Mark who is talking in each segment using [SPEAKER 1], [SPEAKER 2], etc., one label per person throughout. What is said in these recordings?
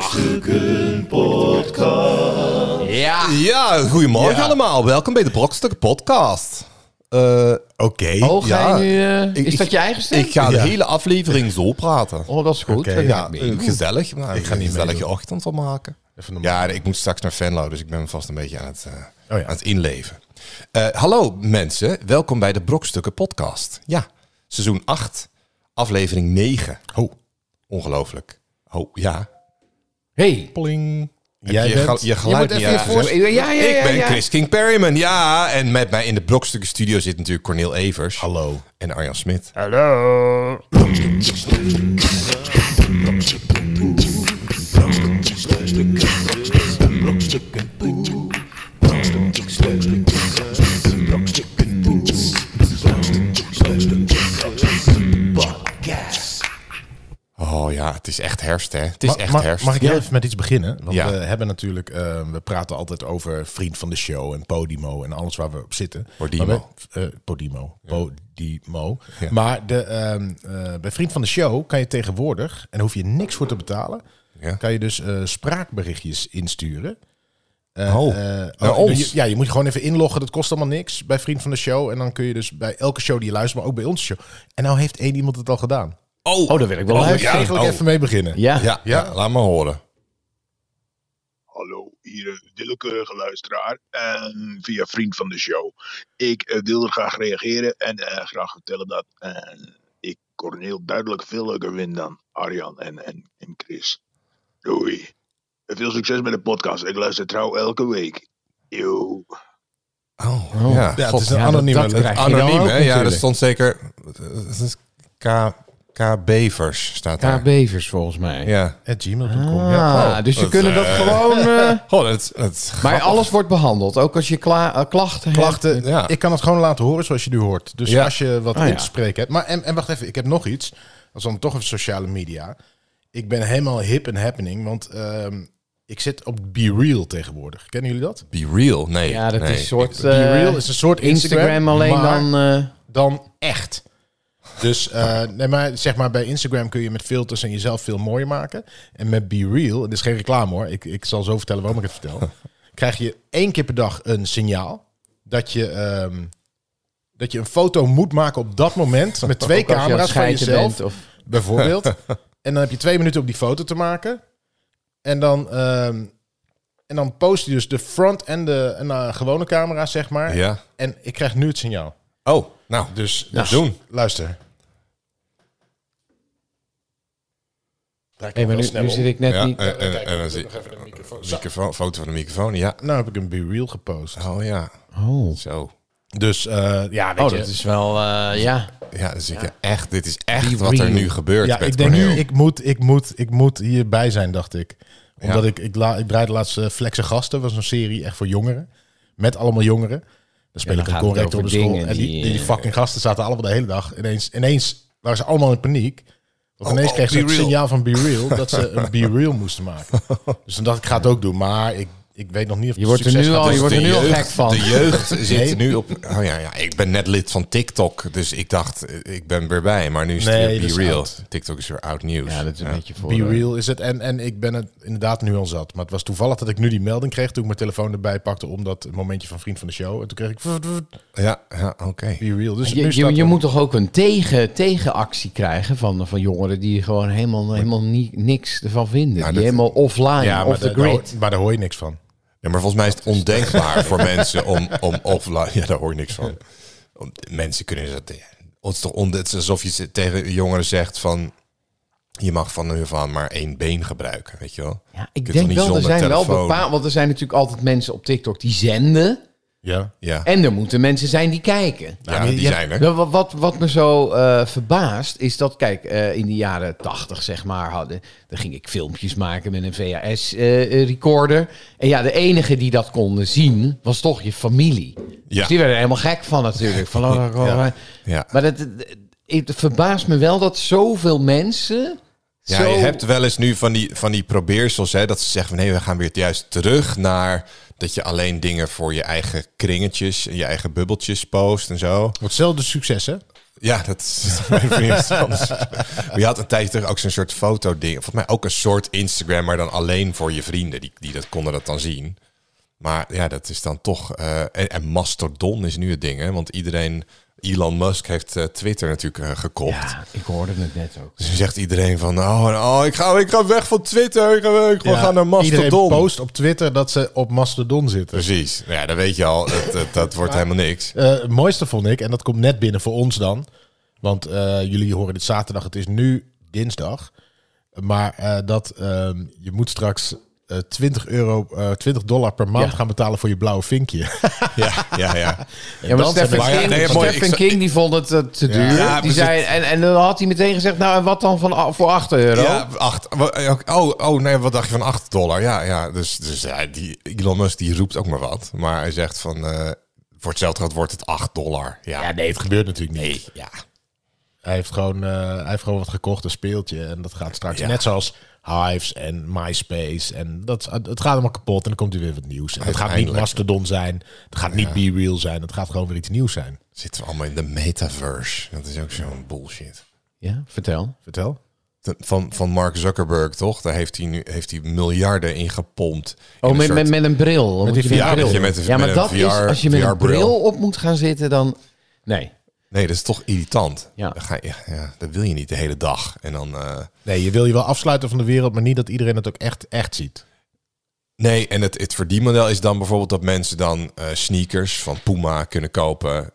[SPEAKER 1] Brokstukken Podcast.
[SPEAKER 2] Ja.
[SPEAKER 3] Ja, goedemorgen
[SPEAKER 2] Ja.
[SPEAKER 3] allemaal. Welkom bij de Brokstukken Podcast. Eh,
[SPEAKER 1] Oké.
[SPEAKER 2] Oh, ga
[SPEAKER 3] Ja.
[SPEAKER 2] je nu... eh,
[SPEAKER 3] Ik-
[SPEAKER 2] is dat je eigen stem?
[SPEAKER 3] ik ga de
[SPEAKER 1] Ja.
[SPEAKER 3] hele aflevering zo praten.
[SPEAKER 2] oh, dat is goed.
[SPEAKER 1] Oké.
[SPEAKER 2] Dat ga
[SPEAKER 3] ja,
[SPEAKER 2] ik mee.
[SPEAKER 3] eh, gezellig. Nou, ik ga niet een
[SPEAKER 1] meedoen.
[SPEAKER 3] gezellige ochtend van maken.
[SPEAKER 1] Even normaal.
[SPEAKER 3] Ja, ik moet straks naar Venlo, dus ik ben vast een beetje aan het, eh,
[SPEAKER 2] Oh,
[SPEAKER 1] ja.
[SPEAKER 3] aan het inleven. Eh, hallo mensen, welkom bij de Brokstukken Podcast. Ja, seizoen 8, aflevering 9.
[SPEAKER 2] Oh.
[SPEAKER 3] Ho, ongelooflijk. Ho, ja.
[SPEAKER 2] Hey.
[SPEAKER 3] Pling. Heb
[SPEAKER 1] Jij
[SPEAKER 3] je,
[SPEAKER 1] bent-
[SPEAKER 3] gel- je
[SPEAKER 2] Je
[SPEAKER 3] geluid
[SPEAKER 2] moet
[SPEAKER 3] niet
[SPEAKER 2] even je
[SPEAKER 3] aangezet?
[SPEAKER 2] voorstellen. Ja, ja, ja.
[SPEAKER 3] Ik ben
[SPEAKER 2] ja.
[SPEAKER 3] Chris King Perryman, ja. En met mij in de Brokstukken Studio zit natuurlijk Cornel Evers.
[SPEAKER 1] Hallo.
[SPEAKER 3] En Arjan Smit.
[SPEAKER 2] Hallo.
[SPEAKER 3] Oh ja, het is echt herfst, hè? Het is
[SPEAKER 1] Ma-
[SPEAKER 3] echt
[SPEAKER 1] ma-
[SPEAKER 3] herfst.
[SPEAKER 1] Mag ik heel even met iets beginnen? Want
[SPEAKER 3] Ja.
[SPEAKER 1] we hebben natuurlijk, eh, we praten altijd over vriend van de show en Podimo en alles waar we op zitten.
[SPEAKER 3] Podimo.
[SPEAKER 1] Maar we- eh, Podimo. Podimo. Maar de, ehm, eh, bij vriend van de show kan je tegenwoordig, en daar hoef je niks voor te betalen,
[SPEAKER 3] Ja.
[SPEAKER 1] kan je dus eh, spraakberichtjes insturen.
[SPEAKER 3] oh,
[SPEAKER 1] Eh,
[SPEAKER 3] naar
[SPEAKER 1] oh,
[SPEAKER 3] ons.
[SPEAKER 1] je- ja, je moet gewoon even inloggen. Dat kost allemaal niks bij Vriend van de Show. En dan kun je dus bij elke show die je luistert, maar ook bij onze show. En nou heeft één iemand het al gedaan.
[SPEAKER 3] oh,
[SPEAKER 2] Oh, daar wil ik wel
[SPEAKER 3] Oh,
[SPEAKER 2] luisteren.
[SPEAKER 1] Laten we eigenlijk
[SPEAKER 3] oh.
[SPEAKER 1] even mee beginnen.
[SPEAKER 2] Ja.
[SPEAKER 3] ja, ja, laat maar horen.
[SPEAKER 4] Hallo, hier eh, willekeurige luisteraar en via vriend van de show. Ik eh, wilde graag reageren en eh, graag vertellen dat eh, ik Corneel duidelijk veel leuker vind dan Arjan en, en, en Chris. Doei. En Veel succes met de podcast. Ik luister trouw elke week. Yo.
[SPEAKER 3] Oh,
[SPEAKER 2] Oh.
[SPEAKER 3] ja.
[SPEAKER 1] Ja,
[SPEAKER 3] God,
[SPEAKER 1] het is een
[SPEAKER 2] ja,
[SPEAKER 1] anonieme.
[SPEAKER 2] dat- dat krijg je
[SPEAKER 3] anoniem,
[SPEAKER 2] nou
[SPEAKER 3] hè?
[SPEAKER 2] ook
[SPEAKER 3] Ja, er
[SPEAKER 2] natuurlijk.
[SPEAKER 3] stond zeker... Het is K... K. Bevers staat daar.
[SPEAKER 2] K. Bevers, volgens mij.
[SPEAKER 3] Ja.
[SPEAKER 1] At gmail.com.
[SPEAKER 2] Ah,
[SPEAKER 1] ja.
[SPEAKER 2] dus je
[SPEAKER 3] dat,
[SPEAKER 2] kunnen dat
[SPEAKER 3] eh,
[SPEAKER 2] gewoon... eh,
[SPEAKER 3] Oh, dat, dat
[SPEAKER 2] maar alles wordt behandeld. Ook als je kla- eh, klachten hebt.
[SPEAKER 1] Klachten.
[SPEAKER 3] Ja.
[SPEAKER 1] Ik kan het gewoon laten horen zoals je nu hoort. Dus
[SPEAKER 3] Ja.
[SPEAKER 1] als je wat
[SPEAKER 2] Ah, ja.
[SPEAKER 1] in te spreken hebt. Maar en, en wacht even, ik heb nog iets. Als dan toch even sociale media. Ik ben helemaal hip en happening, want ehm, ik zit op Be Real tegenwoordig. Kennen jullie dat?
[SPEAKER 3] Be real, nee.
[SPEAKER 2] Ja, dat
[SPEAKER 3] nee.
[SPEAKER 2] is een soort...
[SPEAKER 1] Be
[SPEAKER 2] eh,
[SPEAKER 1] Real is een soort Instagram,
[SPEAKER 2] Instagram, alleen
[SPEAKER 1] maar-
[SPEAKER 2] dan... eh,
[SPEAKER 1] dan echt. Dus eh, nee, maar zeg maar, bij Instagram kun je met filters en jezelf veel mooier maken. En met Be Real, het is geen reclame hoor, ik, ik zal zo vertellen waarom ik het vertel. Krijg je één keer per dag een signaal dat je, ehm, dat je een foto moet maken op dat moment. Met twee
[SPEAKER 2] ook als je aan het
[SPEAKER 1] camera's van
[SPEAKER 2] schijten
[SPEAKER 1] jezelf,
[SPEAKER 2] bent of-
[SPEAKER 1] bijvoorbeeld. En dan heb je twee minuten om die foto te maken. En dan, ehm, en dan post je dus de front en de en, eh, gewone camera, zeg maar.
[SPEAKER 3] Ja.
[SPEAKER 1] En ik krijg nu het signaal.
[SPEAKER 3] Oh, nou,
[SPEAKER 1] Dus
[SPEAKER 3] dat doen.
[SPEAKER 1] Luister. Draai ik
[SPEAKER 2] Hey, maar
[SPEAKER 1] wel
[SPEAKER 2] nu,
[SPEAKER 1] snel
[SPEAKER 2] nu
[SPEAKER 1] om.
[SPEAKER 2] zit ik net
[SPEAKER 3] Ja,
[SPEAKER 2] niet...
[SPEAKER 3] en, en,
[SPEAKER 1] Kijk,
[SPEAKER 3] en dan
[SPEAKER 1] ik
[SPEAKER 3] zie
[SPEAKER 1] nog even de microfoon. Zo.
[SPEAKER 3] microfoon, foto van de microfoon, ja.
[SPEAKER 1] Nou heb ik een B-reel gepost.
[SPEAKER 3] Oh ja,
[SPEAKER 2] Oh,
[SPEAKER 3] zo.
[SPEAKER 1] Dus eh, ja, weet
[SPEAKER 2] oh
[SPEAKER 1] je.
[SPEAKER 2] dat is wel... eh, ja.
[SPEAKER 3] Ja, dus ik, echt, dit is echt wat er nu gebeurt
[SPEAKER 1] ja,
[SPEAKER 3] met
[SPEAKER 1] ik denk nu,
[SPEAKER 3] Cornel.
[SPEAKER 1] ik moet, ik, moet, ik moet hierbij zijn, dacht ik. Omdat
[SPEAKER 3] Ja.
[SPEAKER 1] ik, ik, la, ik draaide laatst eh, Flexe Gasten, was een serie echt voor jongeren. Met allemaal jongeren. Daar speel
[SPEAKER 2] Ja,
[SPEAKER 1] ik
[SPEAKER 2] dan
[SPEAKER 1] een
[SPEAKER 2] gaat het
[SPEAKER 1] corrector op de
[SPEAKER 2] over
[SPEAKER 1] school.
[SPEAKER 2] dingen
[SPEAKER 1] En die,
[SPEAKER 2] die,
[SPEAKER 1] die,
[SPEAKER 2] eh,
[SPEAKER 1] fucking gasten zaten allemaal de hele dag. Ineens, ineens waren ze allemaal in paniek. Want ineens
[SPEAKER 3] oh,
[SPEAKER 1] kregen ze
[SPEAKER 3] Be
[SPEAKER 1] het
[SPEAKER 3] Real.
[SPEAKER 1] signaal van Be Real dat ze een Be Real moesten maken. Dus dan dacht ik, ik ga het ook doen. Maar ik, ik weet nog niet of
[SPEAKER 2] Je wordt er
[SPEAKER 1] succes
[SPEAKER 2] nu
[SPEAKER 1] gaat
[SPEAKER 2] al-
[SPEAKER 1] worden.
[SPEAKER 2] Oh, je wordt
[SPEAKER 3] Dus de
[SPEAKER 2] er nu al
[SPEAKER 3] jeugd-
[SPEAKER 2] gek van.
[SPEAKER 3] De jeugd zit
[SPEAKER 1] Nee.
[SPEAKER 3] nu op... Oh ja, ja, ik ben net lid van TikTok, dus ik dacht, eh, ik ben weer bij. Maar nu is
[SPEAKER 1] Nee,
[SPEAKER 3] het
[SPEAKER 1] dat
[SPEAKER 3] weer Be
[SPEAKER 1] is
[SPEAKER 3] Real.
[SPEAKER 1] oud.
[SPEAKER 3] TikTok is weer oud nieuws.
[SPEAKER 2] dus ja, dat is een beetje voor...
[SPEAKER 1] Be
[SPEAKER 2] eh,
[SPEAKER 1] real is het. En, en ik ben het inderdaad nu al zat. Maar het was toevallig dat ik nu die melding kreeg toen ik mijn telefoon erbij pakte om dat momentje van vriend van de show. En toen kreeg ik
[SPEAKER 3] Ja, ja, oké.
[SPEAKER 1] be real. Dus nu
[SPEAKER 2] Je, je,
[SPEAKER 1] staat
[SPEAKER 2] je
[SPEAKER 1] er-
[SPEAKER 2] moet toch ook een tegen, tegenactie krijgen van, van jongeren die gewoon helemaal, helemaal ni- niks ervan vinden.
[SPEAKER 3] Ja,
[SPEAKER 2] die
[SPEAKER 3] dat-
[SPEAKER 2] helemaal offline,
[SPEAKER 1] ja, maar
[SPEAKER 2] off the
[SPEAKER 1] daar- daar hoor-
[SPEAKER 2] grid.
[SPEAKER 1] Maar daar hoor je niks van.
[SPEAKER 3] Ja, maar volgens mij is het ondenkbaar voor mensen om, om offline... Ja, daar hoor je niks van. Om- Mensen kunnen dat... ja, Het is toch on, het is alsof je ze- tegen jongeren zegt van... Je mag van nu van maar één been gebruiken, weet je wel?
[SPEAKER 2] Ja,
[SPEAKER 3] Je kunt
[SPEAKER 2] ik
[SPEAKER 3] toch
[SPEAKER 2] denk
[SPEAKER 3] niet
[SPEAKER 2] wel, er
[SPEAKER 3] zonder
[SPEAKER 2] zijn wel
[SPEAKER 3] telefoon?
[SPEAKER 2] bepaalde... Want er zijn natuurlijk altijd mensen op TikTok die zenden.
[SPEAKER 1] Ja.
[SPEAKER 3] Ja,
[SPEAKER 2] En er moeten mensen zijn die kijken.
[SPEAKER 3] ja,
[SPEAKER 1] Ja, maar
[SPEAKER 3] die
[SPEAKER 1] je-
[SPEAKER 3] zijn er.
[SPEAKER 2] Nou, Wat, wat, wat me zo eh, verbaast is dat, kijk, eh, in de jaren tachtig, zeg maar, hadden, dan ging ik filmpjes maken met een VHS-recorder. eh, en ja, de enige die dat konden zien, was toch je familie.
[SPEAKER 3] Ja.
[SPEAKER 2] Dus die werden er helemaal gek van natuurlijk. Van, oh, oh, oh.
[SPEAKER 3] Ja.
[SPEAKER 2] Maar dat, het- het verbaast me wel dat zoveel mensen...
[SPEAKER 3] Ja,
[SPEAKER 2] zo-
[SPEAKER 3] je hebt wel eens nu van die, van die probeersels, hè, dat ze zeggen van nee, we gaan weer juist terug naar dat je alleen dingen voor je eigen kringetjes en je eigen bubbeltjes post en zo.
[SPEAKER 1] Hetzelfde succes, hè?
[SPEAKER 3] Ja, dat is mijn vriendin is anders. Maar je had een tijdje terug ook zo'n soort foto-ding. Volgens mij ook een soort Instagram, maar dan alleen voor je vrienden. Die, die dat konden dat dan zien. Maar ja, dat is dan toch... eh, en, en Mastodon is nu het ding, hè? Want iedereen... Elon Musk heeft eh, Twitter natuurlijk eh, gekocht.
[SPEAKER 2] Ja, ik hoorde het net ook.
[SPEAKER 3] Dus dan zegt iedereen van... Oh, en oh ik, ga, ik ga weg van Twitter. Ik ga, ik ga naar
[SPEAKER 1] Iedereen
[SPEAKER 3] Mastodon.
[SPEAKER 1] post op Twitter dat ze op Mastodon
[SPEAKER 2] Dus-
[SPEAKER 1] zitten.
[SPEAKER 3] Precies. Nou Ja, dat weet je al. Dat, dat, dat wordt helemaal niks.
[SPEAKER 1] Eh, het mooiste vond ik, en dat komt net binnen voor ons dan. Want eh, jullie horen dit zaterdag, het is nu dinsdag. Maar eh, dat ehm, je moet straks eh, 20, euro, eh, 20 dollar per maand gaan betalen voor je blauwe vinkje.
[SPEAKER 3] Ja, ja, ja.
[SPEAKER 2] Ja, maar
[SPEAKER 1] dat
[SPEAKER 2] Stephen
[SPEAKER 1] zijn-
[SPEAKER 3] Maar ja,
[SPEAKER 2] King,
[SPEAKER 3] nee, mooi, ik
[SPEAKER 2] Stephen
[SPEAKER 3] sta-
[SPEAKER 2] King die vond het eh, te duur.
[SPEAKER 3] Ja,
[SPEAKER 2] die
[SPEAKER 3] precies.
[SPEAKER 2] zei, en, en dan had hij meteen gezegd, nou en wat dan van, a- voor 8 euro?
[SPEAKER 3] Ja, acht. Oh, oh, nee, wat dacht je van 8 dollar? Ja, ja. Dus, dus ja, die Elon Musk die roept ook maar wat. Maar hij zegt van, eh, voor hetzelfde geld wordt het 8 dollar. Ja,
[SPEAKER 1] Ja, nee, het gebeurt natuurlijk niet.
[SPEAKER 3] nee, ja.
[SPEAKER 1] Hij, heeft gewoon, eh, hij heeft gewoon wat gekocht, een speeltje. En dat gaat straks
[SPEAKER 3] Ja.
[SPEAKER 1] net zoals Hives en MySpace. En dat, het gaat allemaal kapot en dan komt er weer wat nieuws. En het gaat niet
[SPEAKER 3] Uiteindelijk.
[SPEAKER 1] Mastodon zijn, het gaat niet Be Real zijn. Het gaat gewoon weer iets nieuws zijn.
[SPEAKER 3] Zitten we allemaal in de metaverse. Dat is ook zo'n bullshit.
[SPEAKER 2] Ja, vertel.
[SPEAKER 1] Vertel.
[SPEAKER 3] De- Van, van Mark Zuckerberg, toch? Daar heeft hij nu heeft hij miljarden in gepompt. In
[SPEAKER 2] Oh,
[SPEAKER 3] een
[SPEAKER 2] met,
[SPEAKER 3] soort-
[SPEAKER 2] met, met een bril. Met
[SPEAKER 1] die VR
[SPEAKER 3] dat je met een-
[SPEAKER 2] ja, maar
[SPEAKER 3] met een
[SPEAKER 2] dat is,
[SPEAKER 3] VR
[SPEAKER 2] als je met een
[SPEAKER 3] bril.
[SPEAKER 2] bril op moet gaan zitten, dan... Nee.
[SPEAKER 3] Nee, dat is toch irritant.
[SPEAKER 2] Ja.
[SPEAKER 3] Dan ga je, ja, dat wil je niet de hele dag. En dan... eh,
[SPEAKER 1] Nee, je wil je wel afsluiten van de wereld, maar niet dat iedereen het ook echt, echt ziet.
[SPEAKER 3] Nee, en het, het verdienmodel is dan bijvoorbeeld dat mensen dan eh, sneakers van Puma kunnen kopen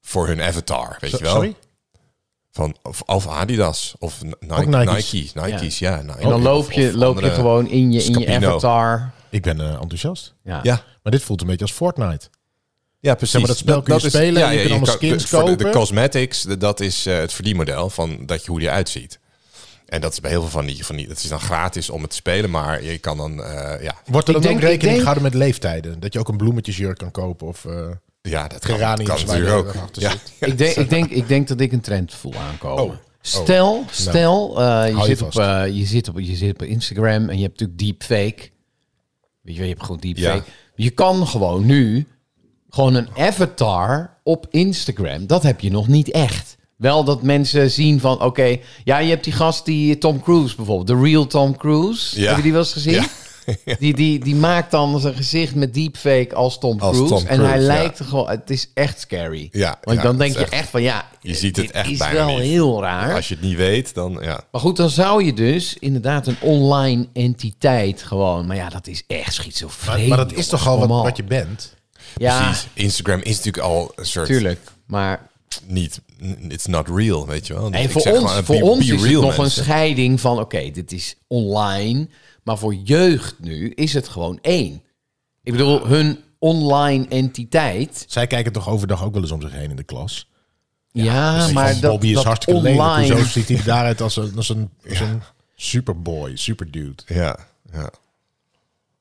[SPEAKER 3] voor hun avatar, weet
[SPEAKER 1] Zo-
[SPEAKER 3] je wel?
[SPEAKER 1] Sorry?
[SPEAKER 3] Van, of, of Adidas, of Ni- Nike,
[SPEAKER 1] Nike's.
[SPEAKER 3] Nike's. Nike's, ja. Nike.
[SPEAKER 2] En dan loop
[SPEAKER 3] Of-
[SPEAKER 2] je,
[SPEAKER 3] of
[SPEAKER 2] loop je
[SPEAKER 3] andere-
[SPEAKER 2] gewoon in je, in je
[SPEAKER 3] Scapino.
[SPEAKER 2] avatar.
[SPEAKER 1] Ik ben eh, enthousiast.
[SPEAKER 2] Ja.
[SPEAKER 3] Ja,
[SPEAKER 1] Maar dit voelt een beetje als Fortnite.
[SPEAKER 3] ja precies.
[SPEAKER 1] maar dat spel kun je spelen en je kunt allemaal skins
[SPEAKER 3] de- voor De, de
[SPEAKER 1] kopen.
[SPEAKER 3] cosmetics, de- dat is eh, het verdienmodel van dat je, hoe die uitziet. En dat is bij heel veel van die, van die... Dat is dan gratis om het te spelen, maar je kan dan... eh, ja,
[SPEAKER 1] Wordt er dan
[SPEAKER 2] Ik
[SPEAKER 1] ook
[SPEAKER 2] denk-
[SPEAKER 1] rekening
[SPEAKER 2] ik denk-
[SPEAKER 1] gehouden met leeftijden? Dat je ook een bloemetjesjurk kan kopen of eh
[SPEAKER 3] ja, dat kan, kan
[SPEAKER 1] geraniums waar
[SPEAKER 3] natuurlijk
[SPEAKER 1] je
[SPEAKER 3] ook.
[SPEAKER 1] achter
[SPEAKER 3] Ja.
[SPEAKER 1] zit.
[SPEAKER 2] Ik denk, ik, denk, ik denk dat ik een trend voel aankomen.
[SPEAKER 1] Oh. Oh.
[SPEAKER 2] Stel,
[SPEAKER 3] Nou.
[SPEAKER 2] stel eh,
[SPEAKER 1] Hou
[SPEAKER 2] je,
[SPEAKER 1] je
[SPEAKER 2] zit op,
[SPEAKER 1] vast.
[SPEAKER 2] eh, je, zit op, je zit op Instagram en je hebt natuurlijk deepfake. Weet je, wel, je hebt gewoon deepfake.
[SPEAKER 3] Ja.
[SPEAKER 2] Je kan gewoon nu gewoon een avatar op Instagram. Dat heb je nog niet echt. Wel dat mensen zien van, oké, ja, je hebt die gast die Tom Cruise bijvoorbeeld, de real Tom Cruise.
[SPEAKER 3] Ja.
[SPEAKER 2] Heb je die wel eens gezien?
[SPEAKER 3] Ja.
[SPEAKER 2] Die, die, die maakt dan zijn gezicht met deepfake als Tom
[SPEAKER 3] Als
[SPEAKER 2] Cruise.
[SPEAKER 3] Tom
[SPEAKER 2] en hij
[SPEAKER 3] Cruise, ja.
[SPEAKER 2] lijkt er gewoon, het is echt scary.
[SPEAKER 3] Ja,
[SPEAKER 2] Want
[SPEAKER 3] ja,
[SPEAKER 2] dan
[SPEAKER 3] dat
[SPEAKER 2] denk
[SPEAKER 3] is
[SPEAKER 2] je
[SPEAKER 3] echt-
[SPEAKER 2] echt van ja,
[SPEAKER 3] Je ziet het
[SPEAKER 2] dit
[SPEAKER 3] echt
[SPEAKER 2] is
[SPEAKER 3] bijna
[SPEAKER 2] wel
[SPEAKER 3] niet.
[SPEAKER 2] heel raar.
[SPEAKER 3] Als je het niet weet, dan... Ja.
[SPEAKER 2] Maar goed, dan zou je dus inderdaad een online entiteit gewoon. Maar ja, dat is echt schizofreen.
[SPEAKER 1] Maar, maar dat is
[SPEAKER 2] jongens,
[SPEAKER 1] toch al
[SPEAKER 2] kom
[SPEAKER 1] wat,
[SPEAKER 2] op.
[SPEAKER 1] wat je bent?
[SPEAKER 2] Ja,
[SPEAKER 3] Precies. Instagram is natuurlijk al een soort...
[SPEAKER 2] Ah. tuurlijk. Maar
[SPEAKER 3] niet, n- it's not real, weet je wel. Dus
[SPEAKER 2] hey,
[SPEAKER 3] ik
[SPEAKER 2] voor
[SPEAKER 3] zeg
[SPEAKER 2] ons,
[SPEAKER 3] gewoon,
[SPEAKER 2] voor
[SPEAKER 3] be-
[SPEAKER 2] ons
[SPEAKER 3] be
[SPEAKER 2] is het
[SPEAKER 3] real,
[SPEAKER 2] nog een
[SPEAKER 3] mensen.
[SPEAKER 2] scheiding van oké, dit is online. Maar voor jeugd nu is het gewoon één. Ik bedoel, hun online entiteit.
[SPEAKER 1] Zij kijken toch overdag ook wel eens om zich heen in de klas?
[SPEAKER 2] Ja,
[SPEAKER 1] Die
[SPEAKER 2] maar
[SPEAKER 1] van
[SPEAKER 2] dat,
[SPEAKER 1] Bobby is
[SPEAKER 2] dat
[SPEAKER 1] hartstikke
[SPEAKER 2] online.
[SPEAKER 1] lelijk. Hoezo ziet hij daaruit als een, als een, als een superboy, superdude?
[SPEAKER 3] Ja, ja.
[SPEAKER 2] Ach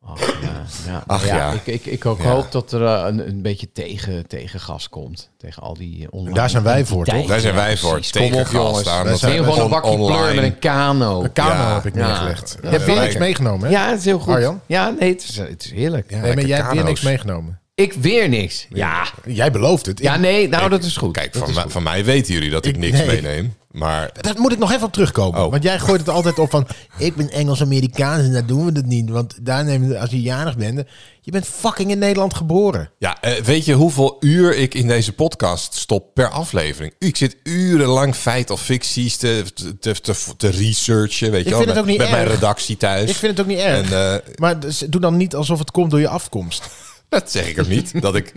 [SPEAKER 2] Oh, ja, ja.
[SPEAKER 3] Ach,
[SPEAKER 2] ja,
[SPEAKER 3] ja.
[SPEAKER 2] Ik, ik, ik ook
[SPEAKER 3] Ja.
[SPEAKER 2] hoop dat er eh, een, een beetje tegen, tegen gas komt. Tegen al die eh, online...
[SPEAKER 1] En daar zijn wij voor,
[SPEAKER 2] entiteiten.
[SPEAKER 1] toch?
[SPEAKER 3] Daar zijn wij voor.
[SPEAKER 2] precies. Kom
[SPEAKER 3] Tegen
[SPEAKER 2] op,
[SPEAKER 3] gas
[SPEAKER 2] jongens.
[SPEAKER 3] daar,
[SPEAKER 2] Wij
[SPEAKER 3] omdat
[SPEAKER 2] zijn
[SPEAKER 3] we
[SPEAKER 2] gewoon een
[SPEAKER 3] on-
[SPEAKER 2] bakje pleur
[SPEAKER 3] online-
[SPEAKER 2] met een kano.
[SPEAKER 1] Een kano
[SPEAKER 3] Ja.
[SPEAKER 1] heb ik
[SPEAKER 2] Ja.
[SPEAKER 1] neergelegd.
[SPEAKER 2] Ja,
[SPEAKER 1] Ja, heb
[SPEAKER 2] vind
[SPEAKER 1] weer
[SPEAKER 2] ik-
[SPEAKER 1] niks meegenomen, hè?
[SPEAKER 2] Ja, het is heel goed.
[SPEAKER 1] Arjan?
[SPEAKER 2] Ja, nee, het is, het is heerlijk.
[SPEAKER 3] Ja,
[SPEAKER 1] nee, maar
[SPEAKER 3] lekker
[SPEAKER 1] jij hebt weer
[SPEAKER 3] kano's.
[SPEAKER 1] niks meegenomen.
[SPEAKER 2] Ik weer niks. Ja,
[SPEAKER 1] Jij belooft het.
[SPEAKER 2] ja nee, nou, dat is goed.
[SPEAKER 3] Kijk, van, mij- van mij weten jullie dat ik,
[SPEAKER 1] Ik-
[SPEAKER 3] niks
[SPEAKER 1] nee.
[SPEAKER 3] meeneem. Maar
[SPEAKER 1] Daar moet ik nog even op terugkomen.
[SPEAKER 3] Oh.
[SPEAKER 1] Want jij gooit het altijd op van... ik ben Engels-Amerikaans en daar doen we dat niet. Want daar nemen we- als je jarig bent... je bent fucking in Nederland geboren.
[SPEAKER 3] ja, eh, weet je hoeveel uur ik in deze podcast stop per aflevering? Ik zit urenlang feit of ficties te, te, te, te researchen, weet je wel.
[SPEAKER 1] vind het ook
[SPEAKER 3] met,
[SPEAKER 1] niet
[SPEAKER 3] met mijn
[SPEAKER 1] erg.
[SPEAKER 3] redactie thuis.
[SPEAKER 2] Dus-
[SPEAKER 1] Ik vind het ook niet erg.
[SPEAKER 3] En, eh,
[SPEAKER 1] maar dus doe dan niet alsof het komt door je afkomst.
[SPEAKER 3] dat zeg ik ook niet. dat, ik,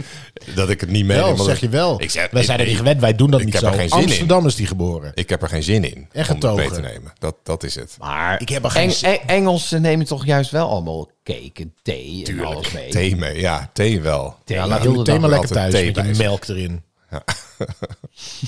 [SPEAKER 3] dat ik het niet meeneem.
[SPEAKER 1] Wel,
[SPEAKER 3] want
[SPEAKER 1] zeg
[SPEAKER 3] ik-
[SPEAKER 1] je wel.
[SPEAKER 3] Ik zeg,
[SPEAKER 1] wij
[SPEAKER 3] ik-
[SPEAKER 1] zijn er niet
[SPEAKER 3] ik-
[SPEAKER 1] gewend, wij doen dat
[SPEAKER 3] ik
[SPEAKER 1] niet
[SPEAKER 3] heb
[SPEAKER 1] zo.
[SPEAKER 3] er geen zin in.
[SPEAKER 1] Amsterdam is die geboren.
[SPEAKER 3] Ik heb er geen zin in
[SPEAKER 1] En
[SPEAKER 3] om het mee te
[SPEAKER 1] getogen.
[SPEAKER 3] nemen. Dat, dat is het.
[SPEAKER 2] Maar
[SPEAKER 1] Ik heb er geen
[SPEAKER 2] Eng-
[SPEAKER 1] zin-
[SPEAKER 2] Eng- Engelsen nemen toch juist wel allemaal cake en thee en alles mee.
[SPEAKER 3] Thee mee, ja, thee wel.
[SPEAKER 2] Thee.
[SPEAKER 1] Ja,
[SPEAKER 2] Ja,
[SPEAKER 1] laat
[SPEAKER 2] heel de
[SPEAKER 1] het thema
[SPEAKER 3] dag
[SPEAKER 1] lekker
[SPEAKER 3] altijd
[SPEAKER 1] thuis
[SPEAKER 3] thee
[SPEAKER 1] met je
[SPEAKER 3] bij ze.
[SPEAKER 1] melk erin.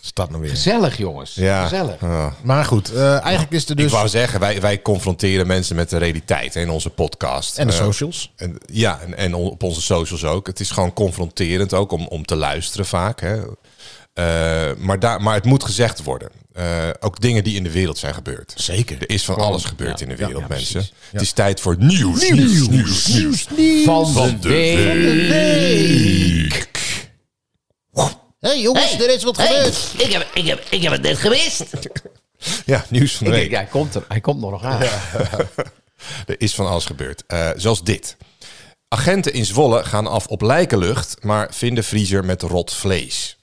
[SPEAKER 1] Stad nou weer.
[SPEAKER 2] Gezellig, jongens.
[SPEAKER 3] Ja.
[SPEAKER 2] Gezellig.
[SPEAKER 3] Ah.
[SPEAKER 1] Maar goed, eh, eigenlijk is er
[SPEAKER 3] Ik
[SPEAKER 1] dus...
[SPEAKER 3] wou zeggen, wij, wij confronteren mensen met de realiteit hè, in onze podcast.
[SPEAKER 1] En de
[SPEAKER 3] Eh,
[SPEAKER 1] socials.
[SPEAKER 3] en, ja, en, en op onze socials ook. Het is gewoon confronterend ook om, om te luisteren vaak. Hè. Eh, maar, daar, maar het moet gezegd worden. Eh, ook dingen die in de wereld zijn gebeurd.
[SPEAKER 1] Zeker.
[SPEAKER 3] Er is van alles gebeurd in de wereld,
[SPEAKER 2] ja,
[SPEAKER 3] mensen.
[SPEAKER 2] precies.
[SPEAKER 3] Het is tijd voor nieuws, nieuws, nieuws, nieuws.
[SPEAKER 2] Van de
[SPEAKER 3] Van de
[SPEAKER 2] week.
[SPEAKER 3] week.
[SPEAKER 1] Hé hey, jongens,
[SPEAKER 5] Hey,
[SPEAKER 1] er is wat
[SPEAKER 5] hey,
[SPEAKER 1] gebeurd.
[SPEAKER 5] ik, heb, ik, heb, ik heb het net gemist.
[SPEAKER 3] Ja, nieuws van de
[SPEAKER 2] Ik
[SPEAKER 3] week.
[SPEAKER 2] denk, hij komt er. Hij komt er nog aan.
[SPEAKER 3] Er is van alles gebeurd. Eh, zoals dit. Agenten in Zwolle gaan af op lijkenlucht, maar vinden vriezer met rot vlees.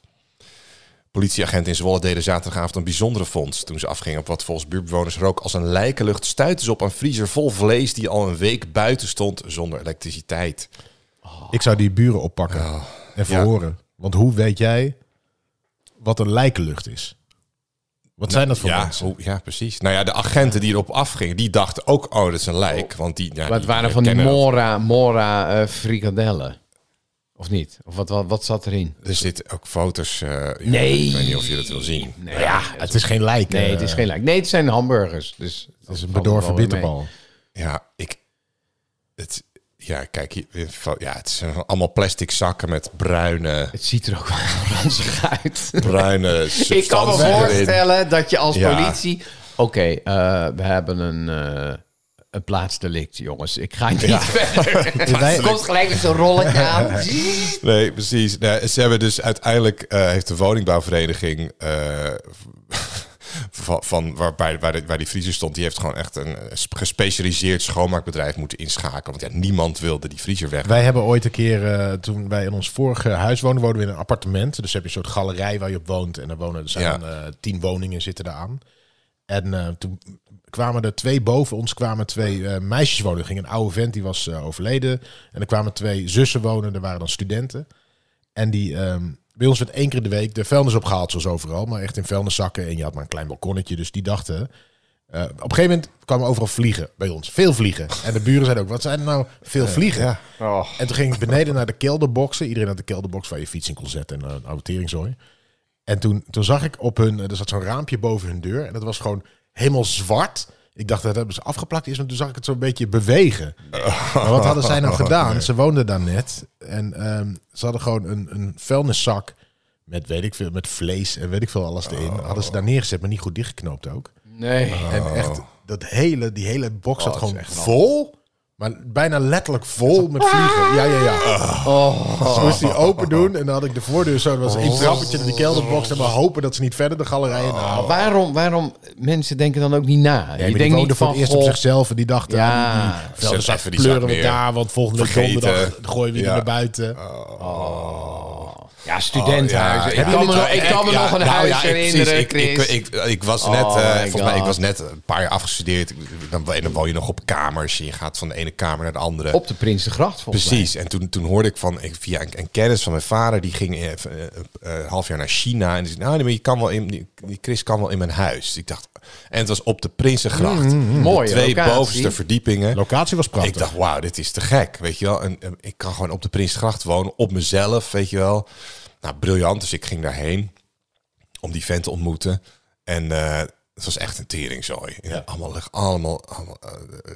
[SPEAKER 3] Politieagenten in Zwolle deden zaterdagavond een bijzondere vondst. Toen ze afgingen op wat volgens buurtbewoners rook als een lijkenlucht, stuitten ze op een vriezer vol vlees die al een week buiten stond zonder elektriciteit.
[SPEAKER 1] Ik zou die buren oppakken
[SPEAKER 3] Oh.
[SPEAKER 1] en verhoren. Want hoe weet jij wat een lijkenlucht is? Wat zijn dat voor
[SPEAKER 3] Nou, Ja,
[SPEAKER 1] mensen?
[SPEAKER 3] hoe- ja, precies. Nou ja, de agenten die erop afgingen, die dachten ook, oh, dat is een lijk. Want die, ja,
[SPEAKER 2] Maar het waren van die
[SPEAKER 3] herkennen dat.
[SPEAKER 2] Mora, Mora eh, frikandellen. Of niet? Of wat, wat, wat zat erin?
[SPEAKER 3] Er zitten ook foto's. eh, ja,
[SPEAKER 2] Nee.
[SPEAKER 3] Ik weet niet of je dat wil zien.
[SPEAKER 2] Nee, ja,
[SPEAKER 1] Het is geen lijk.
[SPEAKER 2] nee
[SPEAKER 1] eh,
[SPEAKER 2] het is geen lijk. Nee, het zijn hamburgers. Dus
[SPEAKER 1] Het is een
[SPEAKER 2] valt
[SPEAKER 1] bedorven
[SPEAKER 2] wel weer mee.
[SPEAKER 1] bitterbal.
[SPEAKER 3] Ja, ik. Het, ja, kijk, hier- van- ja, het zijn allemaal plastic zakken met bruine,
[SPEAKER 2] Het ziet er ook wel ranzig uit.
[SPEAKER 3] bruine
[SPEAKER 2] Ik kan me
[SPEAKER 3] substanties erin.
[SPEAKER 2] voorstellen dat je als
[SPEAKER 3] Ja.
[SPEAKER 2] politie... Oké, eh, we hebben een, eh een plaatsdelict, jongens. Ik ga niet verder. Er komt gelijk met zo'n rolletje aan.
[SPEAKER 3] Nee, precies. Nee, ze hebben dus uiteindelijk eh, heeft de woningbouwvereniging eh, van, van waar, bij- waar, de- waar die vriezer stond, die heeft gewoon echt een eh, gespecialiseerd schoonmaakbedrijf moeten inschakelen. Want ja, niemand wilde die vriezer weg.
[SPEAKER 1] Wij hebben ooit een keer, eh, toen wij in ons vorige huis woonden, woonden we in een appartement. Dus heb je een soort galerij waar je op woont. En daar wonen, er zijn
[SPEAKER 3] Ja.
[SPEAKER 1] eh, tien woningen zitten daar aan. En eh, toen kwamen er twee boven ons, kwamen twee eh, meisjes wonen. Er ging een oude vent, die was eh, overleden. En er kwamen twee zussen wonen, er waren dan studenten. En die, ehm, bij ons werd één keer in de week de vuilnis opgehaald, zoals overal. Maar echt in vuilniszakken. En je had maar een klein balkonnetje, dus die dachten... eh, op een gegeven moment kwamen overal vliegen bij ons. Veel vliegen. En de buren zeiden ook, wat zijn er nou veel vliegen? En toen ging ik beneden naar de kelderboxen. Iedereen had de kelderbox waar je fiets in kon zetten en eh, een oude teringzooi. En toen, toen zag ik op hun, er zat zo'n raampje boven hun deur. En dat was gewoon helemaal zwart. Ik dacht dat hebben ze afgeplakt is, want toen zag ik het zo'n beetje bewegen. Maar wat hadden zij nou gedaan? Ze woonden daar net. En ehm, ze hadden gewoon een, een vuilniszak met, weet ik veel, met vlees en weet ik veel alles erin. Hadden ze daar neergezet, maar niet goed dichtgeknoopt ook.
[SPEAKER 2] Nee.
[SPEAKER 1] En echt, dat hele, die hele box zat
[SPEAKER 2] dat is
[SPEAKER 1] gewoon
[SPEAKER 2] echt een
[SPEAKER 1] vol. Maar bijna letterlijk vol met vliegen. Ja, ja, ja. Dus moest die open doen en dan had ik de voordeur zo. Er was één trappetje in de kelderbox. En maar hopen dat ze niet verder de galerij in halen.
[SPEAKER 2] Waarom, waarom mensen denken dan ook niet
[SPEAKER 1] Nee,
[SPEAKER 2] na? ik
[SPEAKER 1] maar
[SPEAKER 2] denk
[SPEAKER 1] die
[SPEAKER 2] niet
[SPEAKER 1] woonden voor
[SPEAKER 2] van,
[SPEAKER 1] het eerst op
[SPEAKER 2] goh,
[SPEAKER 1] zichzelf. En die "Oh, dachten,
[SPEAKER 2] Ja.
[SPEAKER 1] ja,
[SPEAKER 2] Zet
[SPEAKER 1] die velden
[SPEAKER 3] even
[SPEAKER 1] zak
[SPEAKER 3] die zak
[SPEAKER 1] pleuren
[SPEAKER 3] neer.
[SPEAKER 1] elkaar. Want volgende week
[SPEAKER 3] Vergeten.
[SPEAKER 1] donderdag gooien we die
[SPEAKER 3] Ja.
[SPEAKER 1] naar buiten.
[SPEAKER 2] ja, studentenhuizen.
[SPEAKER 3] Oh,
[SPEAKER 2] ik
[SPEAKER 3] ja, ja.
[SPEAKER 2] kan me
[SPEAKER 3] Ja,
[SPEAKER 2] nog, ik kan me
[SPEAKER 3] ja,
[SPEAKER 2] nog een
[SPEAKER 3] nou,
[SPEAKER 2] huis
[SPEAKER 3] ja, ik-
[SPEAKER 2] herinneren,
[SPEAKER 3] precies. Ik,
[SPEAKER 2] Chris.
[SPEAKER 3] ik, ik, ik was
[SPEAKER 2] Oh
[SPEAKER 3] net, eh,
[SPEAKER 2] my
[SPEAKER 3] volgens mij, ik
[SPEAKER 2] God.
[SPEAKER 3] was net een paar jaar afgestudeerd. Ik- Dan, en dan woon je nog op kamers. Je gaat van de ene kamer naar de andere.
[SPEAKER 2] op de Prinsengracht, volgens mij.
[SPEAKER 3] Precies, en toen, toen hoorde ik van ik, via een, een kennis van mijn vader, die ging eh, v- eh, eh, een half jaar naar China. En die zei, nou, nee, maar je kan wel in, die- die Chris kan wel in mijn huis. Ik dacht, en het was op de Prinsengracht.
[SPEAKER 2] Mm, Mooie
[SPEAKER 3] Twee
[SPEAKER 2] locatie.
[SPEAKER 3] bovenste verdiepingen.
[SPEAKER 1] Locatie was prachtig.
[SPEAKER 3] Ik dacht, wauw, dit is te gek. Weet je wel, en, eh, ik kan gewoon op de Prinsengracht wonen, op mezelf, weet je wel. Nou, briljant. Dus ik ging daarheen om die vent te ontmoeten. En eh, het was echt een teringzooi. Ja. Allemaal, lig- allemaal, allemaal eh,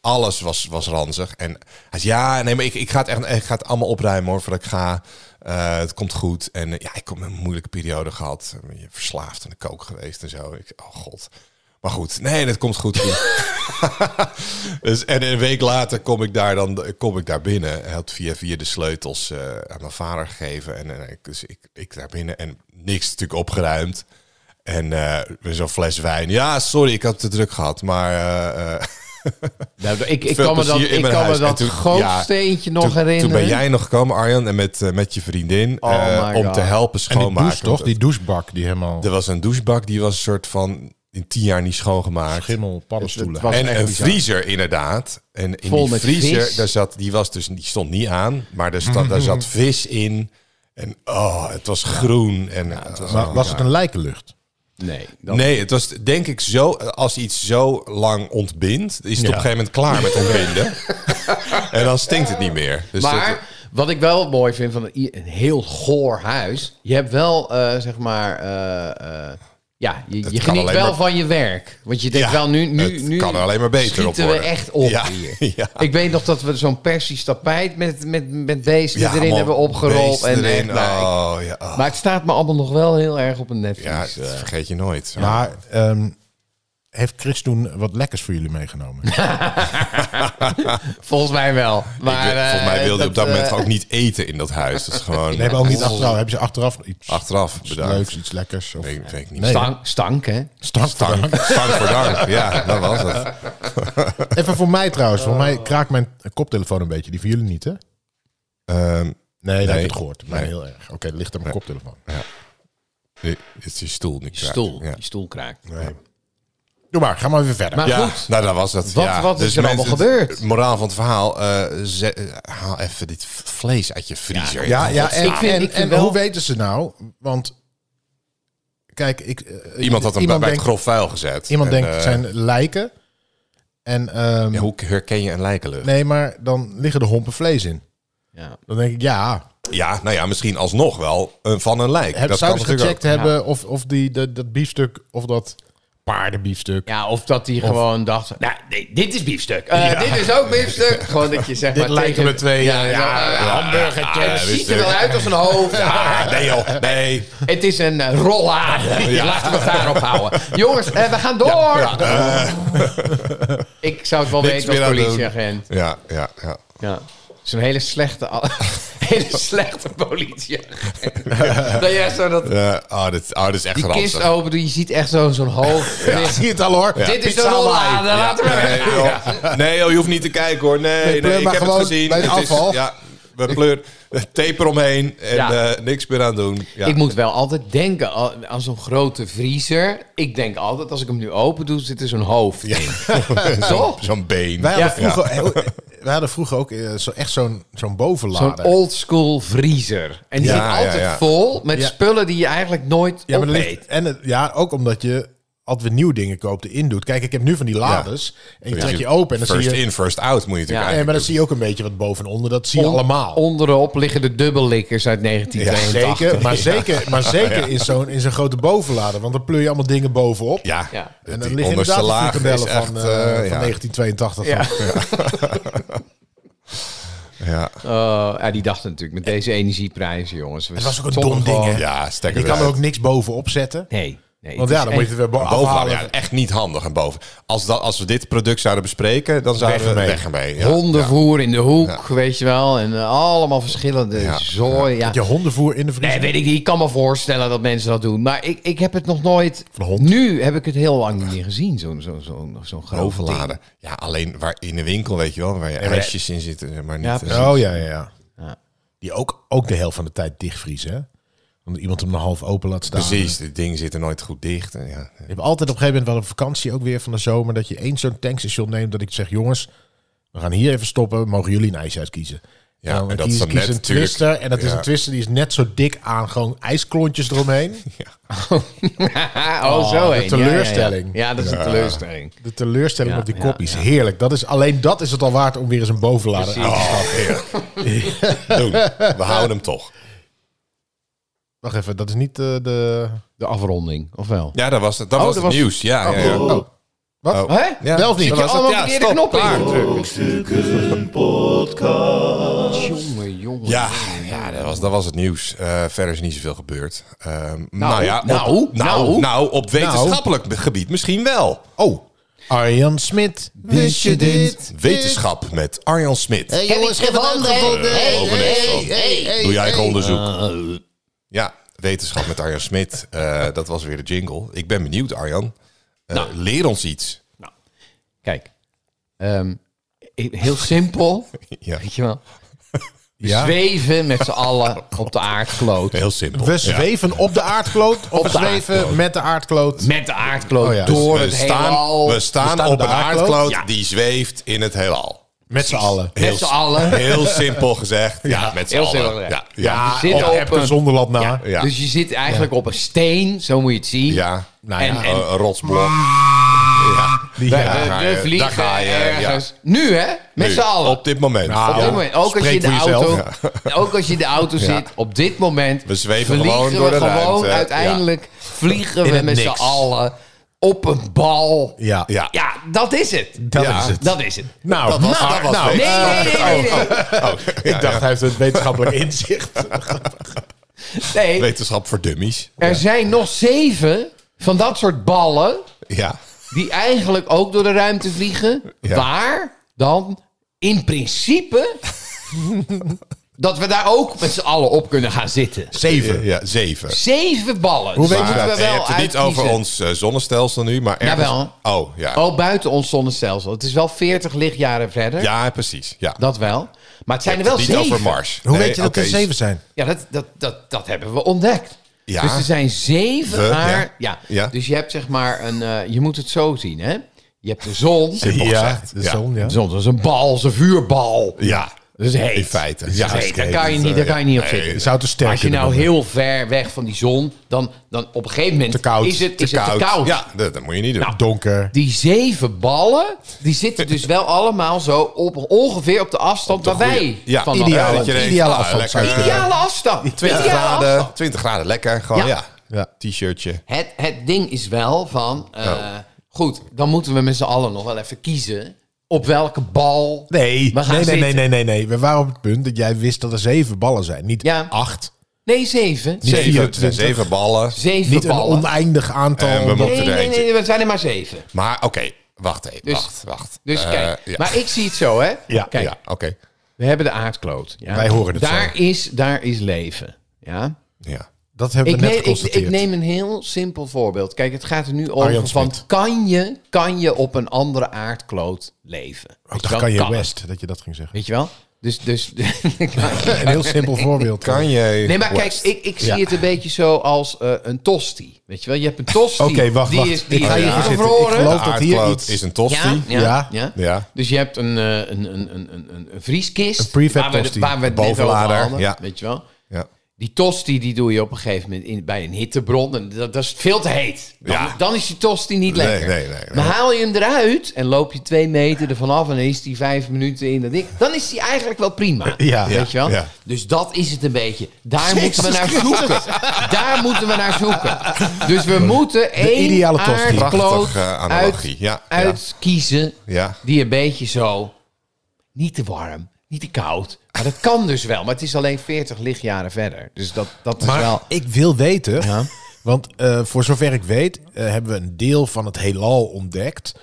[SPEAKER 3] alles was, was ranzig. En hij zei, ja, nee, maar ik, ik, ga het echt, ik ga het allemaal opruimen hoor, voordat ik ga. Eh, het komt goed. En eh, ja, ik heb een moeilijke periode gehad. Ik ben Verslaafd aan de kook geweest en zo. Ik, oh god. Maar goed, nee, dat komt goed. dus, en een week later kom ik daar, dan, kom ik daar binnen. Hij had via, via de sleutels eh, aan mijn vader gegeven. En, eh, ik- dus ik, ik daar binnen en niks natuurlijk opgeruimd. En eh, met zo'n fles wijn. Ja, sorry, ik had het te druk gehad. Maar eh, eh,
[SPEAKER 2] Nou, ik ik
[SPEAKER 3] Veel
[SPEAKER 2] kan me dat,
[SPEAKER 3] plezier in
[SPEAKER 2] ik
[SPEAKER 3] mijn
[SPEAKER 2] kan me
[SPEAKER 3] huis. En
[SPEAKER 2] dat
[SPEAKER 3] toen-
[SPEAKER 2] gootsteentje nog
[SPEAKER 3] toen,
[SPEAKER 2] herinneren.
[SPEAKER 3] Toen ben jij nog gekomen, Arjan, en met, eh, met je vriendin.
[SPEAKER 2] Oh
[SPEAKER 3] eh,
[SPEAKER 2] my
[SPEAKER 3] om
[SPEAKER 2] God.
[SPEAKER 3] te helpen
[SPEAKER 1] en die
[SPEAKER 3] schoonmaken.
[SPEAKER 1] douche toch?
[SPEAKER 3] Want
[SPEAKER 1] Die douchebak die helemaal
[SPEAKER 3] Er was een douchebak, die was een soort van in tien jaar niet schoongemaakt.
[SPEAKER 1] schimmel, paddenstoelen.
[SPEAKER 2] Het- het was- echt
[SPEAKER 3] en een
[SPEAKER 2] bizar.
[SPEAKER 3] vriezer inderdaad. En in
[SPEAKER 2] Vol
[SPEAKER 3] die
[SPEAKER 2] met
[SPEAKER 3] vriezer,
[SPEAKER 2] vis.
[SPEAKER 3] daar zat, die, was dus, die stond niet aan, maar daar, zat, daar zat vis in. En oh, het was groen. En, oh.
[SPEAKER 1] maar was het een lijkenlucht?
[SPEAKER 2] Nee, dat-
[SPEAKER 3] Nee, het was denk ik zo, als iets zo lang ontbindt, is het op een gegeven moment klaar met ontbinden. en dan stinkt het niet meer. Dus dat-
[SPEAKER 2] maar wat ik wel mooi vind van een, een heel goor huis. Je hebt wel, eh, zeg maar... eh, eh, ja, je, je
[SPEAKER 3] kan
[SPEAKER 2] geniet
[SPEAKER 3] alleen
[SPEAKER 2] wel
[SPEAKER 3] maar-
[SPEAKER 2] van je werk. Want je denkt
[SPEAKER 3] Ja,
[SPEAKER 2] wel, nu, nu,
[SPEAKER 3] het
[SPEAKER 2] nu
[SPEAKER 3] kan er alleen maar beter op
[SPEAKER 2] schieten we
[SPEAKER 3] worden.
[SPEAKER 2] echt op
[SPEAKER 3] Ja,
[SPEAKER 2] hier.
[SPEAKER 3] ja.
[SPEAKER 2] Ik weet nog dat we zo'n persisch tapijt met, met, met beesten erin
[SPEAKER 3] allemaal
[SPEAKER 2] hebben opgerold.
[SPEAKER 3] beesten
[SPEAKER 2] En
[SPEAKER 3] erin.
[SPEAKER 2] echt, nou, ik-
[SPEAKER 3] oh, ja, oh.
[SPEAKER 2] Maar het staat me allemaal nog wel heel erg op een
[SPEAKER 3] ja,
[SPEAKER 2] Netflix.
[SPEAKER 3] dat vergeet je nooit.
[SPEAKER 1] Maar ehm, heeft Chris toen wat lekkers voor jullie meegenomen?
[SPEAKER 2] Volgens mij wel. Maar,
[SPEAKER 3] Ik wil-
[SPEAKER 2] eh,
[SPEAKER 3] volgens mij wilde hij op dat
[SPEAKER 2] eh,
[SPEAKER 3] moment ook niet eten in dat huis. Dat is gewoon oh,
[SPEAKER 1] Nee, hebben ook niet achteraf. Hebben ze achteraf iets,
[SPEAKER 3] achteraf
[SPEAKER 1] iets
[SPEAKER 3] bedankt.
[SPEAKER 1] leuks, iets lekkers? Of,
[SPEAKER 3] Weet, weet ik niet.
[SPEAKER 1] Nee.
[SPEAKER 2] Stank, stank, hè?
[SPEAKER 1] Stank.
[SPEAKER 3] Stank, stank voor dank. Ja, dat was het.
[SPEAKER 1] Even voor mij trouwens. Voor mij kraakt mijn koptelefoon een beetje. Die voor jullie niet, hè?
[SPEAKER 3] Ehm,
[SPEAKER 1] Nee, dat heb
[SPEAKER 3] Nee.
[SPEAKER 1] ik het gehoord. Maar
[SPEAKER 3] Nee.
[SPEAKER 1] heel erg. Oké, dat ligt aan mijn koptelefoon.
[SPEAKER 3] dit is die stoel niet
[SPEAKER 2] Je stoel.
[SPEAKER 3] Ja.
[SPEAKER 2] Je stoel kraakt.
[SPEAKER 1] Doe maar, ga maar weer verder.
[SPEAKER 2] Maar
[SPEAKER 3] Ja,
[SPEAKER 2] goed.
[SPEAKER 3] nou dat was het.
[SPEAKER 2] Wat-
[SPEAKER 3] ja.
[SPEAKER 2] wat is er allemaal
[SPEAKER 3] het-
[SPEAKER 2] gebeurd?
[SPEAKER 3] het moraal van het verhaal, eh, ze- eh, haal even dit v- vlees uit je vriezer.
[SPEAKER 1] ja, ja, en,
[SPEAKER 2] Ik vind-
[SPEAKER 1] en,
[SPEAKER 2] ik vind
[SPEAKER 1] en
[SPEAKER 2] wel-
[SPEAKER 1] hoe weten ze nou? Want, kijk, ik... eh,
[SPEAKER 3] Iemand had hem bij bij het
[SPEAKER 1] denkt,
[SPEAKER 3] grof vuil gezet.
[SPEAKER 1] Iemand
[SPEAKER 3] En,
[SPEAKER 1] denkt,
[SPEAKER 3] eh,
[SPEAKER 1] het zijn lijken. En, ehm,
[SPEAKER 3] ja, hoe herken je een lijkenlucht?
[SPEAKER 1] nee, maar dan liggen er hompen vlees in.
[SPEAKER 2] Ja.
[SPEAKER 1] Dan denk ik, ja,
[SPEAKER 3] Ja, nou ja, misschien alsnog wel eh, van een lijk.
[SPEAKER 1] Heb,
[SPEAKER 3] dat
[SPEAKER 1] zouden ze
[SPEAKER 3] kan natuurlijk
[SPEAKER 1] dus gecheckt hebben of, of die, dat, dat biefstuk of dat paardenbiefstuk.
[SPEAKER 2] Ja, of dat hij gewoon dacht, nou, nee, dit is biefstuk. Eh, Dit is ook biefstuk. Gewoon dat je zegt,
[SPEAKER 1] Dit
[SPEAKER 2] maar
[SPEAKER 1] lijken
[SPEAKER 2] tegen-
[SPEAKER 1] me twee,
[SPEAKER 2] Ja,
[SPEAKER 1] eh,
[SPEAKER 2] ja,
[SPEAKER 1] ja,
[SPEAKER 2] ja, hamburgertje.
[SPEAKER 3] ja,
[SPEAKER 2] Het ziet er
[SPEAKER 3] biefstuk.
[SPEAKER 2] wel uit als een hoofd.
[SPEAKER 3] ook. Ah, nee joh, nee.
[SPEAKER 2] Het is een eh, rollade.
[SPEAKER 3] Ja.
[SPEAKER 2] Laten we het daarop houden. Jongens, eh, we gaan door. Ik zou het wel
[SPEAKER 3] Eh. Niks
[SPEAKER 2] weten als
[SPEAKER 3] meer aan doen.
[SPEAKER 2] politieagent.
[SPEAKER 3] Ja, ja, ja.
[SPEAKER 2] Ja. Zo'n hele slechte, a- hele slechte politieagent. dat jij zo dat...
[SPEAKER 3] Eh, oh, dit, oh, dit is echt
[SPEAKER 2] Die
[SPEAKER 3] ranzig.
[SPEAKER 2] kist open, doet, je ziet echt zo- zo'n hoofd.
[SPEAKER 1] Ik zie het al hoor.
[SPEAKER 2] Dit is de
[SPEAKER 1] Pizza
[SPEAKER 2] rollade,
[SPEAKER 1] Hawaii.
[SPEAKER 2] laten we
[SPEAKER 3] Nee, joh. nee joh, je hoeft niet te kijken hoor. Nee, nee,
[SPEAKER 1] pleur
[SPEAKER 3] ik
[SPEAKER 1] maar
[SPEAKER 3] heb het
[SPEAKER 1] gewoon
[SPEAKER 3] gezien.
[SPEAKER 1] bij het
[SPEAKER 3] Het is-
[SPEAKER 1] afval.
[SPEAKER 3] ja, we pleur tape eromheen en
[SPEAKER 2] Ja.
[SPEAKER 3] eh, niks meer aan doen. Ja.
[SPEAKER 2] Ik moet wel altijd denken al- aan zo'n grote vriezer. Ik denk altijd, als ik hem nu open doe, zit er zo'n hoofd in.
[SPEAKER 3] Zo'n-
[SPEAKER 2] Toch?
[SPEAKER 3] Zo'n been.
[SPEAKER 1] Wij hadden,
[SPEAKER 3] Ja.
[SPEAKER 1] vroeger, wij hadden vroeger ook eh, zo, echt zo'n zo'n
[SPEAKER 2] Zo'n
[SPEAKER 1] bovenlader.
[SPEAKER 2] oldschool vriezer. En die
[SPEAKER 3] Ja,
[SPEAKER 2] zit altijd
[SPEAKER 3] ja, ja.
[SPEAKER 2] vol met
[SPEAKER 1] Ja.
[SPEAKER 2] spullen die je eigenlijk nooit
[SPEAKER 1] ja, maar dat
[SPEAKER 2] opeet.
[SPEAKER 1] ligt- en het- ja, ook omdat je altijd weer nieuwe dingen koopt erin doet. Kijk, ik heb nu van die laders en je
[SPEAKER 3] Ja.
[SPEAKER 1] trekt je open en dan
[SPEAKER 3] first
[SPEAKER 1] zie je...
[SPEAKER 3] in, first out moet je natuurlijk
[SPEAKER 2] Ja.
[SPEAKER 1] Nee,
[SPEAKER 3] eigenlijk
[SPEAKER 1] maar dan zie je ook een beetje wat boven en onder. Dat zie je
[SPEAKER 2] On-
[SPEAKER 1] allemaal.
[SPEAKER 2] Onderop liggen de dubbellikkers uit 1982.
[SPEAKER 1] zeker, maar zeker, maar zeker in zo'n in zo'n grote bovenlader. Want dan pleur je allemaal dingen bovenop.
[SPEAKER 3] Ja,
[SPEAKER 2] Ja.
[SPEAKER 3] die
[SPEAKER 1] En dan liggen
[SPEAKER 3] onderste
[SPEAKER 1] inderdaad de
[SPEAKER 3] laag is
[SPEAKER 1] frikandellen
[SPEAKER 3] echt,
[SPEAKER 1] van, eh,
[SPEAKER 3] eh,
[SPEAKER 1] van
[SPEAKER 3] ja.
[SPEAKER 1] 1982.
[SPEAKER 2] Ja.
[SPEAKER 3] Ja.
[SPEAKER 2] Oh, ja, die dachten natuurlijk met deze energieprijzen, jongens.
[SPEAKER 1] Eh, Het was ook een
[SPEAKER 2] stonden
[SPEAKER 1] dom
[SPEAKER 2] gewoon-
[SPEAKER 1] ding, hè?
[SPEAKER 3] ja, stek
[SPEAKER 1] Je
[SPEAKER 3] het
[SPEAKER 1] kan er
[SPEAKER 3] uit.
[SPEAKER 1] ook niks bovenop zetten.
[SPEAKER 2] Nee. nee
[SPEAKER 1] Want
[SPEAKER 2] het
[SPEAKER 1] ja, dan
[SPEAKER 2] is
[SPEAKER 1] moet je
[SPEAKER 2] echt-
[SPEAKER 1] het weer bo-
[SPEAKER 3] Bovenaan,
[SPEAKER 1] afhalen.
[SPEAKER 3] ja, echt niet handig en boven. Als, dat, als we dit product zouden bespreken, dan zouden
[SPEAKER 1] Weg
[SPEAKER 3] we
[SPEAKER 1] ermee.
[SPEAKER 3] weg ermee. Ja.
[SPEAKER 2] Hondenvoer in de hoek, weet je wel. En eh, allemaal verschillende
[SPEAKER 3] Ja.
[SPEAKER 2] zooi. Ja.
[SPEAKER 1] Je hondenvoer in de vriezer.
[SPEAKER 2] Nee, weet ik niet. Ik kan me voorstellen dat mensen dat doen. Maar ik, ik heb het nog nooit...
[SPEAKER 1] Van de hond.
[SPEAKER 2] Nu heb ik het heel lang niet meer gezien, zo'n zo, zo, zo'n groot ding.
[SPEAKER 3] Overladen. Ja, alleen waar in de winkel, weet je wel, waar je restjes in zitten, maar niet.
[SPEAKER 2] Ja,
[SPEAKER 3] eh,
[SPEAKER 2] precies.
[SPEAKER 1] Oh ja, ja, ja.
[SPEAKER 2] Ja.
[SPEAKER 1] Die ook, ook de helft van de tijd dichtvriezen. Hè? Want iemand hem nog half open laat staan.
[SPEAKER 3] precies, dit ding zit er nooit goed dicht. en Ja.
[SPEAKER 1] Je hebt altijd op een gegeven moment wel een vakantie, ook weer van de zomer, dat je één zo'n tankstation neemt. Dat ik zeg, jongens, we gaan hier even stoppen. Mogen jullie een ijs uitkiezen?
[SPEAKER 3] Ja, en dat
[SPEAKER 1] kies,
[SPEAKER 3] is dan
[SPEAKER 1] kies
[SPEAKER 3] net
[SPEAKER 1] een
[SPEAKER 3] natuurlijk-
[SPEAKER 1] twister. En dat is
[SPEAKER 3] ja.
[SPEAKER 1] een twister die is net zo dik aan gewoon ijsklontjes eromheen.
[SPEAKER 2] oh, zo
[SPEAKER 1] de
[SPEAKER 2] heen. Ja,
[SPEAKER 1] teleurstelling.
[SPEAKER 2] Ja, ja. Ja, dat is een teleurstelling.
[SPEAKER 1] De teleurstelling
[SPEAKER 2] Ja,
[SPEAKER 1] op die
[SPEAKER 2] ja,
[SPEAKER 1] kopjes. Heerlijk. Dat is, alleen dat is het al waard om weer eens een bovenlader aan te stappen.
[SPEAKER 3] eh, Doen. We houden hem toch.
[SPEAKER 1] Wacht even, dat is niet eh, de...
[SPEAKER 2] De afronding, of wel?
[SPEAKER 3] Ja, dat was het, dat was
[SPEAKER 1] dat
[SPEAKER 3] het
[SPEAKER 1] was-
[SPEAKER 3] nieuws. Ja, ja, ja.
[SPEAKER 1] Oh, wat?
[SPEAKER 3] Oh.
[SPEAKER 2] Hè?
[SPEAKER 3] Ja,
[SPEAKER 1] Wel of niet?
[SPEAKER 3] dat
[SPEAKER 1] Je
[SPEAKER 3] was het.
[SPEAKER 2] allemaal
[SPEAKER 3] Ja,
[SPEAKER 2] verkeerde
[SPEAKER 3] stop,
[SPEAKER 2] knoppen.
[SPEAKER 3] klaar, druk.
[SPEAKER 2] Jongen, jongen.
[SPEAKER 3] Ja, ja dat, was, dat was het nieuws. Eh, verder is niet zoveel gebeurd. Ehm, nou, ja, op,
[SPEAKER 2] nou,
[SPEAKER 3] nou, nou,
[SPEAKER 2] nou.
[SPEAKER 3] op wetenschappelijk gebied misschien wel.
[SPEAKER 1] Oh, Arjan Smit. Wist je dit?
[SPEAKER 3] Wetenschap met Arjan Smit.
[SPEAKER 5] Hey, jongens, heb ik gevonden? Hey,
[SPEAKER 2] Oh,
[SPEAKER 3] Eh, over niks van.
[SPEAKER 5] hey,
[SPEAKER 3] Doe jij eigen onderzoek? Ja, wetenschap met Arjan Smit. Eh, dat was weer de jingle. Ik ben benieuwd, Arjan. Eh, Leer ons iets.
[SPEAKER 2] Kijk. ehm, heel simpel.
[SPEAKER 3] Ja,
[SPEAKER 2] Weet je wel?
[SPEAKER 1] Ja.
[SPEAKER 2] Zweven met z'n allen op de aardkloot.
[SPEAKER 3] heel simpel.
[SPEAKER 1] We zweven op de aardkloot of we
[SPEAKER 2] de
[SPEAKER 1] zweven met de aardkloot?
[SPEAKER 2] Met de aardkloot
[SPEAKER 1] Oh ja.
[SPEAKER 2] door
[SPEAKER 3] Dus we,
[SPEAKER 2] het
[SPEAKER 3] staan,
[SPEAKER 2] heelal.
[SPEAKER 3] we staan
[SPEAKER 1] staan
[SPEAKER 3] op
[SPEAKER 1] op
[SPEAKER 3] een
[SPEAKER 1] de aardkloot.
[SPEAKER 3] aardkloot
[SPEAKER 2] Ja.
[SPEAKER 3] die zweeft in het heelal.
[SPEAKER 1] Met z'n allen.
[SPEAKER 2] Met z'n allen.
[SPEAKER 3] Heel simpel gezegd. Ja, met z'n
[SPEAKER 2] heel
[SPEAKER 3] allen.
[SPEAKER 2] simpel gezegd.
[SPEAKER 3] Ja, Oh,
[SPEAKER 1] Ja,
[SPEAKER 2] we zitten
[SPEAKER 1] op
[SPEAKER 2] op
[SPEAKER 1] hebt een
[SPEAKER 2] een-
[SPEAKER 1] zonderland na.
[SPEAKER 2] Ja.
[SPEAKER 3] Ja.
[SPEAKER 2] Dus je zit eigenlijk op een steen, zo moet je het zien.
[SPEAKER 3] ja.
[SPEAKER 1] Nou ja. Mm.
[SPEAKER 2] En- en-
[SPEAKER 3] Een- een rotsblok.
[SPEAKER 1] Die-
[SPEAKER 2] We,
[SPEAKER 1] ja.
[SPEAKER 2] we-
[SPEAKER 3] ga
[SPEAKER 2] we
[SPEAKER 3] je.
[SPEAKER 2] vliegen
[SPEAKER 3] Daar ga je,
[SPEAKER 2] ergens. Nu hè? Met
[SPEAKER 3] Nu,
[SPEAKER 2] z'n allen.
[SPEAKER 3] Op dit moment.
[SPEAKER 1] Nou,
[SPEAKER 2] Op dit
[SPEAKER 1] ja.
[SPEAKER 2] moment. Oh. Ook als, je in
[SPEAKER 1] Spreek
[SPEAKER 2] de
[SPEAKER 1] voor
[SPEAKER 2] auto, ook als je in de auto zit, op dit moment
[SPEAKER 3] We zweven
[SPEAKER 2] vliegen
[SPEAKER 3] gewoon
[SPEAKER 2] we
[SPEAKER 3] door de
[SPEAKER 2] gewoon
[SPEAKER 3] ruimte.
[SPEAKER 2] uiteindelijk vliegen
[SPEAKER 1] In
[SPEAKER 2] we
[SPEAKER 1] het
[SPEAKER 2] met z'n
[SPEAKER 1] niks.
[SPEAKER 2] allen op een bal.
[SPEAKER 1] Ja.
[SPEAKER 3] Ja.
[SPEAKER 2] Ja, dat is het.
[SPEAKER 1] Dat
[SPEAKER 3] Ja. eh,
[SPEAKER 1] is het.
[SPEAKER 2] Dat is het.
[SPEAKER 1] Nou,
[SPEAKER 3] Dat was-
[SPEAKER 1] maar-
[SPEAKER 3] dat was
[SPEAKER 1] nou,
[SPEAKER 3] wetenschap.
[SPEAKER 2] Nee, nee, nee, nee, nee.
[SPEAKER 3] Oh, ja,
[SPEAKER 1] ik dacht, hij heeft het wetenschappelijk inzicht.
[SPEAKER 2] nee.
[SPEAKER 3] ja. Wetenschap voor dummies.
[SPEAKER 2] Er zijn nog zeven van dat soort ballen
[SPEAKER 3] Ja.
[SPEAKER 2] die eigenlijk ook door de ruimte vliegen.
[SPEAKER 3] Ja.
[SPEAKER 2] Waar dan in principe dat we daar ook met z'n allen op kunnen gaan zitten.
[SPEAKER 1] Zeven.
[SPEAKER 3] Ja, zeven.
[SPEAKER 2] Zeven ballen. Dus
[SPEAKER 1] Hoe weet je
[SPEAKER 2] Moeten
[SPEAKER 1] dat?
[SPEAKER 2] we
[SPEAKER 3] Je hebt het niet
[SPEAKER 2] uitkiezen.
[SPEAKER 3] over ons eh, zonnestelsel nu, maar ergens...
[SPEAKER 2] Jawel.
[SPEAKER 3] Oh, ja.
[SPEAKER 2] Nou, Oh, buiten ons zonnestelsel. Het is wel 40 lichtjaren verder.
[SPEAKER 3] Ja, precies. Ja.
[SPEAKER 2] Dat wel. Maar het zijn er wel
[SPEAKER 3] niet
[SPEAKER 2] zeven.
[SPEAKER 3] over Mars.
[SPEAKER 1] Hoe
[SPEAKER 3] Nee,
[SPEAKER 1] weet je dat
[SPEAKER 3] oké,
[SPEAKER 1] er zeven zijn?
[SPEAKER 2] Ja, dat, dat, dat, dat hebben we ontdekt.
[SPEAKER 3] Ja.
[SPEAKER 2] Dus er zijn zeven
[SPEAKER 3] We, ja.
[SPEAKER 2] aard- ja.
[SPEAKER 3] Ja.
[SPEAKER 2] Dus je hebt zeg maar een... eh, je moet het zo zien, hè? Je hebt de zon.
[SPEAKER 3] Simpel
[SPEAKER 1] Ja,
[SPEAKER 3] gezegd.
[SPEAKER 1] de
[SPEAKER 3] ja.
[SPEAKER 1] zon, ja.
[SPEAKER 2] De zon is een bal, is een vuurbal.
[SPEAKER 3] Ja.
[SPEAKER 2] Dat is heet.
[SPEAKER 3] In feite.
[SPEAKER 2] Ja,
[SPEAKER 3] Ja,
[SPEAKER 2] heet. Daar kan je niet, daar kan je niet op zitten.
[SPEAKER 1] Je zou te sterk
[SPEAKER 2] Als je nou
[SPEAKER 1] kunnen
[SPEAKER 2] heel ver weg van die zon, dan, dan op een gegeven moment
[SPEAKER 1] Te koud,
[SPEAKER 2] is het
[SPEAKER 1] te
[SPEAKER 2] is het te koud. Nou,
[SPEAKER 3] Ja, dat, dat moet je niet doen.
[SPEAKER 1] worden. Nou. Donker.
[SPEAKER 2] Die zeven ballen, die zitten dus wel allemaal zo op, ongeveer op de afstand waar wij
[SPEAKER 3] ja,
[SPEAKER 2] van
[SPEAKER 1] ideale-
[SPEAKER 3] dat je denkt,
[SPEAKER 1] ideale
[SPEAKER 3] ah,
[SPEAKER 1] afstand zou je
[SPEAKER 3] lekker,
[SPEAKER 2] Ideale afstand.
[SPEAKER 3] 20
[SPEAKER 2] Ideale
[SPEAKER 3] graden,
[SPEAKER 2] afstand.
[SPEAKER 3] 20 graden, lekker. Gewoon,
[SPEAKER 2] Ja.
[SPEAKER 3] ja.
[SPEAKER 1] Ja.
[SPEAKER 3] T-shirtje.
[SPEAKER 2] Het, het ding is wel van, eh,
[SPEAKER 3] Oh.
[SPEAKER 2] goed, dan moeten we met z'n allen nog wel even kiezen op welke bal.
[SPEAKER 1] Nee,
[SPEAKER 2] We gaan
[SPEAKER 1] nee, nee, nee,
[SPEAKER 2] zitten.
[SPEAKER 1] nee, nee, nee. We waren op het punt dat jij wist dat er zeven ballen zijn. Niet
[SPEAKER 2] Ja.
[SPEAKER 1] acht,
[SPEAKER 2] Nee, zeven.
[SPEAKER 1] Niet
[SPEAKER 3] Zeven,
[SPEAKER 1] 24.
[SPEAKER 3] zeven ballen.
[SPEAKER 2] Zeven
[SPEAKER 1] niet een
[SPEAKER 2] ballen.
[SPEAKER 1] oneindig aantal.
[SPEAKER 3] En we
[SPEAKER 1] omdat-
[SPEAKER 3] moeten-
[SPEAKER 2] nee,
[SPEAKER 3] er
[SPEAKER 2] nee,
[SPEAKER 3] eentje.
[SPEAKER 2] nee, we zijn er maar zeven.
[SPEAKER 3] Maar oké, wacht even.
[SPEAKER 2] Dus-
[SPEAKER 3] wacht, wacht.
[SPEAKER 2] Dus
[SPEAKER 3] Eh,
[SPEAKER 2] kijk,
[SPEAKER 3] ja.
[SPEAKER 2] maar ik zie het zo, hè?
[SPEAKER 1] Ja,
[SPEAKER 2] kijk,
[SPEAKER 3] Ja, oké.
[SPEAKER 2] we hebben de aardkloot. Ja.
[SPEAKER 1] Wij horen het
[SPEAKER 2] daar Is, daar is leven. Ja.
[SPEAKER 3] Ja.
[SPEAKER 1] Dat hebben
[SPEAKER 2] Ik
[SPEAKER 1] we net
[SPEAKER 2] neem, ik,
[SPEAKER 1] geconstateerd.
[SPEAKER 2] ik neem een heel simpel voorbeeld. Kijk, het gaat er nu over
[SPEAKER 1] Arjan
[SPEAKER 2] van...
[SPEAKER 1] Smit.
[SPEAKER 2] Kan je, kan je op een andere aardkloot leven?
[SPEAKER 1] Ook dacht
[SPEAKER 2] Weet je wel?
[SPEAKER 1] kan je
[SPEAKER 2] het.
[SPEAKER 1] West, dat je dat ging zeggen.
[SPEAKER 2] Weet je wel? Dus... dus
[SPEAKER 1] Een heel simpel voorbeeld.
[SPEAKER 3] Kan je...
[SPEAKER 2] nee, maar kijk,
[SPEAKER 3] West.
[SPEAKER 2] ik, ik zie
[SPEAKER 1] Ja.
[SPEAKER 2] het een beetje zo als eh, een tosti. Weet je wel? Je hebt een tosti.
[SPEAKER 1] Oké, wacht,
[SPEAKER 2] die
[SPEAKER 1] wacht.
[SPEAKER 2] Is, die
[SPEAKER 1] Ik
[SPEAKER 2] is
[SPEAKER 1] ga hier
[SPEAKER 2] ja.
[SPEAKER 1] zitten. Ik
[SPEAKER 2] gevroren.
[SPEAKER 1] geloof
[SPEAKER 3] de
[SPEAKER 1] dat hier
[SPEAKER 3] aardkloot
[SPEAKER 1] iets-
[SPEAKER 3] is een tosti.
[SPEAKER 2] Ja, ja,
[SPEAKER 1] Ja.
[SPEAKER 2] ja.
[SPEAKER 3] Ja.
[SPEAKER 2] Dus je hebt een, eh, een, een, een, een, een- een vrieskist.
[SPEAKER 1] Een prefab
[SPEAKER 2] waar we,
[SPEAKER 1] tosti.
[SPEAKER 2] Waar we het net over
[SPEAKER 3] Bovenlader,
[SPEAKER 2] hadden,
[SPEAKER 3] ja.
[SPEAKER 2] weet je wel.
[SPEAKER 3] Ja.
[SPEAKER 2] Die tosti die doe je op een gegeven moment in, bij een hittebron. En dat, dat is veel te heet. Dan,
[SPEAKER 3] Ja.
[SPEAKER 2] dan is die tosti niet
[SPEAKER 3] Nee,
[SPEAKER 2] lekker.
[SPEAKER 3] nee, nee, nee.
[SPEAKER 2] Maar haal je hem eruit en loop je twee meter ervan af... en dan is die vijf minuten in dat ding. Dan is die eigenlijk wel prima.
[SPEAKER 1] Ja.
[SPEAKER 2] weet je wel?
[SPEAKER 3] Ja.
[SPEAKER 2] Dus dat is het een beetje. Daar moeten we naar zoeken. Daar moeten we naar zoeken. Dus we moeten één
[SPEAKER 1] ideale tosti.
[SPEAKER 2] aardkloot
[SPEAKER 3] Prachtige analogie,
[SPEAKER 2] uit-
[SPEAKER 3] ja, ja.
[SPEAKER 2] uitkiezen...
[SPEAKER 3] Ja.
[SPEAKER 2] die een beetje zo... niet te warm, niet te koud. Maar dat kan dus wel. Maar het is alleen 40 lichtjaren verder. Dus dat, dat is
[SPEAKER 1] Maar
[SPEAKER 2] wel...
[SPEAKER 1] ik wil weten, want eh, voor zover ik weet, eh, hebben we een deel van het heelal ontdekt,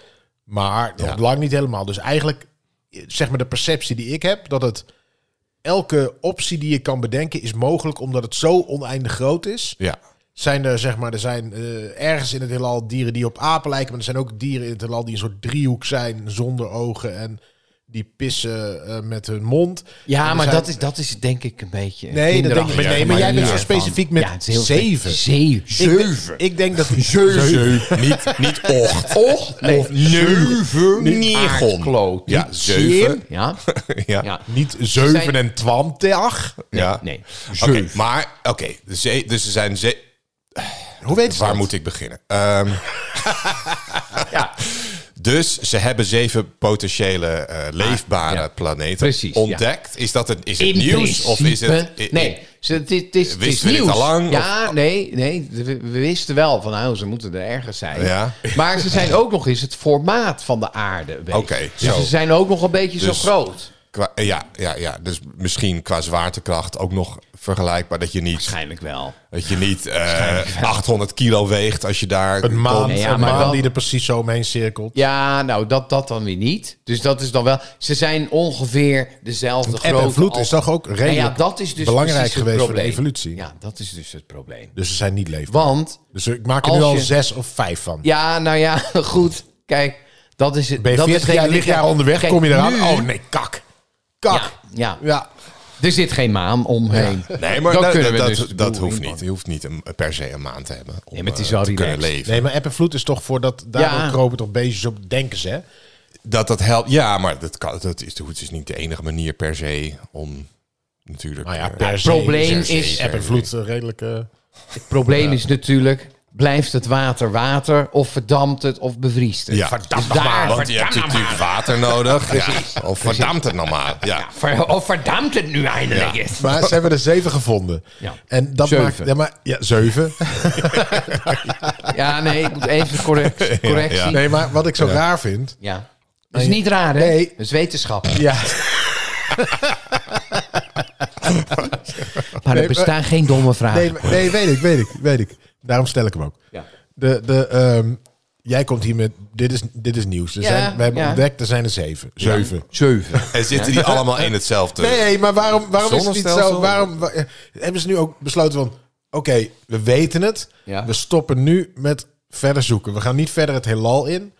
[SPEAKER 1] maar nog lang niet helemaal. Dus eigenlijk, eh, zeg maar de perceptie die ik heb, dat het elke optie die je kan bedenken is mogelijk, omdat het zo oneindig groot is.
[SPEAKER 3] Ja.
[SPEAKER 1] Zijn er, zeg maar, er zijn eh, ergens in het heelal dieren die op apen lijken, maar er zijn ook dieren in het heelal die een soort driehoek zijn zonder ogen en die pissen eh, met hun mond. En
[SPEAKER 2] Ja,
[SPEAKER 1] er
[SPEAKER 2] maar
[SPEAKER 1] zijn-
[SPEAKER 2] dat, is, dat is denk ik een beetje.
[SPEAKER 1] Nee, dat denk ik,
[SPEAKER 2] kinderachtig.
[SPEAKER 1] maar, nee, maar jij bent zo specifiek met
[SPEAKER 2] Ja, het is heel
[SPEAKER 1] zeven.
[SPEAKER 2] Zeven.
[SPEAKER 1] Ik denk- Ik, denk dat zeven.
[SPEAKER 3] Zeu. Niet, niet ocht.
[SPEAKER 2] Och, nee.
[SPEAKER 3] Neuven.
[SPEAKER 2] Aardkloot.
[SPEAKER 3] Ja,
[SPEAKER 2] Niet
[SPEAKER 3] zeven.
[SPEAKER 2] Ja,
[SPEAKER 3] Ja.
[SPEAKER 2] ja.
[SPEAKER 1] niet zeven en twintig.
[SPEAKER 3] ja.
[SPEAKER 2] Nee.
[SPEAKER 3] Oké, maar oké. de zee- dus er zijn ze.
[SPEAKER 1] Hoe weet je
[SPEAKER 3] Waar
[SPEAKER 1] dat?
[SPEAKER 3] moet ik beginnen? Ehm,
[SPEAKER 2] Ja.
[SPEAKER 3] dus ze hebben zeven potentiële eh, leefbare
[SPEAKER 2] Ah, ja.
[SPEAKER 3] planeten
[SPEAKER 2] Precies, ja.
[SPEAKER 3] ontdekt. Is dat een, is het
[SPEAKER 2] In
[SPEAKER 3] nieuws
[SPEAKER 2] principe,
[SPEAKER 3] of is het? i- i-
[SPEAKER 2] nee, ze- het is, het is, het is
[SPEAKER 3] Wisten we dit
[SPEAKER 2] nieuws.
[SPEAKER 3] al lang,
[SPEAKER 2] Ja, nee, nee, we, we wisten wel van nou, ze moeten er ergens zijn.
[SPEAKER 3] Ja.
[SPEAKER 2] Maar ze zijn ook nog eens het formaat van de aarde. Oké.
[SPEAKER 3] Oké,
[SPEAKER 2] dus
[SPEAKER 3] zo.
[SPEAKER 2] ze zijn ook nog een beetje
[SPEAKER 3] Dus-
[SPEAKER 2] zo groot.
[SPEAKER 3] Qua, ja, ja, ja, dus misschien qua zwaartekracht ook nog vergelijkbaar dat je niet,
[SPEAKER 2] Waarschijnlijk wel.
[SPEAKER 3] dat je niet eh, 800 kilo weegt als je daar
[SPEAKER 1] Een maan,
[SPEAKER 3] komt.
[SPEAKER 2] Nee, ja,
[SPEAKER 1] een
[SPEAKER 2] maar
[SPEAKER 1] maan
[SPEAKER 2] wel-
[SPEAKER 1] die er precies zo omheen cirkelt.
[SPEAKER 2] Ja, nou, dat, dat dan weer niet. Dus dat is dan wel... Ze zijn ongeveer dezelfde
[SPEAKER 1] Eb
[SPEAKER 2] grootte
[SPEAKER 1] en vloed
[SPEAKER 2] als-
[SPEAKER 1] is toch ook
[SPEAKER 2] Nou
[SPEAKER 1] redelijk
[SPEAKER 2] ja, dat is dus
[SPEAKER 1] belangrijk
[SPEAKER 2] precies het
[SPEAKER 1] geweest voor de
[SPEAKER 2] probleem.
[SPEAKER 1] evolutie.
[SPEAKER 2] Ja, dat is dus het probleem.
[SPEAKER 1] Dus ze zijn niet leefbaar.
[SPEAKER 2] Want,
[SPEAKER 1] Dus ik maak er nu
[SPEAKER 2] Als
[SPEAKER 1] al
[SPEAKER 2] je-
[SPEAKER 1] zes of vijf van.
[SPEAKER 2] ja, nou ja, goed. Kijk, dat is het.
[SPEAKER 1] Ben je
[SPEAKER 2] dat is
[SPEAKER 1] 40 jaar,
[SPEAKER 2] geen-
[SPEAKER 1] lichtjaar onderweg,
[SPEAKER 2] Kijk,
[SPEAKER 1] kom je eraan?
[SPEAKER 2] nu-
[SPEAKER 1] Oh nee, kak.
[SPEAKER 2] Ja,
[SPEAKER 1] Kak.
[SPEAKER 2] ja,
[SPEAKER 1] Ja.
[SPEAKER 2] er zit geen maan omheen.
[SPEAKER 3] Nee, maar
[SPEAKER 2] Dan
[SPEAKER 3] dat,
[SPEAKER 2] kunnen
[SPEAKER 3] dat,
[SPEAKER 2] we
[SPEAKER 3] dat,
[SPEAKER 2] dus de
[SPEAKER 3] dat
[SPEAKER 2] boel
[SPEAKER 3] hoeft
[SPEAKER 2] inpakken.
[SPEAKER 3] niet. Je hoeft niet een, per se een maand te hebben om
[SPEAKER 2] Nee, maar het is
[SPEAKER 3] eh,
[SPEAKER 2] wel
[SPEAKER 3] te kunnen
[SPEAKER 2] relaxed.
[SPEAKER 3] leven.
[SPEAKER 1] Nee, maar eb en vloed is toch voordat daardoor
[SPEAKER 2] Ja.
[SPEAKER 1] kropen toch beestjes op denken ze, hè?
[SPEAKER 3] Dat dat helpt. Ja, maar dat, kan, dat is, het is niet de enige manier per se om natuurlijk.
[SPEAKER 1] Nou ja,
[SPEAKER 3] eh,
[SPEAKER 1] per se.
[SPEAKER 2] probleem
[SPEAKER 1] per se,
[SPEAKER 2] is-
[SPEAKER 1] Eb en vloed eh, redelijk... eh,
[SPEAKER 2] Het probleem is natuurlijk, blijft het water water of verdampt het of bevriest het?
[SPEAKER 3] ja.
[SPEAKER 2] Dus daar,
[SPEAKER 3] Want je hebt natuurlijk water nodig. ja. Of verdampt het normaal. Ja.
[SPEAKER 2] ver- of verdampt het nu eindelijk
[SPEAKER 3] Ja.
[SPEAKER 2] eens?
[SPEAKER 1] Maar ze hebben er zeven gevonden.
[SPEAKER 2] Ja.
[SPEAKER 1] En dat
[SPEAKER 2] Zeven.
[SPEAKER 1] maakt. Ja, maar, ja, zeven.
[SPEAKER 2] Ja, nee, ik moet even correct, correctie.
[SPEAKER 3] Ja, ja.
[SPEAKER 1] Nee, maar wat ik zo raar vind.
[SPEAKER 2] Ja. Dat is niet raar, hè?
[SPEAKER 1] Nee.
[SPEAKER 2] Dat is wetenschap.
[SPEAKER 1] Ja,
[SPEAKER 2] Maar
[SPEAKER 1] Nee,
[SPEAKER 2] er bestaan geen domme vragen.
[SPEAKER 1] nee, maar- nee, weet ik, weet ik, weet ik. Daarom stel ik hem ook.
[SPEAKER 2] Ja.
[SPEAKER 1] De, de, ehm, Jij komt hier met, dit is, dit is nieuws. Er
[SPEAKER 2] Ja,
[SPEAKER 1] zijn, we hebben
[SPEAKER 2] ja.
[SPEAKER 1] ontdekt, er zijn er zeven. Zeven.
[SPEAKER 2] Zeven.
[SPEAKER 3] En zitten die allemaal in hetzelfde?
[SPEAKER 1] Nee, maar waarom, waarom is het niet zo?
[SPEAKER 3] Zonnestelsel?
[SPEAKER 1] Waarom, wa- eh, hebben ze nu ook besloten van... Oké, we weten het.
[SPEAKER 2] Ja.
[SPEAKER 1] We stoppen nu met verder zoeken. We gaan niet verder het heelal in.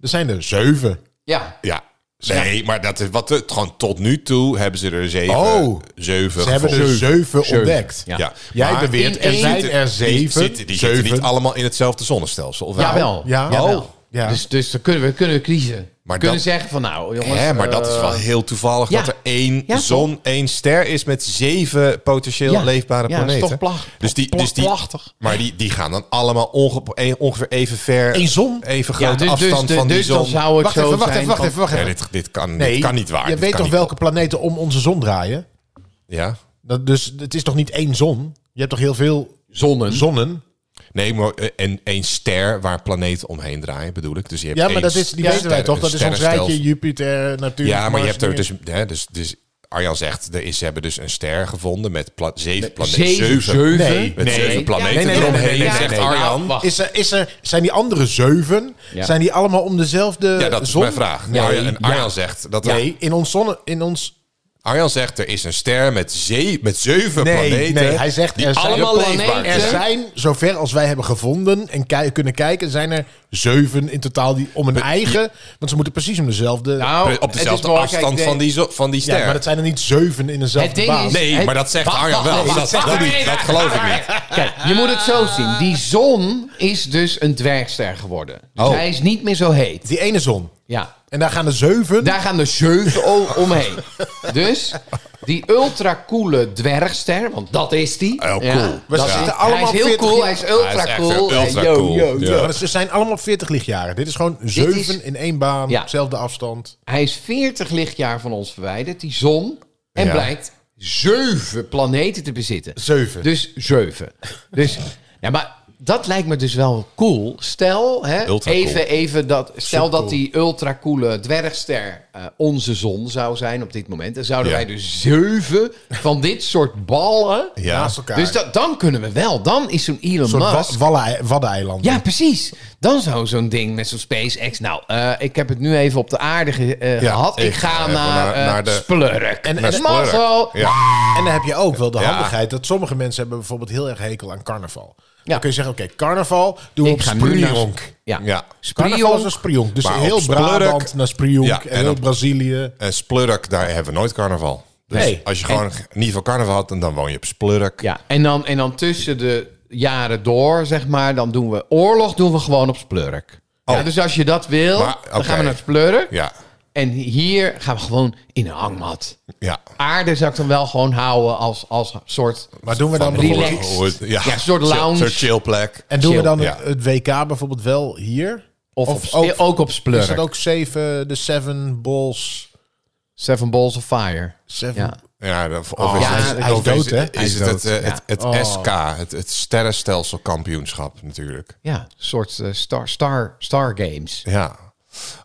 [SPEAKER 1] Er zijn er zeven.
[SPEAKER 2] Ja.
[SPEAKER 3] Ja. Nee, maar dat is wat het gewoon tot nu toe hebben ze er zeven.
[SPEAKER 1] Oh.
[SPEAKER 3] zeven
[SPEAKER 1] Ze hebben er
[SPEAKER 3] gevonden.
[SPEAKER 1] zeven
[SPEAKER 2] Zeven.
[SPEAKER 1] ontdekt.
[SPEAKER 2] Ja.
[SPEAKER 3] Ja.
[SPEAKER 1] Jij
[SPEAKER 3] Maar
[SPEAKER 1] beweert,
[SPEAKER 2] in
[SPEAKER 1] er
[SPEAKER 2] één-
[SPEAKER 1] zijn er
[SPEAKER 3] Die,
[SPEAKER 1] zeven.
[SPEAKER 3] zitten, die zitten
[SPEAKER 1] Zeven.
[SPEAKER 3] niet allemaal in hetzelfde zonnestelsel. Of wel?
[SPEAKER 2] Jawel.
[SPEAKER 1] Ja.
[SPEAKER 2] Jawel.
[SPEAKER 1] Oh, ja.
[SPEAKER 2] Dus, dus dan kunnen we, kunnen we kiezen.
[SPEAKER 3] Maar
[SPEAKER 2] we kunnen
[SPEAKER 3] dat-
[SPEAKER 2] zeggen van nou jongens...
[SPEAKER 3] Hè, maar dat
[SPEAKER 2] eh,
[SPEAKER 3] is wel heel toevallig
[SPEAKER 2] ja.
[SPEAKER 3] dat er één
[SPEAKER 2] Ja,
[SPEAKER 3] zon, één ster is met zeven potentieel
[SPEAKER 2] Ja. Ja,
[SPEAKER 3] leefbare
[SPEAKER 2] dat is
[SPEAKER 3] planeten.
[SPEAKER 2] toch plag-
[SPEAKER 3] dus die,
[SPEAKER 2] plag-
[SPEAKER 3] dus die,
[SPEAKER 2] plachtig.
[SPEAKER 3] Maar die, die gaan dan allemaal onge- een- ongeveer even ver.
[SPEAKER 1] Eén zon?
[SPEAKER 3] Even
[SPEAKER 2] Ja,
[SPEAKER 3] grote
[SPEAKER 2] dus, dus,
[SPEAKER 3] afstand
[SPEAKER 2] dus,
[SPEAKER 3] van die
[SPEAKER 2] dus
[SPEAKER 3] zon.
[SPEAKER 2] dan zou het
[SPEAKER 1] Wacht
[SPEAKER 2] zo
[SPEAKER 1] even, wacht
[SPEAKER 2] zijn
[SPEAKER 1] even, wacht
[SPEAKER 2] van-
[SPEAKER 1] even, wacht
[SPEAKER 3] Nee,
[SPEAKER 1] even.
[SPEAKER 3] dit, dit, kan,
[SPEAKER 1] Nee,
[SPEAKER 3] dit kan niet waar.
[SPEAKER 1] Je
[SPEAKER 3] Dit
[SPEAKER 1] weet
[SPEAKER 3] kan
[SPEAKER 1] toch
[SPEAKER 3] niet
[SPEAKER 1] welke planeten om onze zon draaien?
[SPEAKER 3] kloppen. Ja.
[SPEAKER 1] Dat, dus het is toch niet één zon? Je hebt toch heel veel
[SPEAKER 2] Zonnen.
[SPEAKER 1] zonnen?
[SPEAKER 3] Nee, maar eh, en één ster waar planeten omheen draaien, bedoel ik. Dus je hebt
[SPEAKER 1] Ja, maar
[SPEAKER 3] één
[SPEAKER 1] dat is, die
[SPEAKER 3] ster-
[SPEAKER 1] weten wij toch? Dat is ons
[SPEAKER 3] sterrenstelsel.
[SPEAKER 1] rijtje Jupiter, Neptunus,
[SPEAKER 3] Ja, maar
[SPEAKER 1] Mars,
[SPEAKER 3] je hebt er
[SPEAKER 1] dingen.
[SPEAKER 3] dus, hè, dus, dus Arjan zegt, er is, ze hebben dus een ster gevonden met pla- zeven planeten.
[SPEAKER 2] Zeven.
[SPEAKER 3] Zeven.
[SPEAKER 2] zeven.
[SPEAKER 1] Nee,
[SPEAKER 3] Met
[SPEAKER 2] nee.
[SPEAKER 3] zeven planeten
[SPEAKER 1] Nee, nee, nee,
[SPEAKER 3] eromheen,
[SPEAKER 1] nee, nee, nee,
[SPEAKER 3] zegt
[SPEAKER 1] nee.
[SPEAKER 3] Arjan.
[SPEAKER 2] Nou, wacht.
[SPEAKER 1] Is er, is er, zijn die andere zeven,
[SPEAKER 2] Ja.
[SPEAKER 1] zijn die allemaal om dezelfde
[SPEAKER 3] ja, dat is
[SPEAKER 1] zon?
[SPEAKER 3] mijn vraag.
[SPEAKER 1] Nee,
[SPEAKER 3] Arjan, en Arjan
[SPEAKER 1] ja.
[SPEAKER 3] zegt dat er,
[SPEAKER 1] Nee, in ons zonne... In ons,
[SPEAKER 3] Arjan zegt er is een ster met, zee, met zeven
[SPEAKER 1] nee,
[SPEAKER 3] planeten.
[SPEAKER 1] nee, hij zegt
[SPEAKER 3] die
[SPEAKER 1] er zijn,
[SPEAKER 3] allemaal
[SPEAKER 2] planeten-
[SPEAKER 3] leefbaar
[SPEAKER 1] er
[SPEAKER 3] zijn.
[SPEAKER 1] zijn, zover als wij hebben gevonden en ki- kunnen kijken, zijn er zeven in totaal die om een eigen... Want ze moeten precies om dezelfde...
[SPEAKER 2] Nou,
[SPEAKER 3] Op
[SPEAKER 2] het is
[SPEAKER 3] dezelfde
[SPEAKER 2] mooi,
[SPEAKER 3] afstand
[SPEAKER 2] kijk, de-
[SPEAKER 3] van die, zo- van die ster.
[SPEAKER 1] ja, maar dat zijn er niet zeven in
[SPEAKER 2] Het
[SPEAKER 1] dezelfde
[SPEAKER 2] ding
[SPEAKER 1] baan.
[SPEAKER 2] is-
[SPEAKER 3] Nee,
[SPEAKER 2] Hey,
[SPEAKER 3] maar dat zegt
[SPEAKER 2] wacht,
[SPEAKER 3] Arjan
[SPEAKER 2] wacht,
[SPEAKER 3] wel.
[SPEAKER 2] nee,
[SPEAKER 3] Dat,
[SPEAKER 2] dat zegt
[SPEAKER 3] dat,
[SPEAKER 2] Arjan.
[SPEAKER 3] niet, dat geloof ik niet.
[SPEAKER 2] Kijk, je moet het zo zien. Die zon is dus een dwergster geworden. Dus
[SPEAKER 1] Oh.
[SPEAKER 2] hij is niet meer zo heet.
[SPEAKER 1] Die ene zon.
[SPEAKER 2] Ja.
[SPEAKER 1] En daar gaan er zeven...
[SPEAKER 2] Daar gaan de zeven o- omheen. Dus die ultracoole dwergster, want dat is die.
[SPEAKER 3] Oh, cool.
[SPEAKER 1] We
[SPEAKER 2] dat
[SPEAKER 1] zitten
[SPEAKER 2] is-
[SPEAKER 1] allemaal
[SPEAKER 2] hij is heel
[SPEAKER 1] 40
[SPEAKER 2] cool,
[SPEAKER 1] jaar-
[SPEAKER 2] hij is
[SPEAKER 3] Hij is
[SPEAKER 2] ultra
[SPEAKER 3] echt
[SPEAKER 2] cool.
[SPEAKER 3] een ultra
[SPEAKER 2] Eh, yo,
[SPEAKER 3] cool.
[SPEAKER 2] yo, yo.
[SPEAKER 1] Ja, maar Oh, ze zijn allemaal 40 lichtjaren. Dit is gewoon zeven in één baan,
[SPEAKER 2] Ja.
[SPEAKER 1] dezelfde afstand.
[SPEAKER 2] Hij is 40 lichtjaar van ons verwijderd, die zon. En
[SPEAKER 3] Ja.
[SPEAKER 2] blijkt zeven planeten te bezitten.
[SPEAKER 1] Zeven.
[SPEAKER 2] Dus zeven. Dus, ja, maar dat lijkt me dus wel cool. Stel, hè,
[SPEAKER 3] Ultra cool.
[SPEAKER 2] even, even dat, stel
[SPEAKER 1] Supercool.
[SPEAKER 2] dat die ultracoole dwergster eh, onze zon zou zijn op dit moment. Dan zouden
[SPEAKER 3] Ja.
[SPEAKER 2] wij dus zeven van dit soort ballen.
[SPEAKER 3] Ja.
[SPEAKER 1] Naast elkaar.
[SPEAKER 2] Dus dat, dan kunnen we wel. Dan is zo'n Elon
[SPEAKER 1] Een
[SPEAKER 2] Musk...
[SPEAKER 1] soort wa- wallen- waddeneilanden.
[SPEAKER 2] Ja, precies. Dan zou zo'n ding met zo'n SpaceX. Nou, eh, ik heb het nu even op de aarde ge- eh,
[SPEAKER 1] Ja,
[SPEAKER 2] gehad. Ik,
[SPEAKER 3] ik ga
[SPEAKER 2] ga
[SPEAKER 3] even
[SPEAKER 2] naar,
[SPEAKER 3] naar-
[SPEAKER 2] eh,
[SPEAKER 3] naar de-
[SPEAKER 2] Splurk.
[SPEAKER 1] En-
[SPEAKER 2] En,
[SPEAKER 1] en-
[SPEAKER 2] maar zo.
[SPEAKER 3] Ja.
[SPEAKER 1] En dan heb je ook wel de
[SPEAKER 3] Ja.
[SPEAKER 1] handigheid dat sommige mensen hebben bijvoorbeeld heel erg hekel aan carnaval.
[SPEAKER 2] Ja.
[SPEAKER 1] Dan kun je zeggen, oké, carnaval doen we
[SPEAKER 2] Ik
[SPEAKER 1] op
[SPEAKER 2] ga nu naar-
[SPEAKER 1] Sprionk.
[SPEAKER 2] Ja.
[SPEAKER 3] Ja.
[SPEAKER 1] Carnaval is
[SPEAKER 2] Sprionk.
[SPEAKER 1] naar Sprionk. Dus
[SPEAKER 3] Maar
[SPEAKER 1] heel
[SPEAKER 3] op Splurk-
[SPEAKER 1] Brabant naar Sprionk
[SPEAKER 3] Ja,
[SPEAKER 1] en,
[SPEAKER 3] en
[SPEAKER 1] heel
[SPEAKER 3] op-
[SPEAKER 1] Brazilië.
[SPEAKER 3] En Splurk, daar hebben we nooit carnaval. Dus
[SPEAKER 1] Nee.
[SPEAKER 3] als je gewoon niet van carnaval had, dan woon je op Splurk.
[SPEAKER 2] Ja, en dan, en dan tussen de jaren door, zeg maar, dan doen we oorlog doen we gewoon op Splurk.
[SPEAKER 3] Oh.
[SPEAKER 2] Ja, dus als je dat wil,
[SPEAKER 3] Maar,
[SPEAKER 2] dan gaan
[SPEAKER 3] oké.
[SPEAKER 2] we naar Splurk.
[SPEAKER 3] Ja.
[SPEAKER 2] En hier gaan we gewoon in een hangmat.
[SPEAKER 3] ja.
[SPEAKER 2] Aarde zou ik dan wel gewoon houden als, als soort...
[SPEAKER 1] Maar doen we dan
[SPEAKER 2] Van
[SPEAKER 1] bijvoorbeeld-
[SPEAKER 2] relaxed.
[SPEAKER 3] Hoe het- Ja,
[SPEAKER 2] Ja, een soort lounge.
[SPEAKER 3] Zo'n chillplek.
[SPEAKER 1] En doen we
[SPEAKER 2] Chill.
[SPEAKER 1] dan
[SPEAKER 3] Ja.
[SPEAKER 1] het WK bijvoorbeeld wel hier?
[SPEAKER 2] Of,
[SPEAKER 1] Of
[SPEAKER 2] op,
[SPEAKER 1] ook-
[SPEAKER 2] ook, op Splurk.
[SPEAKER 1] Is dat ook zeven, de Seven Balls?
[SPEAKER 2] Seven Balls of Fire.
[SPEAKER 1] Seven,
[SPEAKER 2] Ja.
[SPEAKER 3] Ja, of, of
[SPEAKER 1] Oh,
[SPEAKER 3] is
[SPEAKER 2] ja,
[SPEAKER 3] het,
[SPEAKER 2] hij is
[SPEAKER 3] of
[SPEAKER 1] dood,
[SPEAKER 3] is,
[SPEAKER 1] hè?
[SPEAKER 3] Is
[SPEAKER 2] Hij is
[SPEAKER 3] het het,
[SPEAKER 2] dood,
[SPEAKER 3] eh,
[SPEAKER 2] ja. Oh.
[SPEAKER 3] het, het SK, het, het sterrenstelselkampioenschap natuurlijk.
[SPEAKER 2] Ja, een soort eh, star, star, star Games.
[SPEAKER 3] Ja.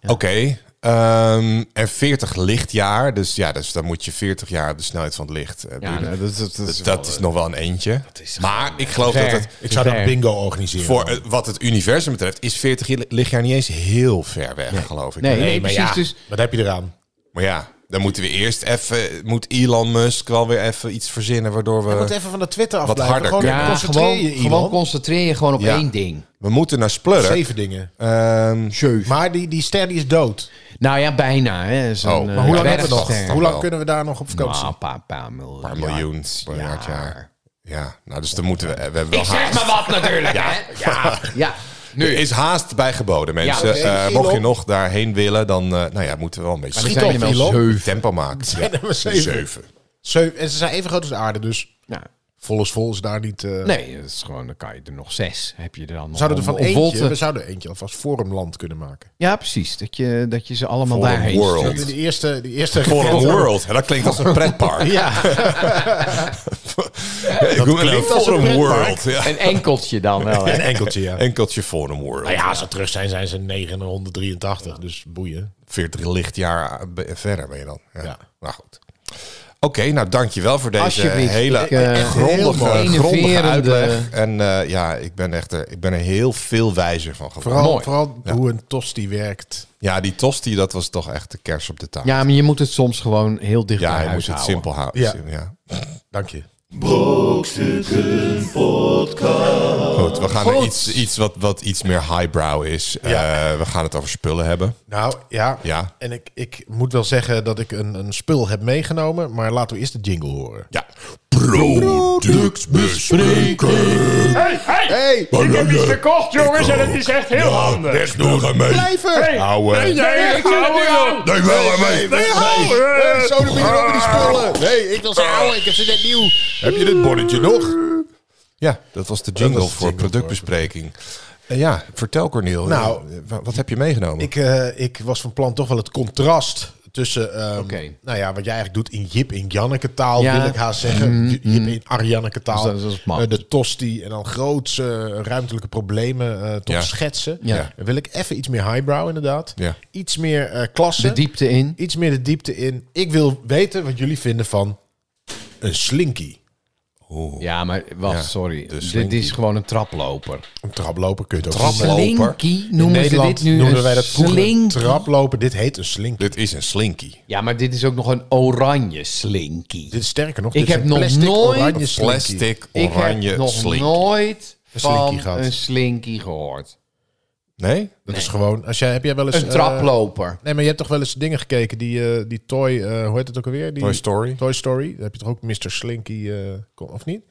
[SPEAKER 3] Oké. ehm, en 40 lichtjaar, dus ja, dus dan moet je 40 jaar de snelheid van het licht. eh, doen.
[SPEAKER 2] dat, nou, dat, eh,
[SPEAKER 3] dat, is nog wel een eentje. Maar ik geloof dat het
[SPEAKER 1] Ik zou dat bingo organiseren.
[SPEAKER 3] voor eh, wat het universum betreft is 40 li- lichtjaar niet eens heel ver weg, geloof ik.
[SPEAKER 2] Nee, nee,
[SPEAKER 1] maar
[SPEAKER 2] precies.
[SPEAKER 1] ja,
[SPEAKER 2] Dus
[SPEAKER 1] wat heb je eraan?
[SPEAKER 3] Maar ja, dan moeten we eerst even. Moet Elon Musk wel weer even iets verzinnen waardoor
[SPEAKER 1] Je moet
[SPEAKER 3] we.
[SPEAKER 1] even van de Twitter
[SPEAKER 3] Wat
[SPEAKER 1] afblijven.
[SPEAKER 3] harder
[SPEAKER 1] Gewoon
[SPEAKER 3] kunnen.
[SPEAKER 2] ja,
[SPEAKER 1] concentreer
[SPEAKER 2] gewoon,
[SPEAKER 1] je,
[SPEAKER 2] gewoon
[SPEAKER 1] Elon.
[SPEAKER 2] concentreer je gewoon op
[SPEAKER 3] Ja.
[SPEAKER 2] één ding.
[SPEAKER 3] We moeten naar Splurk.
[SPEAKER 1] Zeven dingen.
[SPEAKER 3] Ehm,
[SPEAKER 1] Maar die, die ster die is dood.
[SPEAKER 2] Nou ja, bijna. Hè. Zo'n,
[SPEAKER 3] Oh, maar
[SPEAKER 2] eh,
[SPEAKER 1] Hoe lang,
[SPEAKER 3] Ja,
[SPEAKER 1] hebben we
[SPEAKER 3] dat is
[SPEAKER 1] nog?
[SPEAKER 3] toch
[SPEAKER 1] Hoe lang
[SPEAKER 3] wel.
[SPEAKER 1] kunnen we daar nog op vakantie?
[SPEAKER 2] Nou, een paar, paar miljoen.
[SPEAKER 3] paar miljoen, miljard jaar. Ja, nou, dus dan moeten we. We hebben wel
[SPEAKER 2] Ik zeg maar
[SPEAKER 3] haast.
[SPEAKER 2] wat natuurlijk, ja. hè. Ja, ja.
[SPEAKER 3] Er
[SPEAKER 2] Nu.
[SPEAKER 3] is haast bij geboden, mensen.
[SPEAKER 2] Ja,
[SPEAKER 3] Eh,
[SPEAKER 1] Elon.
[SPEAKER 3] mocht je nog daarheen willen, dan eh, nou ja, moeten we wel een beetje
[SPEAKER 2] er
[SPEAKER 3] schieten.
[SPEAKER 2] zijn
[SPEAKER 1] op,
[SPEAKER 2] er wel
[SPEAKER 1] Elon.
[SPEAKER 2] zeven.
[SPEAKER 3] tempo maken.
[SPEAKER 1] zijn er maar zeven.
[SPEAKER 3] Zeven.
[SPEAKER 1] Zeven- En ze zijn even groot als de aarde, dus
[SPEAKER 2] Nou,
[SPEAKER 1] vol is vol is daar niet... eh,
[SPEAKER 2] nee, dat is gewoon, dan kan je er nog zes. Heb je er dan nog
[SPEAKER 1] We zouden er
[SPEAKER 2] om-
[SPEAKER 1] van
[SPEAKER 2] om
[SPEAKER 1] eentje,
[SPEAKER 2] vol te-
[SPEAKER 1] we zouden eentje alvast forumland kunnen maken.
[SPEAKER 2] Ja, precies. Dat je, dat je ze allemaal
[SPEAKER 3] Forum
[SPEAKER 2] daarheen
[SPEAKER 3] World.
[SPEAKER 1] Dat
[SPEAKER 2] stuurt.
[SPEAKER 1] in de eerste... De eerste
[SPEAKER 3] Forum World. Ja, dat klinkt als een pretpark.
[SPEAKER 2] Ja,
[SPEAKER 3] dat
[SPEAKER 1] klinkt als een
[SPEAKER 3] Forum
[SPEAKER 1] pretpark.
[SPEAKER 3] World. Ja.
[SPEAKER 2] een enkeltje dan wel. hè.
[SPEAKER 1] Een enkeltje, ja.
[SPEAKER 3] Enkeltje Forum World.
[SPEAKER 1] Nou ja, als ze terug zijn, zijn ze 983, dus boeien.
[SPEAKER 3] 40 lichtjaar eh, be- verder ben je dan. Ja.
[SPEAKER 1] Ja.
[SPEAKER 3] Nou goed. Oké, nou dankjewel voor deze
[SPEAKER 2] Alsjeblieft.
[SPEAKER 3] hele
[SPEAKER 2] Ik, eh, heel
[SPEAKER 3] grondige,
[SPEAKER 2] mooi.
[SPEAKER 3] grondige
[SPEAKER 2] Innoverende-
[SPEAKER 3] uitleg. En eh, ja, ik ben, echt, eh, ik ben er heel veel wijzer van geworden.
[SPEAKER 1] Vooral,
[SPEAKER 2] Mooi.
[SPEAKER 1] vooral
[SPEAKER 3] Ja.
[SPEAKER 1] hoe een tosti werkt.
[SPEAKER 3] Ja, die tosti, dat was toch echt de kers op de taart.
[SPEAKER 2] Ja, maar je moet het soms gewoon heel dicht
[SPEAKER 3] Ja,
[SPEAKER 2] bij
[SPEAKER 3] hij
[SPEAKER 2] huis
[SPEAKER 3] moest het
[SPEAKER 2] houden.
[SPEAKER 3] simpel houden.
[SPEAKER 1] Ja.
[SPEAKER 3] Sim- Ja.
[SPEAKER 1] Dank je.
[SPEAKER 3] Goed, we gaan naar iets, iets wat, wat iets meer highbrow is.
[SPEAKER 1] Ja.
[SPEAKER 3] Eh, we gaan het over spullen hebben.
[SPEAKER 1] Nou, ja.
[SPEAKER 3] Ja.
[SPEAKER 1] En ik, ik moet wel zeggen dat ik een, een spul heb meegenomen. Maar laten we eerst de jingle horen.
[SPEAKER 3] Ja. Productbespreking.
[SPEAKER 1] Hey,
[SPEAKER 3] Ik heb iets
[SPEAKER 6] gekocht, jongens, en het is echt heel handig.
[SPEAKER 3] Recht door aan mee.
[SPEAKER 1] blijven!
[SPEAKER 3] Ouwe.
[SPEAKER 6] Nee, ik zit er nu aan.
[SPEAKER 3] Nee, wel aan mee.
[SPEAKER 1] Hey, zo, dan ben je over die spullen. Nee, ik wil ze houden. Ik heb ze net nieuw.
[SPEAKER 3] Heb je dit bonnetje nog? Ja, dat was de jingle
[SPEAKER 1] was de
[SPEAKER 3] voor
[SPEAKER 1] jingle
[SPEAKER 3] productbespreking. Eh, ja, vertel Cornel.
[SPEAKER 1] Nou,
[SPEAKER 3] Nou, wat heb je meegenomen?
[SPEAKER 1] Ik, eh, ik was van plan toch wel het contrast tussen, ehm,
[SPEAKER 2] Oké.
[SPEAKER 1] nou ja, wat jij eigenlijk doet in Jip in Janneke taal,
[SPEAKER 2] Ja.
[SPEAKER 1] wil ik haast zeggen. J- Jip in Arjanneke taal.
[SPEAKER 2] Dus dat is- dat is mat.
[SPEAKER 1] Eh, de tosti en dan grootse eh, ruimtelijke problemen eh tot
[SPEAKER 3] Ja.
[SPEAKER 1] schetsen.
[SPEAKER 2] Ja.
[SPEAKER 1] Dan wil ik even iets meer highbrow inderdaad.
[SPEAKER 3] Ja.
[SPEAKER 1] Iets meer eh, klasse.
[SPEAKER 2] De diepte in.
[SPEAKER 1] iets meer de diepte in. Ik wil weten wat jullie vinden van een slinky.
[SPEAKER 2] Ja, maar wacht,
[SPEAKER 3] Ja,
[SPEAKER 2] sorry.
[SPEAKER 3] de
[SPEAKER 2] Dit
[SPEAKER 3] slinky.
[SPEAKER 2] is gewoon een traploper.
[SPEAKER 1] Een traploper kun je het ook
[SPEAKER 3] Traploper.
[SPEAKER 1] noemen.
[SPEAKER 2] Slinky
[SPEAKER 1] In
[SPEAKER 2] noemen ze
[SPEAKER 1] Nederland
[SPEAKER 2] dit nu
[SPEAKER 1] noemden
[SPEAKER 2] een
[SPEAKER 1] wij dat vroeger een
[SPEAKER 2] slinky.
[SPEAKER 1] traploper. Dit heet een slinky.
[SPEAKER 3] Dit is een slinky.
[SPEAKER 2] Ja, maar dit is ook nog een oranje slinky.
[SPEAKER 1] Dit is sterker nog.
[SPEAKER 2] Ik
[SPEAKER 1] dit is
[SPEAKER 2] heb
[SPEAKER 1] een
[SPEAKER 2] nog
[SPEAKER 1] plastic
[SPEAKER 2] nooit-
[SPEAKER 1] oranje slinky.
[SPEAKER 3] Plastic
[SPEAKER 2] Ik
[SPEAKER 3] oranje
[SPEAKER 2] heb nog
[SPEAKER 3] slinky.
[SPEAKER 2] nooit van
[SPEAKER 1] slinky gehad.
[SPEAKER 2] een slinky gehoord.
[SPEAKER 3] Nee?
[SPEAKER 1] Dat is gewoon. Als jij, heb jij wel eens.
[SPEAKER 2] Een
[SPEAKER 1] eh,
[SPEAKER 2] traploper.
[SPEAKER 1] Nee, maar je hebt toch wel eens dingen gekeken die, eh, die Toy, eh, hoe heet het ook alweer? Die,
[SPEAKER 3] Toy Story.
[SPEAKER 1] Toy Story. Dan heb je toch ook Mr. Slinky, eh, kon- of niet?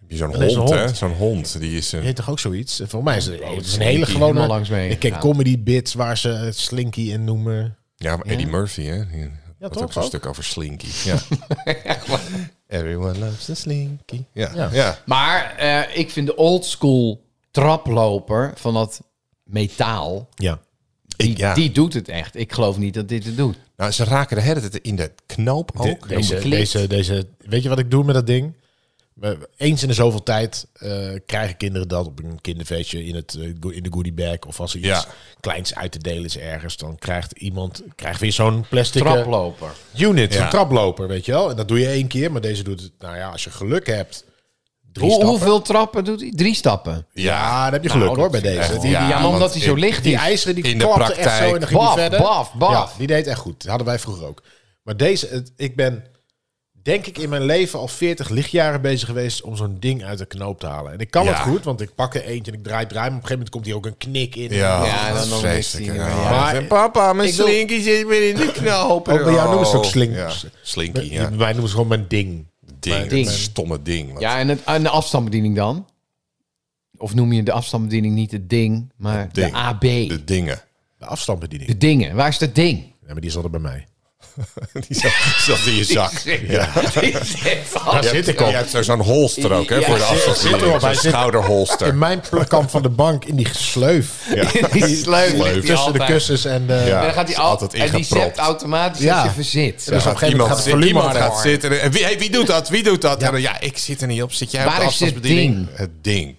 [SPEAKER 3] Heb je Zo'n
[SPEAKER 1] Dat is
[SPEAKER 3] hond,
[SPEAKER 1] een
[SPEAKER 3] hè?
[SPEAKER 1] hond.
[SPEAKER 3] Zo'n hond. Die is
[SPEAKER 1] Je
[SPEAKER 3] een...
[SPEAKER 1] heet toch ook zoiets? Voor mij is het, het is een
[SPEAKER 2] Slinky,
[SPEAKER 1] hele gewone.
[SPEAKER 2] helemaal langs mee
[SPEAKER 1] ik ken
[SPEAKER 2] gegaan.
[SPEAKER 1] comedy bits waar ze het Slinky in noemen.
[SPEAKER 3] Ja, maar Eddie Murphy, hè? Ja, dat
[SPEAKER 1] toch
[SPEAKER 3] ook zo'n
[SPEAKER 1] ook?
[SPEAKER 3] stuk over slinky. Ja. Everyone loves a slinky. Ja. ja.
[SPEAKER 2] Maar eh, ik vind de old school traploper van dat metaal,
[SPEAKER 1] Ja.
[SPEAKER 2] die,
[SPEAKER 3] ja.
[SPEAKER 2] die doet het echt. Ik geloof niet dat dit het doet.
[SPEAKER 3] Nou, ze raken de hele tijd in de knoop ook.
[SPEAKER 1] De- deze,
[SPEAKER 2] klikt.
[SPEAKER 1] deze, deze, weet je wat ik doe met dat ding? We- Eens in de zoveel tijd eh, krijgen kinderen dat op een kinderfeestje in, het, eh, go- in de goodie bag. Of als er iets
[SPEAKER 3] Ja.
[SPEAKER 1] kleins uit te delen is ergens, dan krijgt iemand krijgt weer zo'n plastic eh,
[SPEAKER 2] Traploper.
[SPEAKER 1] unit,
[SPEAKER 3] Ja.
[SPEAKER 1] zo'n traploper, weet je wel. En dat doe je één keer, maar deze doet het, nou ja, als je geluk hebt, drie
[SPEAKER 2] Hoe,
[SPEAKER 1] stappen.
[SPEAKER 2] hoeveel trappen doet hij? Drie stappen.
[SPEAKER 1] Ja, dan heb je geluk
[SPEAKER 2] Nou,
[SPEAKER 1] hoor bij
[SPEAKER 2] dat vind ik
[SPEAKER 1] deze.
[SPEAKER 2] echt
[SPEAKER 1] Die,
[SPEAKER 2] wel- ja,
[SPEAKER 3] Ja,
[SPEAKER 2] maar omdat
[SPEAKER 3] want
[SPEAKER 2] hij zo
[SPEAKER 3] ik-
[SPEAKER 2] licht
[SPEAKER 1] die
[SPEAKER 2] is.
[SPEAKER 1] ijzeren, die
[SPEAKER 3] In de
[SPEAKER 1] klapte echt zo en
[SPEAKER 3] praktijk.
[SPEAKER 1] dan ging
[SPEAKER 2] Baf,
[SPEAKER 1] die verder.
[SPEAKER 2] baf, baf.
[SPEAKER 1] Ja, die deed echt goed. Dat hadden wij vroeger ook. Maar deze, het- ik ben denk ik in mijn leven al 40 lichtjaren bezig geweest om zo'n ding uit de knoop te halen. En ik kan
[SPEAKER 3] Ja.
[SPEAKER 1] het goed, want ik pak er eentje en ik draai, draai. Maar op een gegeven moment komt hier ook een knik in.
[SPEAKER 3] Ja,
[SPEAKER 2] Ja,
[SPEAKER 3] dat
[SPEAKER 2] dan
[SPEAKER 3] is
[SPEAKER 2] nog
[SPEAKER 3] vreselijk.
[SPEAKER 2] een
[SPEAKER 3] hè.
[SPEAKER 2] beetje,
[SPEAKER 3] Ja.
[SPEAKER 1] Maar-
[SPEAKER 3] Zeg, papa, mijn
[SPEAKER 1] Ik wil-
[SPEAKER 3] slinky zit weer in de knoop.
[SPEAKER 1] Ook bij jou noemen ze ook
[SPEAKER 3] Oh.
[SPEAKER 1] slink-
[SPEAKER 3] Ja. Slinky,
[SPEAKER 1] Bij-
[SPEAKER 3] ja.
[SPEAKER 1] Wij noemen ze gewoon mijn ding.
[SPEAKER 3] Ding,
[SPEAKER 2] Ding.
[SPEAKER 3] dat stomme ding. wat-
[SPEAKER 2] Ja, en, het, en de afstandsbediening dan? Of noem je de afstandsbediening niet het ding, maar
[SPEAKER 3] ding.
[SPEAKER 2] de AB?
[SPEAKER 3] De
[SPEAKER 2] De,
[SPEAKER 3] dingen.
[SPEAKER 1] De afstandsbediening.
[SPEAKER 2] dingen. Waar is dat ding?
[SPEAKER 1] Ja, maar die is altijd bij mij.
[SPEAKER 3] Die zat, zat in je zak. Ja.
[SPEAKER 1] Daar
[SPEAKER 3] Je
[SPEAKER 1] zit
[SPEAKER 3] hebt-
[SPEAKER 1] ik op.
[SPEAKER 3] Je hebt zo- zo'n holster ook, hè?
[SPEAKER 2] Ja,
[SPEAKER 3] voor de
[SPEAKER 2] zit-
[SPEAKER 1] zit erop.
[SPEAKER 3] afstandsbediening.
[SPEAKER 1] Hij
[SPEAKER 3] Zo'n
[SPEAKER 1] zit-
[SPEAKER 3] schouderholster.
[SPEAKER 1] In mijn pl- kant van de bank, in die sleuf.
[SPEAKER 2] Die sleuf ligt die
[SPEAKER 1] Tussen de
[SPEAKER 2] altijd.
[SPEAKER 1] kussens en de...
[SPEAKER 3] Ja.
[SPEAKER 2] En dan gaat hij
[SPEAKER 3] is
[SPEAKER 2] al,
[SPEAKER 3] altijd
[SPEAKER 2] en die
[SPEAKER 3] ingepropt.
[SPEAKER 2] zept automatisch
[SPEAKER 1] Ja.
[SPEAKER 2] als je verzit.
[SPEAKER 1] Dus op een gegeven
[SPEAKER 3] iemand
[SPEAKER 1] moment gaat het
[SPEAKER 3] zit-
[SPEAKER 1] volume
[SPEAKER 3] iemand
[SPEAKER 1] harder.
[SPEAKER 3] gaat zitten. En wie, hey, wie doet dat? Wie doet dat? Ja. En dan, ja, ik zit er niet op. Zit jij op
[SPEAKER 2] Waar
[SPEAKER 3] de
[SPEAKER 2] is dit
[SPEAKER 3] afstandsbediening? Het ding.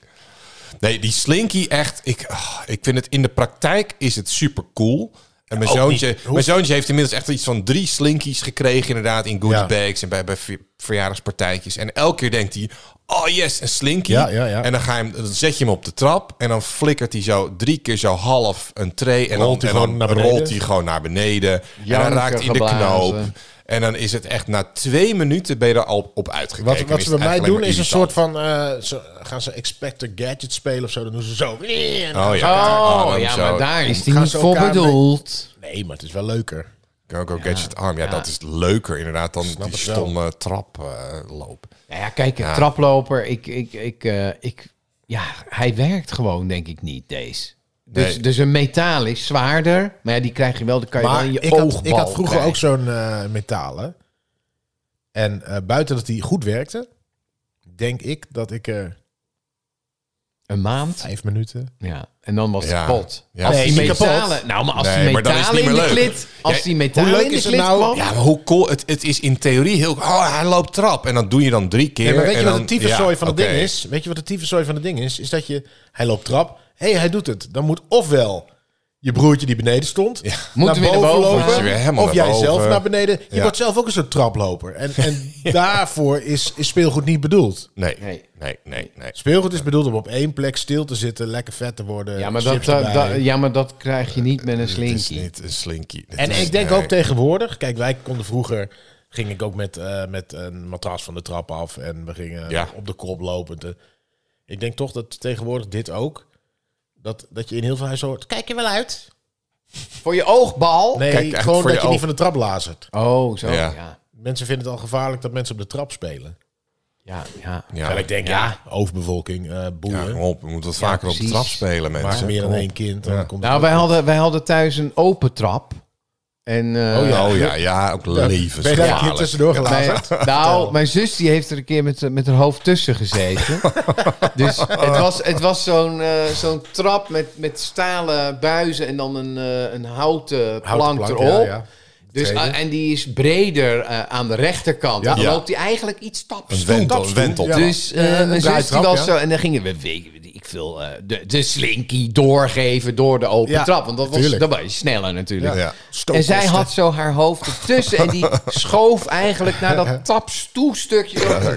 [SPEAKER 3] Nee, die slinky echt. Ik, ah, ik vind het in de praktijk is het super cool. En mijn, zoontje, mijn zoontje heeft inmiddels echt iets van drie slinkies gekregen, inderdaad, in goodie
[SPEAKER 1] Ja.
[SPEAKER 3] bags en bij, bij ver- verjaardagspartijtjes. En elke keer denkt hij, oh yes, een slinky.
[SPEAKER 1] Ja, ja, ja.
[SPEAKER 3] En dan, ga je hem, dan zet je hem op de trap en dan flikkert hij zo drie keer zo half een tray. En
[SPEAKER 1] Rolt hij
[SPEAKER 3] dan,
[SPEAKER 1] gewoon
[SPEAKER 3] en dan
[SPEAKER 1] naar beneden?
[SPEAKER 3] rolt hij gewoon naar beneden. en
[SPEAKER 2] Janken
[SPEAKER 3] dan raakt hij in de
[SPEAKER 2] geblazen.
[SPEAKER 3] knoop. En dan is het echt na twee minuten ben je er al op uitgekeken.
[SPEAKER 1] Wat,
[SPEAKER 3] Dan
[SPEAKER 1] wat
[SPEAKER 3] is
[SPEAKER 1] ze bij
[SPEAKER 3] het
[SPEAKER 1] mij
[SPEAKER 3] eigenlijk
[SPEAKER 1] doen is een
[SPEAKER 3] alleen
[SPEAKER 1] soort van... eh, ze, gaan ze Expector Gadget spelen of zo? Dan doen ze zo...
[SPEAKER 3] maar irritant. Oh ja,
[SPEAKER 2] Oh,
[SPEAKER 3] oh,
[SPEAKER 2] ja, maar daar is die
[SPEAKER 1] Gaan
[SPEAKER 2] niet
[SPEAKER 1] ze
[SPEAKER 2] voor
[SPEAKER 1] elkaar mee-
[SPEAKER 2] bedoeld.
[SPEAKER 1] Nee, maar het is wel leuker.
[SPEAKER 3] Go-Go Gadget Arm. Ja, dat is leuker inderdaad dan die
[SPEAKER 1] het wel.
[SPEAKER 3] stomme eh, traploop.
[SPEAKER 2] Nou ja, kijk, een traploper, ik, ik, ik, eh, ik, ja, hij werkt gewoon denk ik niet, deze. Dus,
[SPEAKER 3] Nee.
[SPEAKER 2] dus een metaal is zwaarder, maar ja, die krijg je wel, dan kan je wel
[SPEAKER 1] Maar
[SPEAKER 2] in je
[SPEAKER 1] ik had, ik
[SPEAKER 2] oogbal
[SPEAKER 1] had vroeger
[SPEAKER 2] krijgen.
[SPEAKER 1] ook zo'n eh, metalen. En eh, buiten dat die goed werkte... denk ik dat ik er
[SPEAKER 2] Een maand?
[SPEAKER 1] vijf minuten...
[SPEAKER 2] Ja, en dan was het
[SPEAKER 3] Ja.
[SPEAKER 2] kapot.
[SPEAKER 3] Ja,
[SPEAKER 2] als die
[SPEAKER 3] precies.
[SPEAKER 2] metalen, nou, maar als
[SPEAKER 3] Nee,
[SPEAKER 2] die
[SPEAKER 3] maar dan is het
[SPEAKER 2] metalen
[SPEAKER 3] niet
[SPEAKER 2] in
[SPEAKER 3] meer
[SPEAKER 2] de
[SPEAKER 3] leuk.
[SPEAKER 2] klit, als
[SPEAKER 3] Ja,
[SPEAKER 2] die metalen
[SPEAKER 1] hoe leuk
[SPEAKER 2] in de
[SPEAKER 1] is het
[SPEAKER 2] klit
[SPEAKER 1] nou?
[SPEAKER 2] kwam,
[SPEAKER 3] Ja, maar hoe cool. Het, het is in theorie heel... Oh, hij loopt trap. En dat doe je dan drie keer.
[SPEAKER 1] Nee, maar weet
[SPEAKER 3] en
[SPEAKER 1] je wat
[SPEAKER 3] dan-
[SPEAKER 1] de tyfuszooi
[SPEAKER 3] ja,
[SPEAKER 1] van het
[SPEAKER 3] oké.
[SPEAKER 1] ding is? Weet je wat de tyfuszooi van het ding is? Is dat je... Hij loopt trap. Hé, hey, hij doet het. Dan moet ofwel je broertje die beneden stond.
[SPEAKER 2] Moeten we
[SPEAKER 1] naar
[SPEAKER 2] naar
[SPEAKER 1] boven
[SPEAKER 2] boven?
[SPEAKER 1] lopen.
[SPEAKER 3] Moet je weer helemaal
[SPEAKER 1] of
[SPEAKER 3] naar
[SPEAKER 1] jij
[SPEAKER 3] boven.
[SPEAKER 1] zelf naar beneden. Je
[SPEAKER 3] Ja.
[SPEAKER 1] wordt zelf ook een soort traploper. En, en daarvoor is, is speelgoed niet bedoeld.
[SPEAKER 3] Nee,
[SPEAKER 2] Nee.
[SPEAKER 3] nee, nee, nee. nee.
[SPEAKER 1] Speelgoed is bedoeld om op één plek stil te zitten, lekker vet te worden.
[SPEAKER 2] Ja maar, dat,
[SPEAKER 1] chips
[SPEAKER 2] dat,
[SPEAKER 1] erbij.
[SPEAKER 2] dat- ja, maar dat krijg je niet met een
[SPEAKER 3] Het is
[SPEAKER 2] slinky.
[SPEAKER 3] niet een slinky. Het
[SPEAKER 1] En
[SPEAKER 3] is-
[SPEAKER 1] ik denk
[SPEAKER 3] nee.
[SPEAKER 1] ook tegenwoordig. Kijk, wij konden vroeger. Ging ik ook met, eh, met een matras van de trap af. En we gingen
[SPEAKER 3] Ja.
[SPEAKER 1] op de kop lopend. Eh, Ik denk toch dat tegenwoordig dit ook. Dat, dat je in heel veel huizen hoort. Kijk je wel uit?
[SPEAKER 2] Voor je oogbal?
[SPEAKER 1] Nee,
[SPEAKER 3] Oh, Kijk uit
[SPEAKER 1] gewoon
[SPEAKER 3] voor
[SPEAKER 1] dat
[SPEAKER 3] je
[SPEAKER 1] je niet
[SPEAKER 3] oog.
[SPEAKER 1] van de trap lazert.
[SPEAKER 2] Oh, zo. Ja.
[SPEAKER 3] Ja.
[SPEAKER 2] Ja,
[SPEAKER 1] Mensen vinden het al gevaarlijk dat mensen op de trap spelen.
[SPEAKER 2] ja.
[SPEAKER 3] Ja,
[SPEAKER 1] Terwijl ik denk, ja, overbevolking, eh,
[SPEAKER 3] ja,
[SPEAKER 1] boeren.
[SPEAKER 3] kom
[SPEAKER 1] maar
[SPEAKER 3] op, we moeten wat vaker op de
[SPEAKER 2] precies.
[SPEAKER 3] trap spelen, mensen. Oh.
[SPEAKER 1] meer dan
[SPEAKER 3] Kom op.
[SPEAKER 1] één kind. dan komt het
[SPEAKER 2] Nou,
[SPEAKER 1] ook-
[SPEAKER 2] wij hadden, wij hadden thuis een open trap. En, eh,
[SPEAKER 3] Oh ja, oh ja, ja, ook
[SPEAKER 1] Ja, Ben je daar een
[SPEAKER 3] levensgevaarlijk.
[SPEAKER 1] keer tussendoor
[SPEAKER 2] Mijn-
[SPEAKER 1] gelazerd?
[SPEAKER 2] nou, mijn zus die heeft er een keer met, met haar hoofd tussen gezeten. dus het was, het was zo'n eh, zo'n trap met, met stalen buizen en dan een, eh, een houten plank,
[SPEAKER 1] Houten plank,
[SPEAKER 2] erop.
[SPEAKER 1] ja, ja.
[SPEAKER 2] Dus,
[SPEAKER 1] Tweede.
[SPEAKER 2] ah, en die is breder eh, aan de rechterkant.
[SPEAKER 1] Ja.
[SPEAKER 2] En dan
[SPEAKER 3] Ja.
[SPEAKER 2] loopt die eigenlijk iets
[SPEAKER 3] Een
[SPEAKER 2] stapstoel.
[SPEAKER 3] wentel, een wentel.
[SPEAKER 1] Ja.
[SPEAKER 2] Dus eh,
[SPEAKER 1] Ja, een
[SPEAKER 2] mijn zus die
[SPEAKER 1] draaitrap,
[SPEAKER 2] was
[SPEAKER 1] ja.
[SPEAKER 2] zo... En dan gingen we, weet ik- ik veel, eh, de, de slinky doorgeven door de open
[SPEAKER 1] Ja,
[SPEAKER 2] trap. Want dat was,
[SPEAKER 1] tuurlijk.
[SPEAKER 2] dat was je sneller natuurlijk.
[SPEAKER 3] Ja.
[SPEAKER 2] En zij had zo haar hoofd ertussen. En die schoof eigenlijk naar dat tapstoelstukje. zo.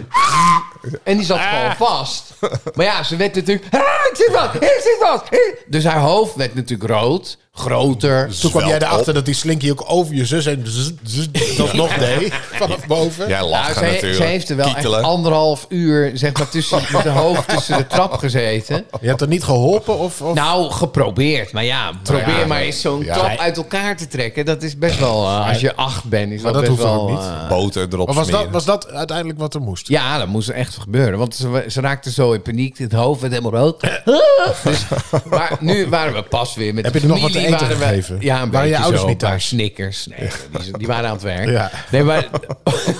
[SPEAKER 2] En die zat gewoon vast. Maar ja, ze werd natuurlijk... Ah, ik zit vast! Ik zit vast! ik-" Dus haar hoofd werd natuurlijk rood. Groter.
[SPEAKER 1] Toen kwam jij
[SPEAKER 3] Zwelt
[SPEAKER 1] erachter
[SPEAKER 3] op.
[SPEAKER 1] dat die slinky ook over je zus en zzz, zzz, dat nog deed. Vanaf boven.
[SPEAKER 3] Jij
[SPEAKER 2] Nou,
[SPEAKER 3] lachen
[SPEAKER 2] zij,
[SPEAKER 3] natuurlijk.
[SPEAKER 2] zij heeft er wel echt
[SPEAKER 3] Kietelen.
[SPEAKER 2] anderhalf uur zeg maar, tussen, met haar hoofd tussen de trap gezeten.
[SPEAKER 1] Je hebt er niet geholpen? Of, of...
[SPEAKER 2] Nou, geprobeerd. Maar ja, probeer maar eens zo'n
[SPEAKER 3] Ja.
[SPEAKER 2] trap uit elkaar te trekken. Dat is best wel... eh, als je acht bent, is
[SPEAKER 1] Maar
[SPEAKER 2] dat,
[SPEAKER 1] dat
[SPEAKER 2] best
[SPEAKER 1] hoeft
[SPEAKER 2] wel...
[SPEAKER 1] ook niet.
[SPEAKER 2] eh,
[SPEAKER 3] Boter erop
[SPEAKER 1] maar was dat,
[SPEAKER 3] smeren.
[SPEAKER 1] was dat uiteindelijk wat er moest?
[SPEAKER 2] Ja, dat moest echt gebeuren. Want ze, ze raakte zo in paniek. Het hoofd werd helemaal rood. Dus, maar nu waren we pas weer met
[SPEAKER 1] Heb
[SPEAKER 2] de
[SPEAKER 1] je er nog wat te
[SPEAKER 2] familie,
[SPEAKER 1] eten
[SPEAKER 2] waren we-
[SPEAKER 1] gegeven?
[SPEAKER 2] Ja, een
[SPEAKER 1] Waren je
[SPEAKER 2] beetje
[SPEAKER 1] ouders
[SPEAKER 2] zo,
[SPEAKER 1] niet
[SPEAKER 2] een paar
[SPEAKER 1] thuis?
[SPEAKER 2] snickers. Nee, die, die waren aan het werk.
[SPEAKER 1] Ja.
[SPEAKER 2] Nee, maar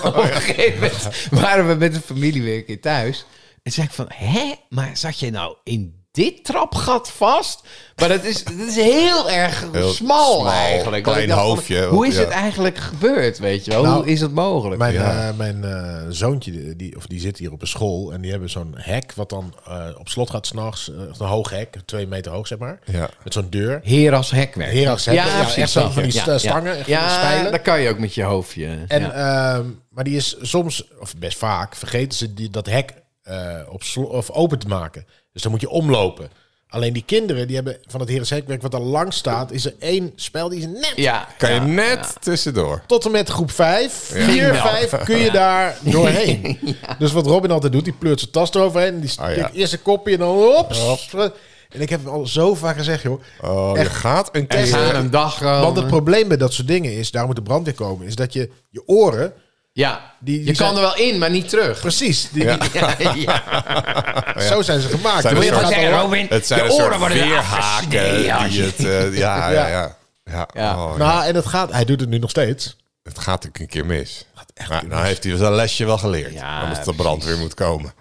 [SPEAKER 2] op een gegeven moment waren we met de familie weer een keer thuis. En zei ik van, hè? Maar zat je nou in dit trapgat vast? Maar dat is, dat is heel erg
[SPEAKER 3] Heel
[SPEAKER 2] smal,
[SPEAKER 3] smal,
[SPEAKER 2] eigenlijk. Dat
[SPEAKER 3] klein
[SPEAKER 2] ik dacht van,
[SPEAKER 3] hoofdje,
[SPEAKER 2] Hoe is
[SPEAKER 3] ja.
[SPEAKER 2] het eigenlijk gebeurd, weet je wel?
[SPEAKER 1] Nou,
[SPEAKER 2] hoe is het mogelijk?
[SPEAKER 1] Mijn, eh, mijn eh, zoontje, die, of die zit hier op een school en die hebben zo'n hek wat dan eh, op slot gaat s'nachts. nachts een hoog hek, twee meter hoog zeg maar.
[SPEAKER 3] Ja.
[SPEAKER 1] Met zo'n deur.
[SPEAKER 2] Heras hekwerk.
[SPEAKER 1] Heras hekwerk, ja,
[SPEAKER 2] precies,
[SPEAKER 1] echt zo van die
[SPEAKER 2] ja,
[SPEAKER 1] st-
[SPEAKER 2] ja.
[SPEAKER 1] stangen, echt van
[SPEAKER 2] Ja,
[SPEAKER 1] die spijlen.
[SPEAKER 2] dat kan je ook met je hoofdje.
[SPEAKER 1] En,
[SPEAKER 2] ja.
[SPEAKER 1] ehm, maar die is soms, of best vaak, vergeten ze die, dat hek eh, op slo- of open te maken. Dus dan moet je omlopen. Alleen die kinderen, die hebben van het herenshekwerk wat er langs staat, is er één spel die is net
[SPEAKER 2] ja,
[SPEAKER 3] Kan je
[SPEAKER 2] ja,
[SPEAKER 3] net
[SPEAKER 2] ja.
[SPEAKER 3] tussendoor.
[SPEAKER 1] tot en met groep 5, 4,
[SPEAKER 2] Ja.
[SPEAKER 1] 5 kun je daar doorheen. Dus wat Robin altijd doet, die pleurt zijn tas eroverheen. En die
[SPEAKER 3] Ah, ja.
[SPEAKER 1] stikt eerst een kopje en dan hop. En ik heb hem al zo vaak gezegd, joh.
[SPEAKER 3] Oh, je
[SPEAKER 1] Echt.
[SPEAKER 3] gaat een
[SPEAKER 2] Er gaan
[SPEAKER 3] keer...
[SPEAKER 2] een dag komen.
[SPEAKER 1] Want het probleem bij dat soort dingen is, daar moet de brandweer komen, is dat je je oren,
[SPEAKER 2] ja,
[SPEAKER 1] die- die
[SPEAKER 2] je kan
[SPEAKER 1] zijn-
[SPEAKER 2] er wel in, maar niet terug.
[SPEAKER 1] precies, die, die-
[SPEAKER 2] Ja, ja.
[SPEAKER 1] zo Oh, zijn ze gemaakt.
[SPEAKER 3] Zijn
[SPEAKER 1] Dan
[SPEAKER 3] er
[SPEAKER 1] gaat
[SPEAKER 3] soort-
[SPEAKER 1] er-
[SPEAKER 2] Robin,
[SPEAKER 3] Het zijn
[SPEAKER 2] je
[SPEAKER 3] een soort
[SPEAKER 2] oren worden eraf
[SPEAKER 3] weerhaken
[SPEAKER 2] gesneden als
[SPEAKER 3] die
[SPEAKER 2] je-
[SPEAKER 3] het... eh, ja, ja, ja. ja.
[SPEAKER 2] Ja.
[SPEAKER 3] Oh, ja.
[SPEAKER 1] Nou, en het gaat, hij doet het nu nog steeds.
[SPEAKER 3] Het gaat ook een keer mis. Maar nou heeft hij zijn lesje wel geleerd.
[SPEAKER 2] Ja,
[SPEAKER 3] Anders de
[SPEAKER 2] precies.
[SPEAKER 3] brandweer moet komen.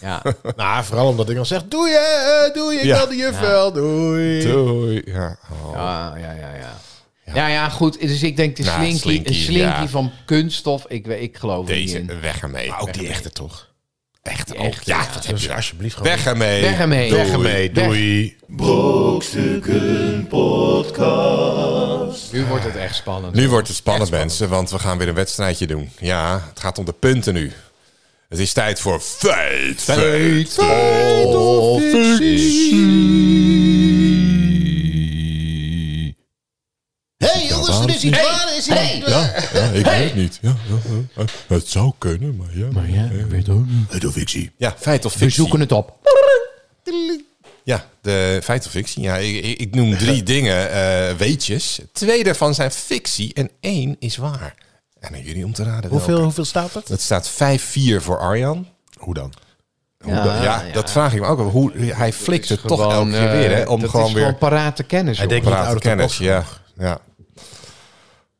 [SPEAKER 2] Ja.
[SPEAKER 1] Nou, vooral omdat ik dan zeg, doei hè, eh, doei, ik
[SPEAKER 3] Ja.
[SPEAKER 1] wil de juf wel, doei.
[SPEAKER 3] Doei. Ja. Oh.
[SPEAKER 2] Ah, ja, ja, ja. Ja, ja, goed. Dus ik denk de
[SPEAKER 3] Nou,
[SPEAKER 2] slinky,
[SPEAKER 3] slinky,
[SPEAKER 2] een slinky
[SPEAKER 3] ja.
[SPEAKER 2] van kunststof. Ik, we- ik geloof er niet
[SPEAKER 3] Deze,
[SPEAKER 2] in.
[SPEAKER 3] weg ermee. Maar
[SPEAKER 1] Ook die echte toch.
[SPEAKER 3] echt
[SPEAKER 2] ook. echte,
[SPEAKER 3] Ja,
[SPEAKER 2] ja.
[SPEAKER 3] wat heb je
[SPEAKER 1] Dus
[SPEAKER 3] daar?
[SPEAKER 1] alsjeblieft gewoon.
[SPEAKER 3] Weg ermee.
[SPEAKER 2] Weg ermee.
[SPEAKER 3] Doei.
[SPEAKER 2] Weg ermee.
[SPEAKER 3] Doei.
[SPEAKER 2] Nu wordt het echt spannend.
[SPEAKER 3] Nu wordt het spannend, mensen, want we gaan weer een wedstrijdje doen. Ja, het gaat om de punten nu. Het is tijd voor feit, feit, feit of fictie.
[SPEAKER 1] hey, jongens, er is iets waar, is iets waar.
[SPEAKER 3] Ja, ja, ik weet het niet. Ja, ja, ja, ja. Het zou kunnen, maar ja. Maar ja, ik weet ook niet. Feit of fictie. Ja, feit of fictie.
[SPEAKER 2] We zoeken het op.
[SPEAKER 3] Ja, de feit of fictie. Ja, ik, ik, ik noem drie dingen eh, weetjes. Twee daarvan zijn fictie en één is waar. En aan jullie om te raden
[SPEAKER 1] Hoeveel,
[SPEAKER 3] welke.
[SPEAKER 1] hoeveel staat het?
[SPEAKER 3] Dat staat 5-4 voor Arjan.
[SPEAKER 1] Hoe dan?
[SPEAKER 3] Hoe dan? ja,
[SPEAKER 2] ja.
[SPEAKER 3] dat vraag ik me ook. af. Hoe, hij flikt het toch
[SPEAKER 2] Gewoon,
[SPEAKER 3] elke keer
[SPEAKER 2] eh,
[SPEAKER 3] weer, hè? Om
[SPEAKER 2] dat
[SPEAKER 3] gewoon
[SPEAKER 2] is
[SPEAKER 3] weer
[SPEAKER 2] gewoon parate kennis,
[SPEAKER 1] Hij
[SPEAKER 2] joh.
[SPEAKER 1] denkt-
[SPEAKER 3] praten,
[SPEAKER 1] niet ouder
[SPEAKER 3] kennis.
[SPEAKER 1] dan
[SPEAKER 3] Ja, ja.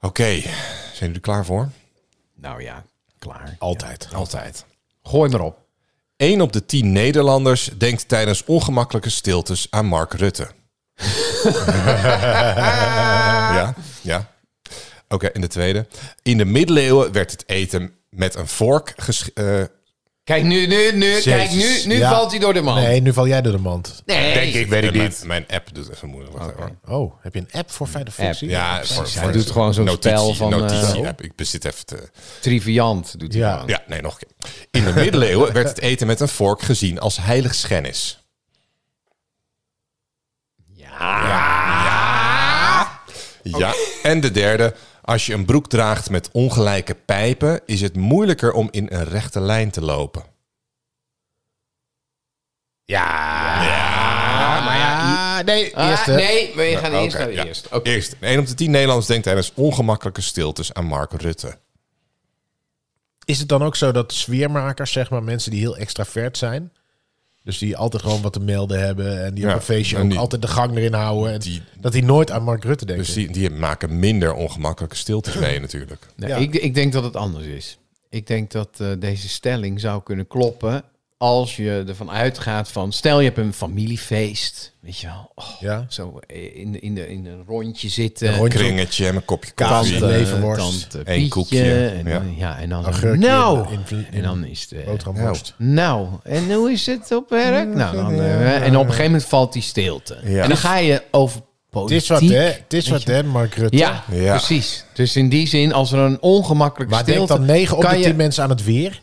[SPEAKER 3] Oké, zijn jullie er klaar voor?
[SPEAKER 2] Nou ja, klaar.
[SPEAKER 1] Altijd.
[SPEAKER 3] Altijd.
[SPEAKER 2] Oh, Gooi maar op.
[SPEAKER 3] 1 op de 10 Nederlanders denkt tijdens ongemakkelijke stiltes aan Mark Rutte. ja, ja. Oké, en de tweede. In de middeleeuwen werd het eten met een vork gesch- eh,
[SPEAKER 2] Kijk, nu, nu, nu, kijk, nu, nu
[SPEAKER 1] Ja.
[SPEAKER 2] valt hij door de man.
[SPEAKER 1] Nee, nu val jij door de mand.
[SPEAKER 2] Nee.
[SPEAKER 3] Denk ik, weet
[SPEAKER 7] ik
[SPEAKER 3] mijn,
[SPEAKER 7] niet.
[SPEAKER 3] Mijn app doet even moeilijk. Wacht even.
[SPEAKER 1] Oh, heb je een app voor Fijne Foxy?
[SPEAKER 3] Ja, voor,
[SPEAKER 2] hij doet gewoon zo'n
[SPEAKER 3] notitie-
[SPEAKER 2] spel van, eh,
[SPEAKER 3] notitie app. Ik bezit even te...
[SPEAKER 2] Triviant doet hij
[SPEAKER 1] Ja.
[SPEAKER 2] gewoon.
[SPEAKER 3] Ja, nee, nog een keer. In de middeleeuwen werd het eten met een vork gezien als heilig schennis. Ja. Ja. En de derde. Als je een broek draagt met ongelijke pijpen, is het moeilijker om in een rechte lijn te lopen.
[SPEAKER 1] Ah, nee,
[SPEAKER 2] Ah,
[SPEAKER 1] eerste.
[SPEAKER 2] nee, we gaan eerst
[SPEAKER 3] Oké,
[SPEAKER 2] naar de
[SPEAKER 3] ja.
[SPEAKER 2] eerste. Oké.
[SPEAKER 3] Eerst. Een op de tien Nederlanders denkt tijdens ongemakkelijke stiltes aan Mark Rutte.
[SPEAKER 1] Is het dan ook zo dat sfeermakers, zeg maar, mensen die heel extravert zijn... Dus die altijd gewoon wat te melden hebben en die
[SPEAKER 3] Ja,
[SPEAKER 1] op een feestje
[SPEAKER 3] en
[SPEAKER 1] ook
[SPEAKER 3] die-
[SPEAKER 1] altijd de gang erin houden. En
[SPEAKER 3] Die-
[SPEAKER 1] dat die nooit aan Mark Rutte denken.
[SPEAKER 3] Dus die, die maken minder ongemakkelijke stiltes mee natuurlijk.
[SPEAKER 2] Nee,
[SPEAKER 1] Ja.
[SPEAKER 2] ik, ik denk dat het anders is. Ik denk dat eh, deze stelling zou kunnen kloppen als je ervan uitgaat van... Stel, je hebt een familiefeest, weet je wel. Oh,
[SPEAKER 1] Ja.
[SPEAKER 2] Zo in, in, de, in een rondje zitten.
[SPEAKER 1] Een rondje.
[SPEAKER 3] Kringetje en een kopje
[SPEAKER 1] Kaas.
[SPEAKER 3] koffie.
[SPEAKER 1] Tante- leverworst.
[SPEAKER 2] tante
[SPEAKER 3] Eén
[SPEAKER 2] Pietje
[SPEAKER 3] koekje,
[SPEAKER 2] En, eh,
[SPEAKER 3] ja.
[SPEAKER 2] ja. en dan
[SPEAKER 1] Augurkje
[SPEAKER 2] nou,
[SPEAKER 1] in- in- in-
[SPEAKER 2] en dan is het... eh,
[SPEAKER 1] Boterhamworst.
[SPEAKER 2] nou, en hoe is het op werk? Nou, dan, eh, en op een gegeven moment valt die stilte. En dan ga je over
[SPEAKER 1] Het is
[SPEAKER 2] politiek.
[SPEAKER 1] wat, hè? Het is
[SPEAKER 2] weet
[SPEAKER 1] wat,
[SPEAKER 2] je.
[SPEAKER 1] hè, Mark Rutte?
[SPEAKER 2] Ja,
[SPEAKER 3] Ja.
[SPEAKER 2] precies. Dus in die zin, als er een ongemakkelijke
[SPEAKER 1] Maar denk
[SPEAKER 2] stilte...
[SPEAKER 1] dan 9 op de
[SPEAKER 2] kan
[SPEAKER 1] 10
[SPEAKER 2] je-
[SPEAKER 1] mensen aan het weer?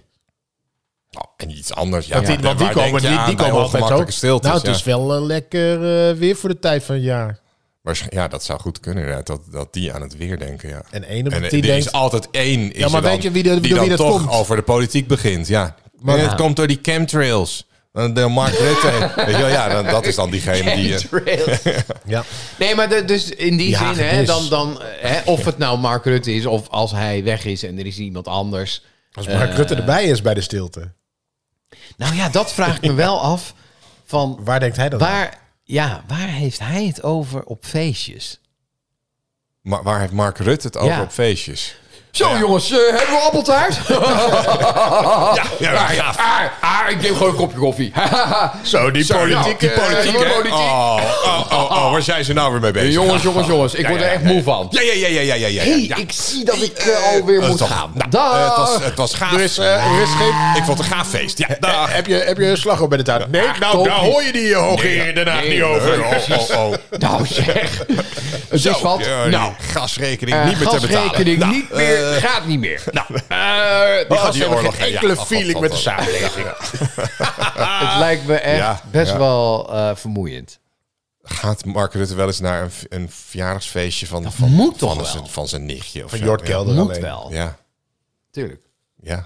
[SPEAKER 3] Oh, en iets anders. Ja,
[SPEAKER 1] Want die,
[SPEAKER 3] ja,
[SPEAKER 1] want die
[SPEAKER 3] waar denk
[SPEAKER 1] komen,
[SPEAKER 3] je
[SPEAKER 1] die,
[SPEAKER 3] aan
[SPEAKER 1] die
[SPEAKER 3] bij
[SPEAKER 1] komen altijd zo.
[SPEAKER 3] ongemakkelijke stiltes,
[SPEAKER 1] nou, het
[SPEAKER 3] ja.
[SPEAKER 1] is wel eh, lekker eh, weer voor de tijd van het jaar.
[SPEAKER 3] Waarsch- ja, dat zou goed kunnen inderdaad, dat, dat die aan het weer denken, ja.
[SPEAKER 1] En één op de
[SPEAKER 3] eh,
[SPEAKER 1] tien
[SPEAKER 3] er
[SPEAKER 1] denkt-
[SPEAKER 3] is altijd één is
[SPEAKER 1] maar
[SPEAKER 3] er dan,
[SPEAKER 1] weet je wie de-
[SPEAKER 3] die
[SPEAKER 1] door
[SPEAKER 3] dan
[SPEAKER 1] wie dat
[SPEAKER 3] toch
[SPEAKER 1] komt?
[SPEAKER 3] over de politiek begint, ja. Maar het komt door die chemtrails. Eh, De Mark Rutte. Weet je wel, ja, dan, dat is dan diegene die... eh,
[SPEAKER 2] Chemtrails.
[SPEAKER 1] Ja.
[SPEAKER 2] Nee, maar de- dus in die
[SPEAKER 1] Ja,
[SPEAKER 2] zin, hè,
[SPEAKER 1] dus.
[SPEAKER 2] dan, dan, eh, hè, of het nou Mark Rutte is, of als hij weg is en er is iemand anders.
[SPEAKER 1] Als Mark Rutte erbij is bij de stilte,
[SPEAKER 2] Nou ja, dat vraag ik me wel af. Van
[SPEAKER 1] waar denkt hij dan aan?
[SPEAKER 2] waar, ja, waar heeft hij het over op feestjes?
[SPEAKER 3] maar waar heeft Mark Rutte het over
[SPEAKER 2] Ja.
[SPEAKER 3] op feestjes?
[SPEAKER 2] Zo jongens, eh, hebben we appeltaart?
[SPEAKER 3] Ja, ja.
[SPEAKER 2] ah, ah, ik neem gewoon een kopje koffie.
[SPEAKER 3] Zo, die
[SPEAKER 2] Zo,
[SPEAKER 3] politiek.
[SPEAKER 2] nou,
[SPEAKER 3] die
[SPEAKER 2] eh,
[SPEAKER 3] politiek,
[SPEAKER 2] die
[SPEAKER 3] hè?
[SPEAKER 2] politiek.
[SPEAKER 3] Oh, oh, oh, oh, waar zijn ze nou weer mee bezig?
[SPEAKER 2] jongens, jongens, jongens, ik
[SPEAKER 3] Ja,
[SPEAKER 2] word
[SPEAKER 3] ja,
[SPEAKER 2] er echt
[SPEAKER 3] ja,
[SPEAKER 2] moe
[SPEAKER 3] ja.
[SPEAKER 2] van.
[SPEAKER 3] Ja, ja, ja, ja, ja, ja, ja.
[SPEAKER 2] Hey,
[SPEAKER 3] ja.
[SPEAKER 2] ik zie dat ik eh, alweer
[SPEAKER 3] Eh,
[SPEAKER 2] moet
[SPEAKER 3] toch.
[SPEAKER 2] gaan.
[SPEAKER 3] Nou,
[SPEAKER 2] Dag.
[SPEAKER 3] eh, het, was, het was gaaf.
[SPEAKER 1] eh,
[SPEAKER 3] Ik vond het een gaaf feest. Ja, dag.
[SPEAKER 1] Heb je, Ah, heb je een slag op bij de tijd? Nee,
[SPEAKER 2] Ah,
[SPEAKER 3] nou, daar hoor je die hoge
[SPEAKER 7] Nee,
[SPEAKER 3] heer daarna
[SPEAKER 7] nee,
[SPEAKER 3] niet over. Oh, oh, oh.
[SPEAKER 2] Nou zeg. Het
[SPEAKER 3] Zo,
[SPEAKER 2] is wat.
[SPEAKER 3] ja, die
[SPEAKER 2] nou,
[SPEAKER 3] gasrekening
[SPEAKER 2] eh,
[SPEAKER 3] niet meer te betalen.
[SPEAKER 2] gasrekening
[SPEAKER 3] Nou,
[SPEAKER 2] niet meer,
[SPEAKER 3] eh,
[SPEAKER 2] gaat niet meer. Nou,
[SPEAKER 3] die
[SPEAKER 1] gasten hebben
[SPEAKER 3] oorlog,
[SPEAKER 1] geen
[SPEAKER 3] ja,
[SPEAKER 1] enkele
[SPEAKER 3] ja,
[SPEAKER 1] feeling
[SPEAKER 3] god,
[SPEAKER 1] met
[SPEAKER 3] god,
[SPEAKER 1] de
[SPEAKER 3] god.
[SPEAKER 2] het lijkt me echt
[SPEAKER 3] ja,
[SPEAKER 2] best
[SPEAKER 3] ja.
[SPEAKER 2] wel eh, vermoeiend.
[SPEAKER 3] Gaat Mark Rutte wel eens naar een, een verjaardagsfeestje van, van,
[SPEAKER 2] moet
[SPEAKER 3] van,
[SPEAKER 2] toch wel?
[SPEAKER 3] zijn, van zijn nichtje? Of
[SPEAKER 1] Van
[SPEAKER 3] zo?
[SPEAKER 1] Jort
[SPEAKER 3] Ja.
[SPEAKER 1] Kelder
[SPEAKER 2] Moet
[SPEAKER 1] alleen.
[SPEAKER 2] wel,
[SPEAKER 3] Ja,
[SPEAKER 2] tuurlijk.
[SPEAKER 3] ja.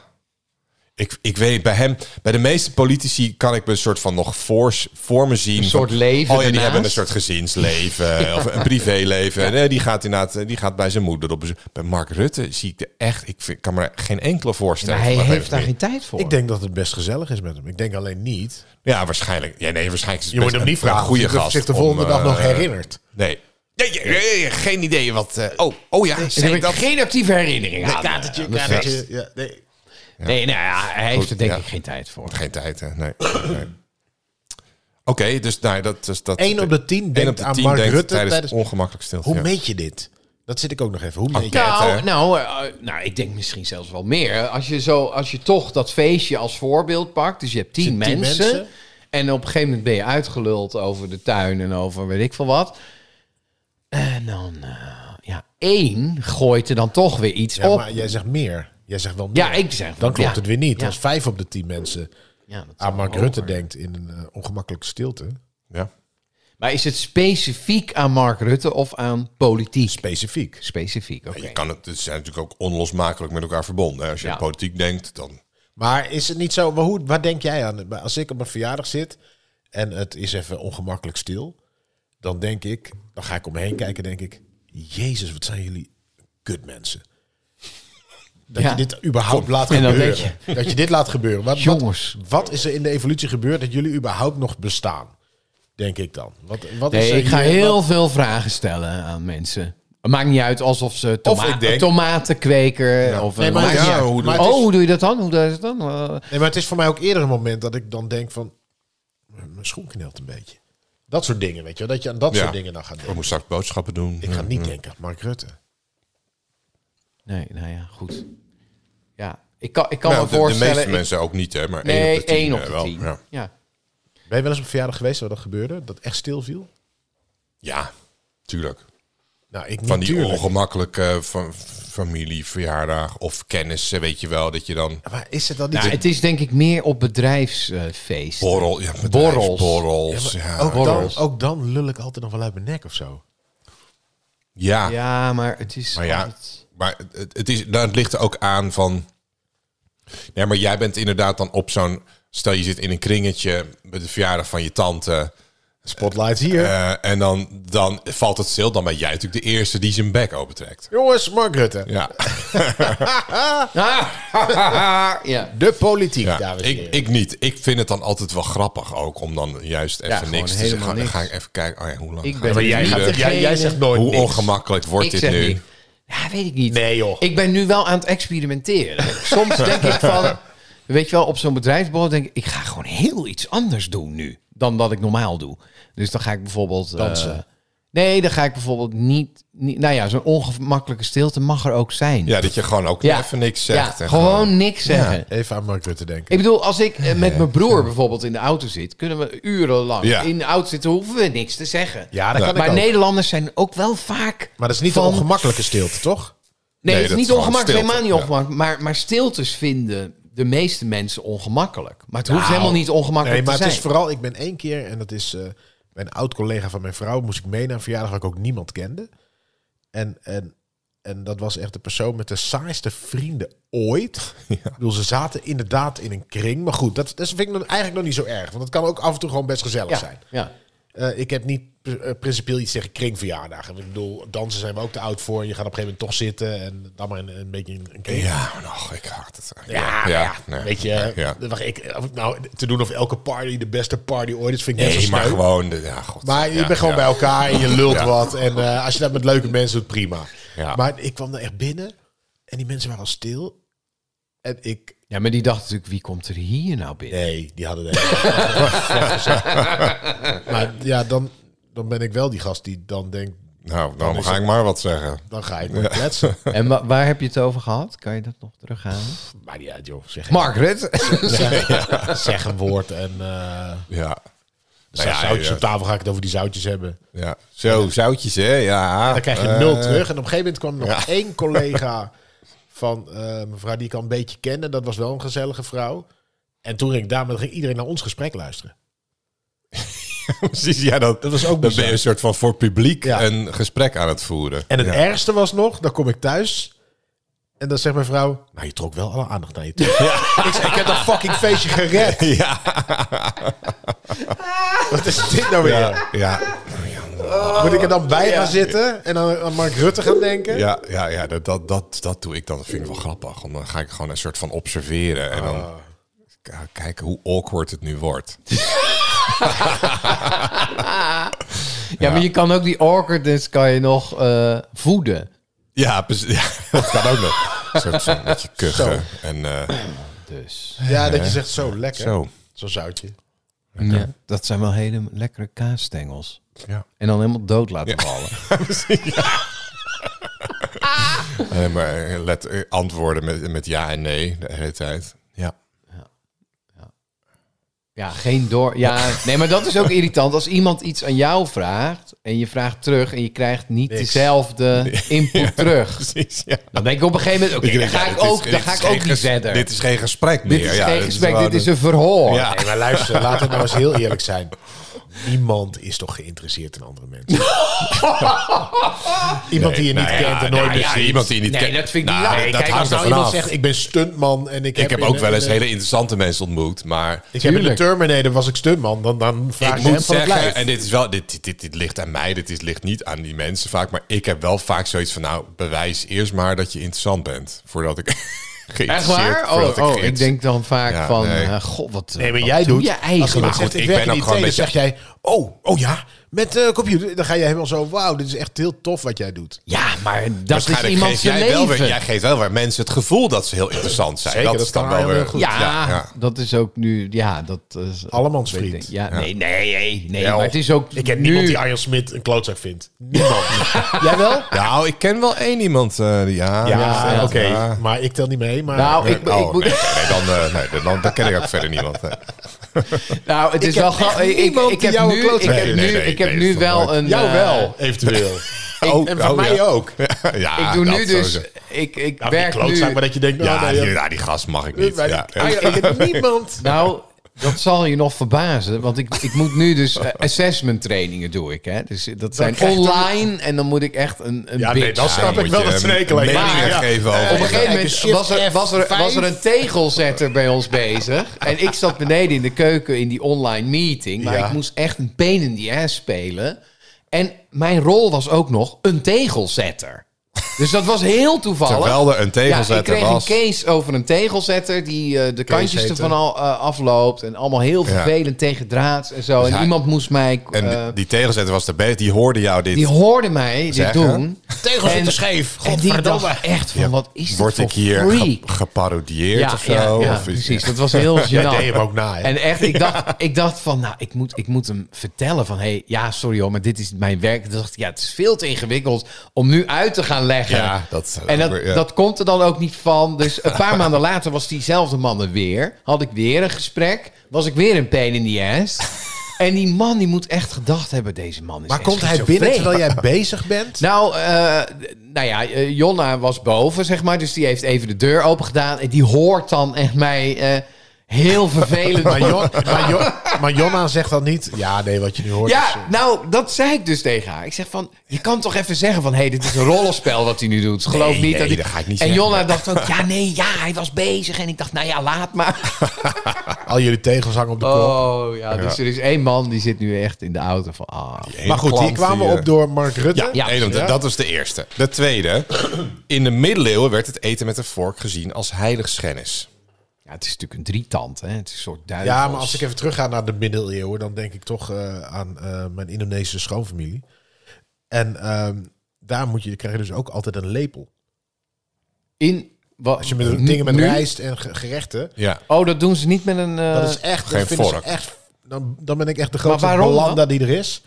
[SPEAKER 3] Ik, ik weet, bij hem, bij de meeste politici kan ik me een soort van nog voor, voor me zien.
[SPEAKER 2] Een soort
[SPEAKER 3] Van,
[SPEAKER 2] leven
[SPEAKER 3] Oh ja, die
[SPEAKER 2] ernaast.
[SPEAKER 3] hebben een soort gezinsleven of een privéleven. En, eh, die gaat inderdaad, eh, die gaat bij zijn moeder op bezoek. Bij Mark Rutte zie ik er echt, ik vind- kan me er geen enkele voorstellen.
[SPEAKER 2] Maar hij
[SPEAKER 3] Wacht
[SPEAKER 2] heeft
[SPEAKER 3] even,
[SPEAKER 2] daar
[SPEAKER 3] nee.
[SPEAKER 2] geen tijd voor.
[SPEAKER 1] Ik denk dat het best gezellig is met hem. Ik denk alleen niet.
[SPEAKER 3] Ja, waarschijnlijk. Ja, nee, waarschijnlijk is het
[SPEAKER 1] Je moet
[SPEAKER 3] best
[SPEAKER 1] hem niet
[SPEAKER 3] een- een
[SPEAKER 1] vragen
[SPEAKER 3] goede
[SPEAKER 1] of hij
[SPEAKER 3] gast.
[SPEAKER 1] zich de volgende
[SPEAKER 3] om,
[SPEAKER 1] dag nog
[SPEAKER 3] eh,
[SPEAKER 1] herinnert.
[SPEAKER 3] Nee. Nee, nee, nee, nee, geen idee wat. eh, oh, oh ja,
[SPEAKER 2] Daar heb
[SPEAKER 3] zei
[SPEAKER 2] ik
[SPEAKER 3] dat.
[SPEAKER 2] geen actieve herinnering aan.
[SPEAKER 1] Katertje,
[SPEAKER 2] aan de
[SPEAKER 1] katertje.
[SPEAKER 2] feest.
[SPEAKER 1] Ja, nee.
[SPEAKER 2] Nee, nou ja, hij heeft er denk
[SPEAKER 3] ja.
[SPEAKER 2] ik geen tijd voor.
[SPEAKER 3] Geen tijd, hè? Nee. nee. Oké, dus nou, dat is dat.
[SPEAKER 1] Eén op de tien
[SPEAKER 3] Eén
[SPEAKER 1] denkt
[SPEAKER 3] op de
[SPEAKER 1] aan
[SPEAKER 3] tien
[SPEAKER 1] Mark
[SPEAKER 3] denkt
[SPEAKER 1] Rutte
[SPEAKER 3] tijdens,
[SPEAKER 1] tijdens-
[SPEAKER 3] ongemakkelijk stil.
[SPEAKER 1] Hoe
[SPEAKER 3] ja.
[SPEAKER 1] meet je dit? Dat zit ik ook nog even. Hoe meet je
[SPEAKER 3] Enquête,
[SPEAKER 2] Nou,
[SPEAKER 3] hè?
[SPEAKER 2] nou, eh, eh, nou, ik denk misschien zelfs wel meer. Als je, zo, als je toch dat feestje als voorbeeld pakt, dus je hebt tien,
[SPEAKER 1] Zit tien
[SPEAKER 2] mensen,
[SPEAKER 1] mensen.
[SPEAKER 2] En op een gegeven moment ben je uitgeluld over de tuin en over weet ik veel wat. En dan, eh, ja, één gooit er dan toch weer iets
[SPEAKER 1] Ja,
[SPEAKER 2] op.
[SPEAKER 1] maar jij zegt meer. Jij zegt wel meer.
[SPEAKER 2] ja, ik zeg
[SPEAKER 1] Dan klopt
[SPEAKER 2] ja.
[SPEAKER 1] het weer niet.
[SPEAKER 2] Ja.
[SPEAKER 1] Als vijf op de tien mensen
[SPEAKER 2] Ja, dat is
[SPEAKER 1] aan Mark
[SPEAKER 2] hoger.
[SPEAKER 1] Rutte denkt in een eh, ongemakkelijke stilte.
[SPEAKER 3] Ja.
[SPEAKER 2] Maar is het specifiek aan Mark Rutte of aan politiek?
[SPEAKER 1] Specifiek.
[SPEAKER 2] specifiek, oké.
[SPEAKER 3] Je kan het, het zijn natuurlijk ook onlosmakelijk met elkaar verbonden. hè. Als je
[SPEAKER 2] Ja.
[SPEAKER 3] aan politiek denkt, dan.
[SPEAKER 1] Maar is het niet zo, maar hoe, waar denk jij aan? Als ik op mijn verjaardag zit en het is even ongemakkelijk stil, dan denk ik, dan ga ik om me heen kijken, denk ik, Jezus, wat zijn jullie kut mensen. Dat
[SPEAKER 2] Ja.
[SPEAKER 1] je dit überhaupt laat
[SPEAKER 2] En dan
[SPEAKER 1] gebeuren.
[SPEAKER 2] denk
[SPEAKER 1] Dat je dit laat gebeuren. Wat,
[SPEAKER 2] Jongens.
[SPEAKER 1] Wat, wat is er in de evolutie gebeurd dat jullie überhaupt nog bestaan? Denk ik dan. Wat, wat is
[SPEAKER 2] Nee,
[SPEAKER 1] er
[SPEAKER 2] ik ga
[SPEAKER 1] hier-
[SPEAKER 2] heel
[SPEAKER 1] wat-
[SPEAKER 2] veel vragen stellen aan mensen. Het maakt niet uit alsof ze toma-
[SPEAKER 3] ik denk-
[SPEAKER 2] tomatenkweker of...
[SPEAKER 1] Nee, maar
[SPEAKER 2] maakt
[SPEAKER 1] het
[SPEAKER 2] niet
[SPEAKER 1] is-
[SPEAKER 2] uit.
[SPEAKER 1] maar het
[SPEAKER 2] oh,
[SPEAKER 1] is-
[SPEAKER 2] hoe doe je dat dan? Hoe doe je dat dan? Eh,
[SPEAKER 1] Nee, maar het is voor mij ook eerder een moment dat ik dan denk van, mijn mijn schoen knelt een beetje. Dat soort dingen, weet je wel. Dat je aan dat
[SPEAKER 3] Ja.
[SPEAKER 1] soort dingen dan gaat
[SPEAKER 3] We
[SPEAKER 1] denken.
[SPEAKER 3] moeten straks boodschappen doen.
[SPEAKER 1] Ik ga niet denken aan Mark Rutte.
[SPEAKER 2] nee, nou ja, goed. Ja, Ik kan, ik kan
[SPEAKER 3] Nou,
[SPEAKER 2] me
[SPEAKER 3] de, de
[SPEAKER 2] voorstellen...
[SPEAKER 3] meeste
[SPEAKER 2] ik-
[SPEAKER 3] mensen ook niet, hè? Maar één
[SPEAKER 2] nee,
[SPEAKER 3] op de tien.
[SPEAKER 2] één op
[SPEAKER 3] eh,
[SPEAKER 2] de
[SPEAKER 3] wel.
[SPEAKER 2] tien.
[SPEAKER 3] Ja.
[SPEAKER 2] Ja.
[SPEAKER 1] Ben je wel eens op een verjaardag geweest waar dat gebeurde? Dat echt stil viel?
[SPEAKER 3] Ja, tuurlijk.
[SPEAKER 1] Nou, ik
[SPEAKER 3] Van
[SPEAKER 1] niet,
[SPEAKER 3] die
[SPEAKER 1] tuurlijk.
[SPEAKER 3] ongemakkelijke eh, van, familie, verjaardag of kennis, eh, weet je wel, dat je dan
[SPEAKER 1] Maar is het dan niet...
[SPEAKER 2] Nou, het is denk ik meer op bedrijfsfeest.
[SPEAKER 3] borrel, ja, bedrijf-
[SPEAKER 2] Borrels.
[SPEAKER 3] borrels, ja,
[SPEAKER 1] ook, dan,
[SPEAKER 2] borrels.
[SPEAKER 1] ook dan lul ik altijd nog wel uit mijn nek of zo.
[SPEAKER 3] ja.
[SPEAKER 2] ja, maar het is...
[SPEAKER 3] Maar ja,
[SPEAKER 2] altijd-
[SPEAKER 3] maar het, het, is, nou, het ligt er ook aan van. Nee, maar jij bent inderdaad dan op zo'n. Stel je zit in een kringetje met de verjaardag van je tante.
[SPEAKER 1] Spotlight hier.
[SPEAKER 3] eh, en dan, dan valt het stil. Dan ben jij natuurlijk de eerste die zijn bek opentrekt.
[SPEAKER 1] Jongens, Mark Rutte.
[SPEAKER 3] Ja,
[SPEAKER 2] Ah, ja.
[SPEAKER 1] De politiek,
[SPEAKER 3] ja.
[SPEAKER 1] dames en
[SPEAKER 3] ik,
[SPEAKER 1] heren.
[SPEAKER 3] ik niet. Ik vind het dan altijd wel grappig ook om dan juist even
[SPEAKER 2] gewoon
[SPEAKER 3] niks te
[SPEAKER 2] helemaal
[SPEAKER 3] zeggen. Dan
[SPEAKER 2] niks.
[SPEAKER 3] ga ik even kijken. Oh ja, hoe lang?
[SPEAKER 2] Ik
[SPEAKER 3] gaat
[SPEAKER 2] ben dus
[SPEAKER 3] het
[SPEAKER 1] Maar jij,
[SPEAKER 3] duren?
[SPEAKER 1] gaat,
[SPEAKER 2] Degene-
[SPEAKER 1] jij, jij zegt nooit
[SPEAKER 3] Hoe
[SPEAKER 1] niks.
[SPEAKER 3] ongemakkelijk wordt
[SPEAKER 2] Ik
[SPEAKER 3] dit
[SPEAKER 2] zeg
[SPEAKER 3] nu?
[SPEAKER 2] niet. Ja, weet ik niet.
[SPEAKER 1] Nee, joh.
[SPEAKER 2] Ik ben nu wel aan het experimenteren. Soms denk ik van... Weet je wel, op zo'n bedrijfsborrel denk ik... Ik ga gewoon heel iets anders doen nu. Dan wat ik normaal doe. Dus dan ga ik bijvoorbeeld... eh,
[SPEAKER 1] Dansen.
[SPEAKER 2] nee, dan ga ik bijvoorbeeld niet... niet nou ja, zo'n ongemakkelijke stilte mag er ook zijn.
[SPEAKER 3] Ja, dat je gewoon ook
[SPEAKER 2] Ja.
[SPEAKER 3] even niks zegt.
[SPEAKER 2] Ja,
[SPEAKER 3] en
[SPEAKER 2] gewoon, niks zeggen.
[SPEAKER 1] Even aan Mark Rutte denken.
[SPEAKER 2] Ik bedoel, als ik eh, met mijn broer bijvoorbeeld in de auto zit... kunnen we urenlang
[SPEAKER 3] Ja.
[SPEAKER 2] in de auto zitten. hoeven we niks te zeggen.
[SPEAKER 1] ja, dat kan
[SPEAKER 2] maar
[SPEAKER 1] ik ook.
[SPEAKER 2] Nederlanders zijn ook wel vaak...
[SPEAKER 1] Maar dat is niet
[SPEAKER 2] van-
[SPEAKER 1] een ongemakkelijke stilte, toch?
[SPEAKER 2] Nee, het
[SPEAKER 3] Nee,
[SPEAKER 2] is
[SPEAKER 3] dat
[SPEAKER 2] niet
[SPEAKER 3] is gewoon
[SPEAKER 2] ongemakkelijk.
[SPEAKER 3] stilte,
[SPEAKER 2] Helemaal niet
[SPEAKER 3] ja.
[SPEAKER 2] ongemakkelijk. Maar, maar stiltes vinden de meeste mensen ongemakkelijk. Maar het hoeft
[SPEAKER 1] Nou,
[SPEAKER 2] helemaal niet
[SPEAKER 1] Nee,
[SPEAKER 2] ongemakkelijk
[SPEAKER 1] maar
[SPEAKER 2] te
[SPEAKER 1] het
[SPEAKER 2] zijn.
[SPEAKER 1] is vooral... Ik ben één keer, en dat is... eh, bij een oud collega van mijn vrouw moest ik mee naar een verjaardag... waar ik ook niemand kende. En, en, en dat was echt de persoon met de saaiste vrienden ooit. Ik bedoel, ze zaten inderdaad in een kring. Maar goed, dat, dat vind ik dan eigenlijk nog niet zo erg. Want dat kan ook af en toe gewoon best gezellig zijn.
[SPEAKER 2] ja, ja.
[SPEAKER 1] Eh, ik heb niet pr- eh, principieel iets tegen kringverjaardagen. Ik bedoel, dansen zijn we ook te oud voor. Je gaat op een gegeven moment toch zitten en dan maar een, een beetje in een kring.
[SPEAKER 3] Ja, nog, ik haat het.
[SPEAKER 1] Ja, ja,
[SPEAKER 3] nee.
[SPEAKER 1] weet je,
[SPEAKER 3] Ja.
[SPEAKER 1] eh, wacht, ik, of ik nou, te doen of elke party de beste party ooit is, vind ik net
[SPEAKER 3] Nee,
[SPEAKER 1] zo
[SPEAKER 3] maar
[SPEAKER 1] sneu.
[SPEAKER 3] gewoon... de- ja, god.
[SPEAKER 1] Maar je
[SPEAKER 3] Ja,
[SPEAKER 1] bent gewoon
[SPEAKER 3] ja.
[SPEAKER 1] bij elkaar en je lult
[SPEAKER 3] Ja.
[SPEAKER 1] wat. En eh, als je dat met leuke mensen doet, prima.
[SPEAKER 3] Ja.
[SPEAKER 1] Maar ik kwam er echt binnen en die mensen waren al stil. En ik...
[SPEAKER 2] ja, maar die dacht natuurlijk, wie komt er hier nou binnen?
[SPEAKER 1] Nee, die hadden het Maar ja, dan, dan ben ik wel die gast die dan denkt,
[SPEAKER 3] Nou,
[SPEAKER 1] Dan
[SPEAKER 3] dan
[SPEAKER 1] is
[SPEAKER 3] ga ik maar wat zeggen.
[SPEAKER 1] dan ga ik me kletsen.
[SPEAKER 2] En wa- waar heb je het over gehad? Kan je dat nog terughalen?
[SPEAKER 1] Maar ja, joh, zeg
[SPEAKER 2] Margaret.
[SPEAKER 1] zeg, zeg een woord en eh
[SPEAKER 3] Ja.
[SPEAKER 1] zou-
[SPEAKER 3] Nou ja,
[SPEAKER 1] zoutjes
[SPEAKER 3] ja.
[SPEAKER 1] op tafel ga ik het over die zoutjes hebben.
[SPEAKER 3] ja. Zo, zoutjes, hè? Ja.
[SPEAKER 1] Dan krijg je
[SPEAKER 3] Eh,
[SPEAKER 1] nul terug. En op een gegeven moment kwam er nog één collega van eh, mevrouw die ik al een beetje kende. Dat was wel een gezellige vrouw. En toen ging ik daar, maar dan ging iedereen naar ons gesprek luisteren.
[SPEAKER 3] Precies, ja, dat,
[SPEAKER 1] Dat was ook
[SPEAKER 3] dan ben je
[SPEAKER 1] bizar.
[SPEAKER 3] een soort van voor het publiek
[SPEAKER 1] Ja.
[SPEAKER 3] een gesprek aan het voeren.
[SPEAKER 1] En het
[SPEAKER 3] ja.
[SPEAKER 1] ergste was nog, dan kom ik thuis. En dan zegt mijn vrouw, nou je trok wel alle aandacht naar je toe. Ik zei, ik heb dat fucking feestje gered.
[SPEAKER 3] Ja,
[SPEAKER 1] Wat is dit nou weer?
[SPEAKER 3] ja, ja,
[SPEAKER 1] Moet ik er dan bij gaan zitten en dan aan Mark Rutte gaan denken?
[SPEAKER 3] ja, ja, ja, dat, dat, dat, dat doe ik dan. Dat vind ik wel grappig. Want dan ga ik gewoon een soort van observeren. En
[SPEAKER 1] Ah.
[SPEAKER 3] dan k- kijken hoe awkward het nu wordt.
[SPEAKER 2] ja, maar je kan ook die awkwardness kan je nog eh, voeden.
[SPEAKER 3] Ja, precies. Ja, dat kan ook nog. Een soort van dat je kuchen. En eh,
[SPEAKER 2] Dus
[SPEAKER 1] Ja, dat je zegt, zo lekker.
[SPEAKER 3] zo.
[SPEAKER 1] Zo'n zoutje.
[SPEAKER 2] ja, dat zijn wel hele lekkere kaasstengels.
[SPEAKER 3] Ja.
[SPEAKER 2] En dan helemaal dood laten vallen.
[SPEAKER 3] Nee, maar eh, let, eh, antwoorden met, met ja en nee de hele tijd. Ja.
[SPEAKER 2] Ja, geen door. Ja, nee, maar dat is ook irritant. Als iemand iets aan jou vraagt en je vraagt terug en je krijgt niet dezelfde input terug.
[SPEAKER 3] Precies, ja.
[SPEAKER 2] Dan denk ik op een gegeven moment, oké, dan
[SPEAKER 3] denk,
[SPEAKER 2] ga
[SPEAKER 3] ja,
[SPEAKER 2] ik
[SPEAKER 3] dit is-
[SPEAKER 2] ook,
[SPEAKER 3] dit
[SPEAKER 2] dan ga
[SPEAKER 3] is
[SPEAKER 2] ik ook
[SPEAKER 3] geen
[SPEAKER 2] niet
[SPEAKER 3] ges-
[SPEAKER 2] verder.
[SPEAKER 3] Dit is geen gesprek meer.
[SPEAKER 2] Dit is
[SPEAKER 3] ja,
[SPEAKER 2] geen gesprek,
[SPEAKER 3] gewoon
[SPEAKER 2] dit is een verhoor.
[SPEAKER 3] Ja.
[SPEAKER 1] Nee, maar luister, laten we nou eens heel eerlijk zijn. Niemand is toch geïnteresseerd in andere mensen? iemand die je niet
[SPEAKER 3] nou ja,
[SPEAKER 1] kent en
[SPEAKER 3] nou
[SPEAKER 1] nooit meer
[SPEAKER 3] ja,
[SPEAKER 1] ziet.
[SPEAKER 3] iemand die je niet
[SPEAKER 2] Nee,
[SPEAKER 3] kent.
[SPEAKER 2] dat vind ik niet
[SPEAKER 3] Nou,
[SPEAKER 2] leuk.
[SPEAKER 3] dat
[SPEAKER 2] Kijk,
[SPEAKER 1] Als
[SPEAKER 3] hangt er
[SPEAKER 1] nou iemand
[SPEAKER 3] vanaf.
[SPEAKER 1] zegt, ik ben stuntman en ik heb...
[SPEAKER 3] ik heb
[SPEAKER 1] in
[SPEAKER 3] ook
[SPEAKER 1] een-
[SPEAKER 3] wel eens
[SPEAKER 1] een-
[SPEAKER 3] hele interessante mensen ontmoet, maar
[SPEAKER 1] Ik heb in de
[SPEAKER 2] Tuurlijk.
[SPEAKER 1] Terminator was ik stuntman, dan, dan vraag
[SPEAKER 3] ik
[SPEAKER 1] je hem
[SPEAKER 3] moet
[SPEAKER 1] van het
[SPEAKER 3] zeggen,
[SPEAKER 1] lijf.
[SPEAKER 3] en dit is wel, dit, dit, dit, dit ligt aan mij, dit is, ligt niet aan die mensen vaak, maar ik heb wel vaak zoiets van, nou, bewijs eerst maar dat je interessant bent, voordat ik
[SPEAKER 2] Echt
[SPEAKER 3] geïnteresseerd,
[SPEAKER 2] waar?
[SPEAKER 3] voordat
[SPEAKER 2] Oh, oh, ik
[SPEAKER 3] geïnteresseerd-
[SPEAKER 2] denk dan vaak
[SPEAKER 3] Ja,
[SPEAKER 2] van,
[SPEAKER 3] nee.
[SPEAKER 2] eh, god, wat,
[SPEAKER 1] Nee, maar
[SPEAKER 2] wat
[SPEAKER 1] jij
[SPEAKER 2] doe
[SPEAKER 1] doet...
[SPEAKER 2] je
[SPEAKER 1] Als iemand
[SPEAKER 2] eigenlijk?
[SPEAKER 1] zegt,
[SPEAKER 3] goed,
[SPEAKER 1] ik
[SPEAKER 3] ik
[SPEAKER 1] werk
[SPEAKER 3] ben
[SPEAKER 1] in
[SPEAKER 3] ook
[SPEAKER 1] IT,
[SPEAKER 3] gewoon
[SPEAKER 1] dan
[SPEAKER 3] een
[SPEAKER 1] zeg jij... Oh, oh ja, Met eh computer. Dan ga jij helemaal zo, wauw, dit is echt heel tof wat jij doet.
[SPEAKER 2] Ja, maar dat is
[SPEAKER 3] Waarschijnlijk
[SPEAKER 2] iemand
[SPEAKER 3] geef
[SPEAKER 2] zijn
[SPEAKER 3] jij, wel weer,
[SPEAKER 2] leven.
[SPEAKER 3] jij geeft wel weer mensen het gevoel dat ze heel interessant zijn.
[SPEAKER 1] Zeker,
[SPEAKER 3] dat
[SPEAKER 1] dat
[SPEAKER 3] is dan
[SPEAKER 1] kan
[SPEAKER 3] wel
[SPEAKER 1] heel
[SPEAKER 3] weer
[SPEAKER 1] goed.
[SPEAKER 2] ja,
[SPEAKER 3] Ja, ja.
[SPEAKER 2] dat is ook nu. Ja, dat is.
[SPEAKER 1] Allemans vriend.
[SPEAKER 2] Ja, nee, nee, nee. nee maar het is ook.
[SPEAKER 1] Ik ken
[SPEAKER 2] nu,
[SPEAKER 1] niemand die Arjan Smit een klootzak vindt. Niemand.
[SPEAKER 2] Jij wel?
[SPEAKER 3] Nou, ik ken wel één iemand. eh, die- ja,
[SPEAKER 1] ja,
[SPEAKER 3] ja,
[SPEAKER 1] oké.
[SPEAKER 3] ja.
[SPEAKER 1] Maar ik tel niet mee. Maar
[SPEAKER 2] Nou,
[SPEAKER 3] Nee,
[SPEAKER 2] ik, ik
[SPEAKER 3] oh,
[SPEAKER 2] moet.
[SPEAKER 3] nee, nee, dan, eh, nee, dan, dan ken ik ook verder niemand. nee.
[SPEAKER 2] Nou, het is
[SPEAKER 1] heb
[SPEAKER 2] wel
[SPEAKER 1] echt
[SPEAKER 2] grappig. Ik, ik,
[SPEAKER 1] niemand
[SPEAKER 2] ik
[SPEAKER 1] die
[SPEAKER 2] heb
[SPEAKER 1] jou
[SPEAKER 2] nu,
[SPEAKER 1] een klootzak
[SPEAKER 2] ik heb
[SPEAKER 3] vindt.
[SPEAKER 2] nu,
[SPEAKER 3] Nee, nee,
[SPEAKER 2] ik heb
[SPEAKER 3] nee,
[SPEAKER 2] nu
[SPEAKER 3] is toch
[SPEAKER 2] wel
[SPEAKER 3] nooit.
[SPEAKER 2] een.
[SPEAKER 1] jou
[SPEAKER 2] eh,
[SPEAKER 1] wel, eventueel.
[SPEAKER 3] Oh,
[SPEAKER 1] en van
[SPEAKER 3] oh,
[SPEAKER 1] mij
[SPEAKER 3] ja.
[SPEAKER 1] ook.
[SPEAKER 3] Ja,
[SPEAKER 1] Ah,
[SPEAKER 2] ik doe nu
[SPEAKER 3] dat
[SPEAKER 2] dus.
[SPEAKER 3] sowieso.
[SPEAKER 2] Ik, ik
[SPEAKER 1] Nou, die
[SPEAKER 2] werk nu.
[SPEAKER 1] klootzak, maar dat je denkt, nou,
[SPEAKER 3] Ja,
[SPEAKER 1] nee,
[SPEAKER 3] die,
[SPEAKER 1] ja,
[SPEAKER 3] ja, die gast mag ik niet.
[SPEAKER 1] wij-
[SPEAKER 3] Ja.
[SPEAKER 1] Arjan, ik ken niemand.
[SPEAKER 2] Nou, dat zal je nog verbazen. Want ik, ik moet nu dus eh, assessment trainingen doe ik. Hè. Dus dat zijn
[SPEAKER 1] krijg je-
[SPEAKER 2] online en dan moet ik echt een, een
[SPEAKER 1] Ja,
[SPEAKER 2] bitch
[SPEAKER 1] nee, dat
[SPEAKER 2] zijn.
[SPEAKER 1] snap ik
[SPEAKER 3] moet
[SPEAKER 1] wel
[SPEAKER 3] je eh,
[SPEAKER 1] dat snekelen.
[SPEAKER 3] meningen
[SPEAKER 1] Ja.
[SPEAKER 3] geven over.
[SPEAKER 2] Op een gegeven moment
[SPEAKER 1] Shift
[SPEAKER 2] was er, was, er, was er een tegelzetter bij ons bezig. En ik zat beneden in de keuken in die online meeting. Maar
[SPEAKER 1] Ja.
[SPEAKER 2] ik moest echt een pain in the ass spelen. En mijn rol was ook nog een tegelzetter. Dus dat was heel toevallig.
[SPEAKER 3] Terwijl er een tegelzetter
[SPEAKER 2] ja, ik kreeg
[SPEAKER 3] was.
[SPEAKER 2] een case over een tegelzetter die eh, de kantjes
[SPEAKER 1] heette.
[SPEAKER 2] ervan al eh, afloopt. En allemaal heel
[SPEAKER 3] Ja. Dus
[SPEAKER 2] vervelend tegen draads en zo. en
[SPEAKER 3] hij-
[SPEAKER 2] iemand moest mij...
[SPEAKER 3] En
[SPEAKER 2] eh,
[SPEAKER 3] die- die tegenzetter was de beter. Die hoorde jou dit.
[SPEAKER 2] die hoorde mij dit
[SPEAKER 3] Zeggen?
[SPEAKER 2] doen.
[SPEAKER 1] Tegels
[SPEAKER 2] En-
[SPEAKER 1] zitten scheef.
[SPEAKER 2] En die
[SPEAKER 1] Godverdomme.
[SPEAKER 2] dacht echt van, wat is dit
[SPEAKER 3] Word
[SPEAKER 2] voor
[SPEAKER 3] ik hier
[SPEAKER 2] freak?
[SPEAKER 3] ge- geparodieerd
[SPEAKER 2] ja,
[SPEAKER 3] of zo?
[SPEAKER 2] ja, ja,
[SPEAKER 3] of iets-
[SPEAKER 2] precies. Dat was heel gênant.
[SPEAKER 1] Jij deed hem ook na, hè?
[SPEAKER 2] En echt, ik dacht, ik dacht van, nou, ik moet, ik moet hem vertellen van, hé, hey, ja, sorry hoor, maar dit is mijn werk. Ik dacht, ja, het is veel te ingewikkeld om nu uit te gaan leggen.
[SPEAKER 3] Ja, dat-
[SPEAKER 2] en dat,
[SPEAKER 3] ja.
[SPEAKER 2] dat komt er dan ook niet van. Dus een paar maanden later was diezelfde man er weer. Had ik weer een gesprek. Was ik weer een pain in the ass. En die man, die moet echt gedacht hebben, deze man is
[SPEAKER 1] Maar
[SPEAKER 2] echt
[SPEAKER 1] komt hij
[SPEAKER 2] schizofreen.
[SPEAKER 1] binnen terwijl jij bezig bent?
[SPEAKER 2] Nou, eh, d- nou ja, eh, Jonna was boven, zeg maar. Dus die heeft even de deur open gedaan. En die hoort dan echt mij eh, heel vervelend.
[SPEAKER 1] Maar, Jo- maar, Jo- maar Jonna zegt dan niet. Ja, nee, wat je nu hoort. is,
[SPEAKER 2] ja,
[SPEAKER 1] eh,
[SPEAKER 2] nou, dat zei ik dus tegen haar. Ik zeg van, je kan toch even zeggen van... hé, hey, dit is een rollenspel wat hij nu doet. Geloof
[SPEAKER 3] Nee,
[SPEAKER 2] niet
[SPEAKER 3] nee,
[SPEAKER 2] dat hij-
[SPEAKER 3] dat ga ik niet
[SPEAKER 2] En
[SPEAKER 3] zeggen.
[SPEAKER 2] Jonna dacht ook, ja, nee, ja, hij was bezig. En ik dacht, nou ja, laat maar.
[SPEAKER 1] al jullie tegels hangen op de klok.
[SPEAKER 2] Oh, ja, dus er is één man die zit nu echt in de auto van... ah.
[SPEAKER 3] Eén
[SPEAKER 1] Maar goed, hier
[SPEAKER 3] klant
[SPEAKER 1] kwamen
[SPEAKER 3] die,
[SPEAKER 1] we
[SPEAKER 3] eh,
[SPEAKER 1] op door Mark Rutte.
[SPEAKER 3] Ja,
[SPEAKER 2] Ja.
[SPEAKER 3] één om- dat was de eerste. De tweede. In de middeleeuwen werd het eten met een vork gezien als heiligschennis.
[SPEAKER 2] Ja, het is natuurlijk een drietand, hè. Het is een soort duivel.
[SPEAKER 1] Ja, maar als ik even terugga naar de middeleeuwen, dan denk ik toch eh, aan eh, mijn Indonesische schoonfamilie. En ehm, daar moet je, krijg je dus ook altijd een lepel.
[SPEAKER 2] In... Wat,
[SPEAKER 1] Als je met dingen met
[SPEAKER 2] nu?
[SPEAKER 1] rijst en ge- gerechten,
[SPEAKER 3] Ja.
[SPEAKER 2] Oh, dat doen ze niet met een... eh,
[SPEAKER 1] dat is echt,
[SPEAKER 3] geen
[SPEAKER 1] dat vinden ze
[SPEAKER 3] vork.
[SPEAKER 1] echt dan, dan ben ik echt de
[SPEAKER 2] Maar
[SPEAKER 1] grootste
[SPEAKER 2] waarom dan?
[SPEAKER 1] Hollander die er is.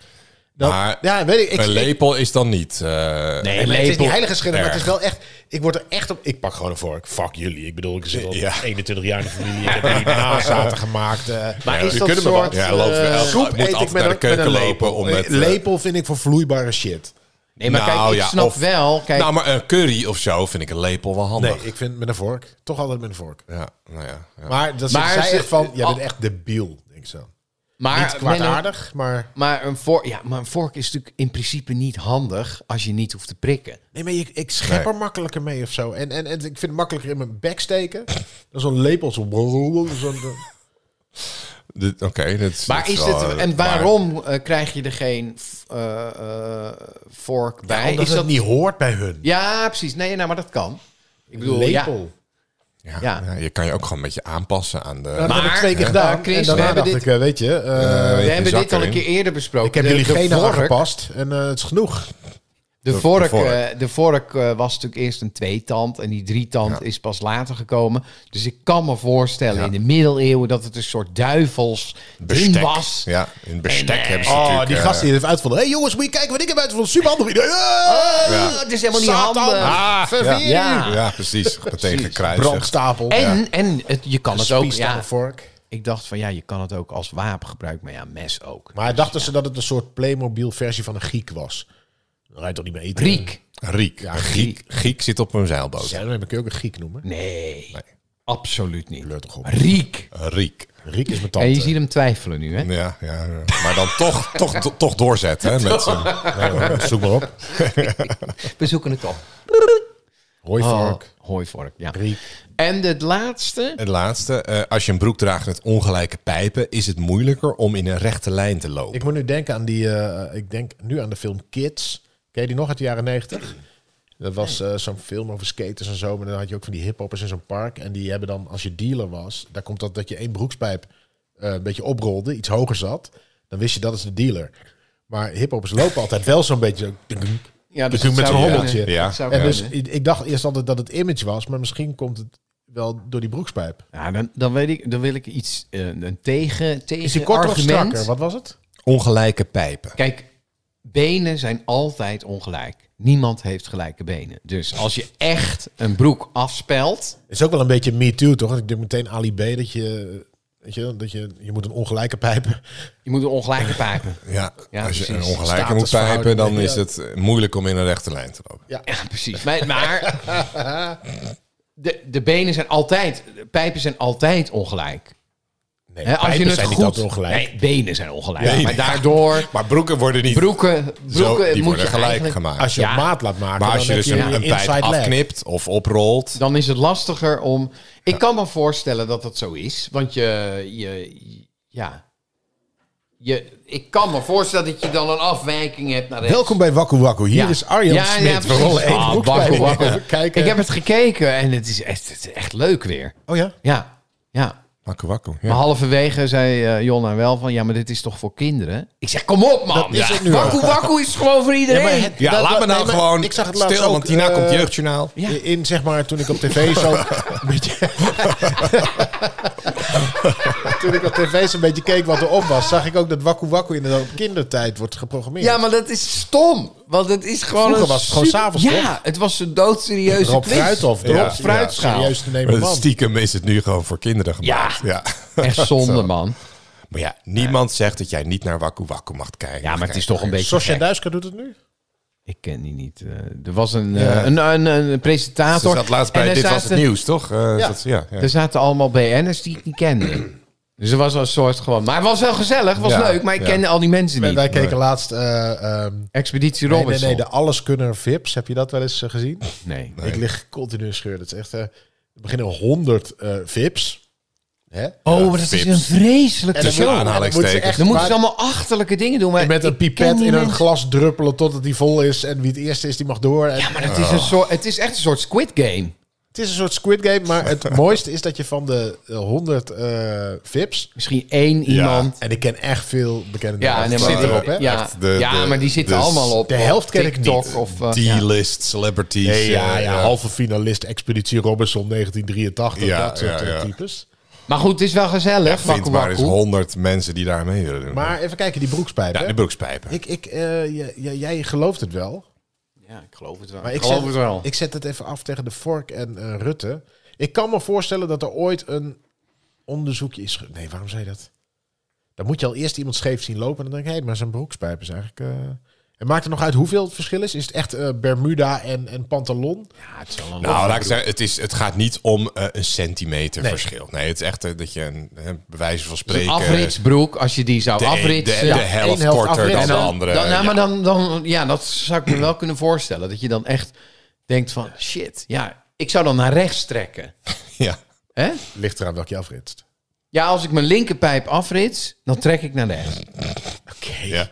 [SPEAKER 1] Dat,
[SPEAKER 3] Maar
[SPEAKER 1] ja, weet ik. ik
[SPEAKER 3] een
[SPEAKER 1] ik-
[SPEAKER 3] lepel is dan niet... eh,
[SPEAKER 2] Nee,
[SPEAKER 1] En het is
[SPEAKER 2] lepel.
[SPEAKER 1] niet heilige schennis, maar het is
[SPEAKER 3] Erg. Ah.
[SPEAKER 1] wel echt... Ik word er echt op... Ik pak gewoon een vork. Fuck jullie. Ik bedoel, ik zit al
[SPEAKER 3] Ja.
[SPEAKER 1] 21 jaar in de familie. Ik heb jullie nazaten gemaakt. eh.
[SPEAKER 2] Maar
[SPEAKER 3] Ja,
[SPEAKER 2] is
[SPEAKER 3] je
[SPEAKER 2] dat
[SPEAKER 3] kunt hem
[SPEAKER 2] soort,
[SPEAKER 3] wel- Ja, loopt
[SPEAKER 2] eh,
[SPEAKER 3] wel.
[SPEAKER 1] soep
[SPEAKER 3] moet
[SPEAKER 1] eet
[SPEAKER 3] altijd
[SPEAKER 1] ik met
[SPEAKER 3] naar de
[SPEAKER 1] een, met
[SPEAKER 3] keuken
[SPEAKER 1] een
[SPEAKER 3] lopen
[SPEAKER 1] lepel.
[SPEAKER 3] om het, eh,
[SPEAKER 1] lepel vind ik voor vloeibare shit.
[SPEAKER 2] Nee, maar
[SPEAKER 3] Nou,
[SPEAKER 2] kijk, ik
[SPEAKER 3] ja,
[SPEAKER 2] snap
[SPEAKER 3] of-
[SPEAKER 2] wel... Kijk,
[SPEAKER 3] Nou, maar een curry of zo vind ik een lepel wel handig.
[SPEAKER 1] Nee, ik vind met een vork. Toch altijd met een vork.
[SPEAKER 3] Ja, nou ja. ja.
[SPEAKER 1] Maar dat
[SPEAKER 2] Maar
[SPEAKER 1] maar zij
[SPEAKER 2] ze-
[SPEAKER 1] echt van, jij
[SPEAKER 2] al-
[SPEAKER 1] bent echt debiel, denk ik zo.
[SPEAKER 2] maar,
[SPEAKER 1] Niet kwaadaardig, maar...
[SPEAKER 2] nee, Maar een, vork, ja, maar een vork is natuurlijk in principe niet handig als je niet hoeft te prikken.
[SPEAKER 1] Nee, maar ik, ik schep
[SPEAKER 3] Nee.
[SPEAKER 1] er makkelijker mee of zo. En, en, en ik vind het makkelijker in mijn bek steken. Dan zo'n lepel. Zo zo'n,
[SPEAKER 3] Dit- Oké, dit
[SPEAKER 2] Maar
[SPEAKER 3] dit
[SPEAKER 2] is
[SPEAKER 3] wel,
[SPEAKER 2] het,
[SPEAKER 3] eh,
[SPEAKER 2] en
[SPEAKER 3] waar.
[SPEAKER 2] waarom eh, krijg je er geen f- eh, eh, vork bij?
[SPEAKER 1] omdat
[SPEAKER 2] is
[SPEAKER 1] het niet hoort bij hun.
[SPEAKER 2] Ja, precies. Nee, nou, maar dat kan. Ik bedoel, ja.
[SPEAKER 1] lepel.
[SPEAKER 3] Ja,
[SPEAKER 2] Ja.
[SPEAKER 3] ja, je kan je ook gewoon een beetje aanpassen aan de...
[SPEAKER 1] Nou, dat
[SPEAKER 2] Maar-
[SPEAKER 1] heb ik twee keer
[SPEAKER 2] Ja.
[SPEAKER 1] gedaan.
[SPEAKER 2] Maar Chris,
[SPEAKER 1] en
[SPEAKER 2] we
[SPEAKER 1] daarna
[SPEAKER 2] hebben
[SPEAKER 1] dacht
[SPEAKER 2] dit-
[SPEAKER 1] ik, eh, weet je... eh,
[SPEAKER 3] Eh,
[SPEAKER 2] We hebben
[SPEAKER 3] zak
[SPEAKER 2] dit al een
[SPEAKER 3] erin.
[SPEAKER 2] keer eerder besproken.
[SPEAKER 1] ik heb
[SPEAKER 2] De-
[SPEAKER 1] jullie
[SPEAKER 2] de
[SPEAKER 1] geen
[SPEAKER 2] vork-
[SPEAKER 1] aangepast. En eh, het is genoeg.
[SPEAKER 2] De
[SPEAKER 3] De-
[SPEAKER 2] vork,
[SPEAKER 3] de vork.
[SPEAKER 2] eh, de vork eh, was natuurlijk eerst een tweetand en die drietand is pas later gekomen. Dus ik kan me voorstellen in de middeleeuwen dat het een soort duivels ding
[SPEAKER 3] Bestek.
[SPEAKER 2] was.
[SPEAKER 3] Ja, in bestek
[SPEAKER 2] En, eh,
[SPEAKER 3] hebben ze
[SPEAKER 1] Oh,
[SPEAKER 3] natuurlijk...
[SPEAKER 1] die
[SPEAKER 3] eh,
[SPEAKER 1] gasten die het heeft uitgevonden. Hé hey, jongens, moet je kijken wat ik heb uitgevonden. Superhandig idee. Ah,
[SPEAKER 3] Ja.
[SPEAKER 2] Het is helemaal niet
[SPEAKER 1] Satan.
[SPEAKER 2] handig.
[SPEAKER 1] Ah,
[SPEAKER 3] ja.
[SPEAKER 1] ververing.
[SPEAKER 2] Ja.
[SPEAKER 3] Ja, precies. Meteen gekruisigd.
[SPEAKER 1] Brandstapel.
[SPEAKER 2] En, en het, je kan het ook.
[SPEAKER 1] Spies dan
[SPEAKER 2] Ja,
[SPEAKER 1] een vork.
[SPEAKER 2] ik dacht van ja, je kan het ook als wapen gebruiken, maar ja, mes ook.
[SPEAKER 1] Maar dachten ze dat het een soort Playmobil versie van een Griek was? Dan ga je toch niet meer eten?
[SPEAKER 2] Riek.
[SPEAKER 3] Riek.
[SPEAKER 1] Ja,
[SPEAKER 3] Griek. Griek zit op een zeilboot.
[SPEAKER 1] Ja, dan heb ik je ook een Griek noemen.
[SPEAKER 2] Nee, absoluut niet.
[SPEAKER 1] Kleur toch op.
[SPEAKER 2] Riek.
[SPEAKER 3] Eh, Riek.
[SPEAKER 1] Griek is mijn
[SPEAKER 2] En je
[SPEAKER 1] tante.
[SPEAKER 2] ziet hem twijfelen nu, hè?
[SPEAKER 3] Ja, ja, ja. maar dan toch, toch, to- toch doorzetten. Hè, met z'n-
[SPEAKER 1] Nee, hoor, zoek maar op.
[SPEAKER 2] We zoeken het op.
[SPEAKER 1] Hoi
[SPEAKER 2] Oh,
[SPEAKER 1] vork.
[SPEAKER 2] hooivork, ja.
[SPEAKER 1] Griek.
[SPEAKER 2] En het laatste.
[SPEAKER 3] het laatste. eh, als je een broek draagt met ongelijke pijpen, is het moeilijker om in een rechte lijn te lopen.
[SPEAKER 1] Ik moet nu denken aan die... eh, ik denk nu aan de film Kids. Ken je die nog uit de jaren negentig? Dat was eh, zo'n film over skaters en zo. Maar dan had je ook van die hiphoppers in zo'n park. En die hebben dan, als je dealer was... Daar komt dat dat je één broekspijp eh, een beetje oprolde. Iets hoger zat. Dan wist je dat is de dealer. Maar hiphoppers lopen altijd wel zo'n beetje zo.
[SPEAKER 2] Ja,
[SPEAKER 1] Dus toen
[SPEAKER 2] dat
[SPEAKER 1] met
[SPEAKER 2] zou
[SPEAKER 1] zo'n
[SPEAKER 2] kunnen.
[SPEAKER 1] hommeltje.
[SPEAKER 3] Ja.
[SPEAKER 2] Dat zou
[SPEAKER 1] En dus
[SPEAKER 2] kunnen.
[SPEAKER 1] ik ik dacht eerst altijd dat het image was, maar misschien komt het wel door die broekspijp.
[SPEAKER 2] Ja, dan, dan, weet ik, dan wil ik iets, eh, een tegen, tegen
[SPEAKER 1] Is die korter of
[SPEAKER 2] argument.
[SPEAKER 1] strakker? Wat was het?
[SPEAKER 3] Ongelijke pijpen.
[SPEAKER 2] Kijk, benen zijn altijd ongelijk. Niemand heeft gelijke benen. Dus als je echt een broek afspelt...
[SPEAKER 1] Is ook wel een beetje me too, toch? Ik denk meteen Ali B dat je, weet je, dat je, je moet een ongelijke pijpen.
[SPEAKER 2] Je moet een ongelijke pijpen.
[SPEAKER 3] Ja,
[SPEAKER 2] Ja,
[SPEAKER 3] als je
[SPEAKER 2] precies.
[SPEAKER 3] een ongelijke moet
[SPEAKER 1] Statusverhouding,
[SPEAKER 3] pijpen, dan
[SPEAKER 1] ja.
[SPEAKER 3] is het eh, moeilijk om in een rechte lijn te lopen.
[SPEAKER 2] Ja, precies. Maar, maar de, de benen zijn altijd... De pijpen zijn altijd ongelijk.
[SPEAKER 1] Nee,
[SPEAKER 2] Hè, als je
[SPEAKER 1] pijpen
[SPEAKER 2] het
[SPEAKER 1] zijn
[SPEAKER 2] goed,
[SPEAKER 1] niet altijd ongelijk.
[SPEAKER 2] Nee, benen zijn ongelijk.
[SPEAKER 3] Benen,
[SPEAKER 2] maar
[SPEAKER 3] ja.
[SPEAKER 2] daardoor...
[SPEAKER 3] Maar broeken worden niet
[SPEAKER 2] Broeken,
[SPEAKER 3] zo,
[SPEAKER 2] broeken
[SPEAKER 3] die
[SPEAKER 2] moet
[SPEAKER 3] worden
[SPEAKER 2] je
[SPEAKER 3] gelijk
[SPEAKER 2] eigenlijk-
[SPEAKER 3] gemaakt.
[SPEAKER 1] Als je
[SPEAKER 2] Ja.
[SPEAKER 1] op maat laat maken,
[SPEAKER 3] maar als
[SPEAKER 1] dan
[SPEAKER 3] je
[SPEAKER 1] heb
[SPEAKER 3] dus een,
[SPEAKER 1] je
[SPEAKER 3] een pijp
[SPEAKER 1] inside leg.
[SPEAKER 3] afknipt of oprolt,
[SPEAKER 2] dan is het lastiger om. Ik kan me voorstellen dat dat zo is. Want je. je ja. Je, ik kan me voorstellen dat je dan een afwijking hebt naar rechts.
[SPEAKER 1] Welkom bij Wakku Wakku. Hier
[SPEAKER 2] Ja.
[SPEAKER 1] is Arjan
[SPEAKER 2] Ja,
[SPEAKER 1] Smit.
[SPEAKER 2] ja,
[SPEAKER 1] we
[SPEAKER 2] precies.
[SPEAKER 1] rollen één
[SPEAKER 2] Ah,
[SPEAKER 1] broekspijp.
[SPEAKER 2] wakku, wakku.
[SPEAKER 1] Even kijken.
[SPEAKER 2] Ik heb het gekeken en het is echt, het is echt leuk weer.
[SPEAKER 1] Oh ja?
[SPEAKER 2] Ja, ja.
[SPEAKER 3] wakku wakku.
[SPEAKER 2] Maar halverwege zei eh Jonna wel van... Ja, maar dit is toch voor kinderen? Ik zeg, kom op man!
[SPEAKER 1] is
[SPEAKER 2] Ja.
[SPEAKER 1] het nu
[SPEAKER 2] wakku
[SPEAKER 1] ook.
[SPEAKER 2] wakku is gewoon voor iedereen.
[SPEAKER 1] Ja, maar het-
[SPEAKER 3] Ja,
[SPEAKER 1] Dat-
[SPEAKER 3] laat me
[SPEAKER 1] nee,
[SPEAKER 3] nou
[SPEAKER 1] maar
[SPEAKER 3] gewoon
[SPEAKER 1] ik zag het laatst
[SPEAKER 3] stil,
[SPEAKER 1] ook,
[SPEAKER 3] want hierna
[SPEAKER 1] eh,
[SPEAKER 3] komt Jeugdjournaal.
[SPEAKER 2] Ja.
[SPEAKER 1] In zeg maar toen ik op tv zo een beetje. toen ik op tv zo'n beetje keek wat erop was, zag ik ook dat Wakku Wakku inderdaad op kindertijd wordt geprogrammeerd.
[SPEAKER 2] Ja, maar dat is stom. Want het is gewoon.
[SPEAKER 1] Vroeger
[SPEAKER 2] een
[SPEAKER 1] was het gewoon
[SPEAKER 2] super-
[SPEAKER 1] s'avonds,
[SPEAKER 2] Ja, het was een doodserieuze
[SPEAKER 1] Rob
[SPEAKER 2] quiz.
[SPEAKER 1] Fruithof, de
[SPEAKER 3] Ja.
[SPEAKER 1] Rob Fruitschaal.
[SPEAKER 2] Ja.
[SPEAKER 1] Serieus te nemen
[SPEAKER 3] Maar
[SPEAKER 1] man.
[SPEAKER 3] stiekem is het nu gewoon voor kinderen gemaakt.
[SPEAKER 2] Ja.
[SPEAKER 3] Ja.
[SPEAKER 2] Echt zonde, man.
[SPEAKER 3] Maar ja, niemand zegt dat jij niet naar Wakku Wakku mag kijken.
[SPEAKER 2] Ja, maar het is toch een beetje.
[SPEAKER 1] Sosja
[SPEAKER 2] gek.
[SPEAKER 1] Duisker doet het nu?
[SPEAKER 2] Ik ken die niet. eh, er was een, eh, een, een, een, een presentator.
[SPEAKER 3] Ze zat laatst
[SPEAKER 2] En
[SPEAKER 3] bij
[SPEAKER 2] er
[SPEAKER 3] Dit Was Het
[SPEAKER 2] zaten-
[SPEAKER 3] Nieuws, toch? Eh,
[SPEAKER 1] Ja.
[SPEAKER 3] zat ze- ja, ja.
[SPEAKER 2] Er zaten allemaal BN'ers die ik niet kende. Dus er was wel een soort gewoon. Maar het was wel gezellig, het was
[SPEAKER 3] Ja,
[SPEAKER 2] leuk. Maar ik
[SPEAKER 3] ja.
[SPEAKER 2] kende al die mensen niet.
[SPEAKER 1] Wij keken laatst. eh, ehm,
[SPEAKER 2] Expeditie
[SPEAKER 1] nee, nee,
[SPEAKER 2] Robinson.
[SPEAKER 1] nee, de Alleskunner Vips. Heb je dat wel eens eh, gezien?
[SPEAKER 2] nee.
[SPEAKER 1] Ik lig continu in scheur. Dat is echt. eh, er beginnen 100 eh, Vips. Hè?
[SPEAKER 2] Oh, maar dat is
[SPEAKER 3] Vips.
[SPEAKER 2] een vreselijk
[SPEAKER 3] Tussen
[SPEAKER 2] show.
[SPEAKER 3] aanhalen.
[SPEAKER 1] dan moeten ze
[SPEAKER 3] aanhalingstekens.
[SPEAKER 1] echt
[SPEAKER 2] Dan moeten
[SPEAKER 1] waar-
[SPEAKER 2] ze allemaal achterlijke dingen doen. Maar
[SPEAKER 1] met een
[SPEAKER 2] ik ken
[SPEAKER 1] pipet
[SPEAKER 2] die
[SPEAKER 1] in een
[SPEAKER 2] mensen.
[SPEAKER 1] glas druppelen totdat die vol is. En wie het eerste is, die mag door. En
[SPEAKER 2] Ja, maar het is,
[SPEAKER 3] Oh.
[SPEAKER 2] een soort, het is echt een soort Squid Game.
[SPEAKER 1] Het is een soort Squid Game, maar het mooiste is dat je van de eh, 100 eh, VIPs...
[SPEAKER 2] Misschien één iemand.
[SPEAKER 1] En ik ken echt veel bekende
[SPEAKER 2] Ja,
[SPEAKER 1] mensen.
[SPEAKER 2] nee, maar,
[SPEAKER 1] zit
[SPEAKER 3] zitten
[SPEAKER 1] erop, hè?
[SPEAKER 2] Ja,
[SPEAKER 3] Echt de-
[SPEAKER 2] ja
[SPEAKER 3] de-
[SPEAKER 2] maar die zitten
[SPEAKER 3] de-
[SPEAKER 2] allemaal op.
[SPEAKER 1] de helft
[SPEAKER 2] op
[SPEAKER 1] ken ik
[SPEAKER 2] TikTok
[SPEAKER 1] niet.
[SPEAKER 2] Of, eh, ja.
[SPEAKER 3] D-list celebrities.
[SPEAKER 1] Nee, ja,
[SPEAKER 3] eh,
[SPEAKER 1] Dus, ja, halve finalist Expeditie Robinson 1983,
[SPEAKER 3] Ja,
[SPEAKER 1] dat soort
[SPEAKER 3] ja,
[SPEAKER 1] eh,
[SPEAKER 3] ja.
[SPEAKER 1] types.
[SPEAKER 2] Maar goed, het is wel gezellig. Wakku
[SPEAKER 3] Vindbaar is
[SPEAKER 2] wakku.
[SPEAKER 3] 100 mensen die daar mee willen doen.
[SPEAKER 1] Maar even kijken, die broekspijp,
[SPEAKER 3] ja,
[SPEAKER 1] hè?
[SPEAKER 3] de broekspijpen.
[SPEAKER 1] Ik, ik, eh, j- j- jij gelooft het wel.
[SPEAKER 2] Ja, ik geloof het wel.
[SPEAKER 1] Maar
[SPEAKER 2] ik
[SPEAKER 1] ik,
[SPEAKER 2] geloof
[SPEAKER 1] zet,
[SPEAKER 2] het wel.
[SPEAKER 1] ik zet het even af tegen de Vork en eh, Rutte. Ik kan me voorstellen dat er ooit een onderzoekje is... ge- Nee, waarom zei je dat? Dan moet je al eerst iemand scheef zien lopen. En dan denk ik, hé, maar zijn broekspijp is eigenlijk... eh, En maakt het nog uit hoeveel het verschil is? Is het echt eh, Bermuda en, en pantalon?
[SPEAKER 2] ja, het is wel een
[SPEAKER 3] Nou, laat ik zeggen, het, is, het gaat niet om eh, een centimeter verschil. Nee, het is echt eh, dat je een, eh, bij wijze van
[SPEAKER 2] Een
[SPEAKER 3] spreken...
[SPEAKER 2] afritsbroek, als je die zou
[SPEAKER 3] eh, de, de,
[SPEAKER 2] afritsen.
[SPEAKER 3] de
[SPEAKER 2] ja.
[SPEAKER 3] helft
[SPEAKER 1] één helft
[SPEAKER 3] korter
[SPEAKER 1] afritsen. En
[SPEAKER 3] dan de
[SPEAKER 1] dan-
[SPEAKER 3] andere.
[SPEAKER 2] dan, nou,
[SPEAKER 3] ja.
[SPEAKER 2] maar dan, dan, ja, dat zou ik me wel kunnen voorstellen. Dat je dan echt denkt van, shit, ja, ik zou dan naar rechts trekken.
[SPEAKER 3] Ja.
[SPEAKER 2] Hè?
[SPEAKER 1] Ligt eraan welke je afritst.
[SPEAKER 2] Ja, als ik mijn linkerpijp afrits, dan trek ik naar rechts.
[SPEAKER 1] Oké.
[SPEAKER 3] Ja.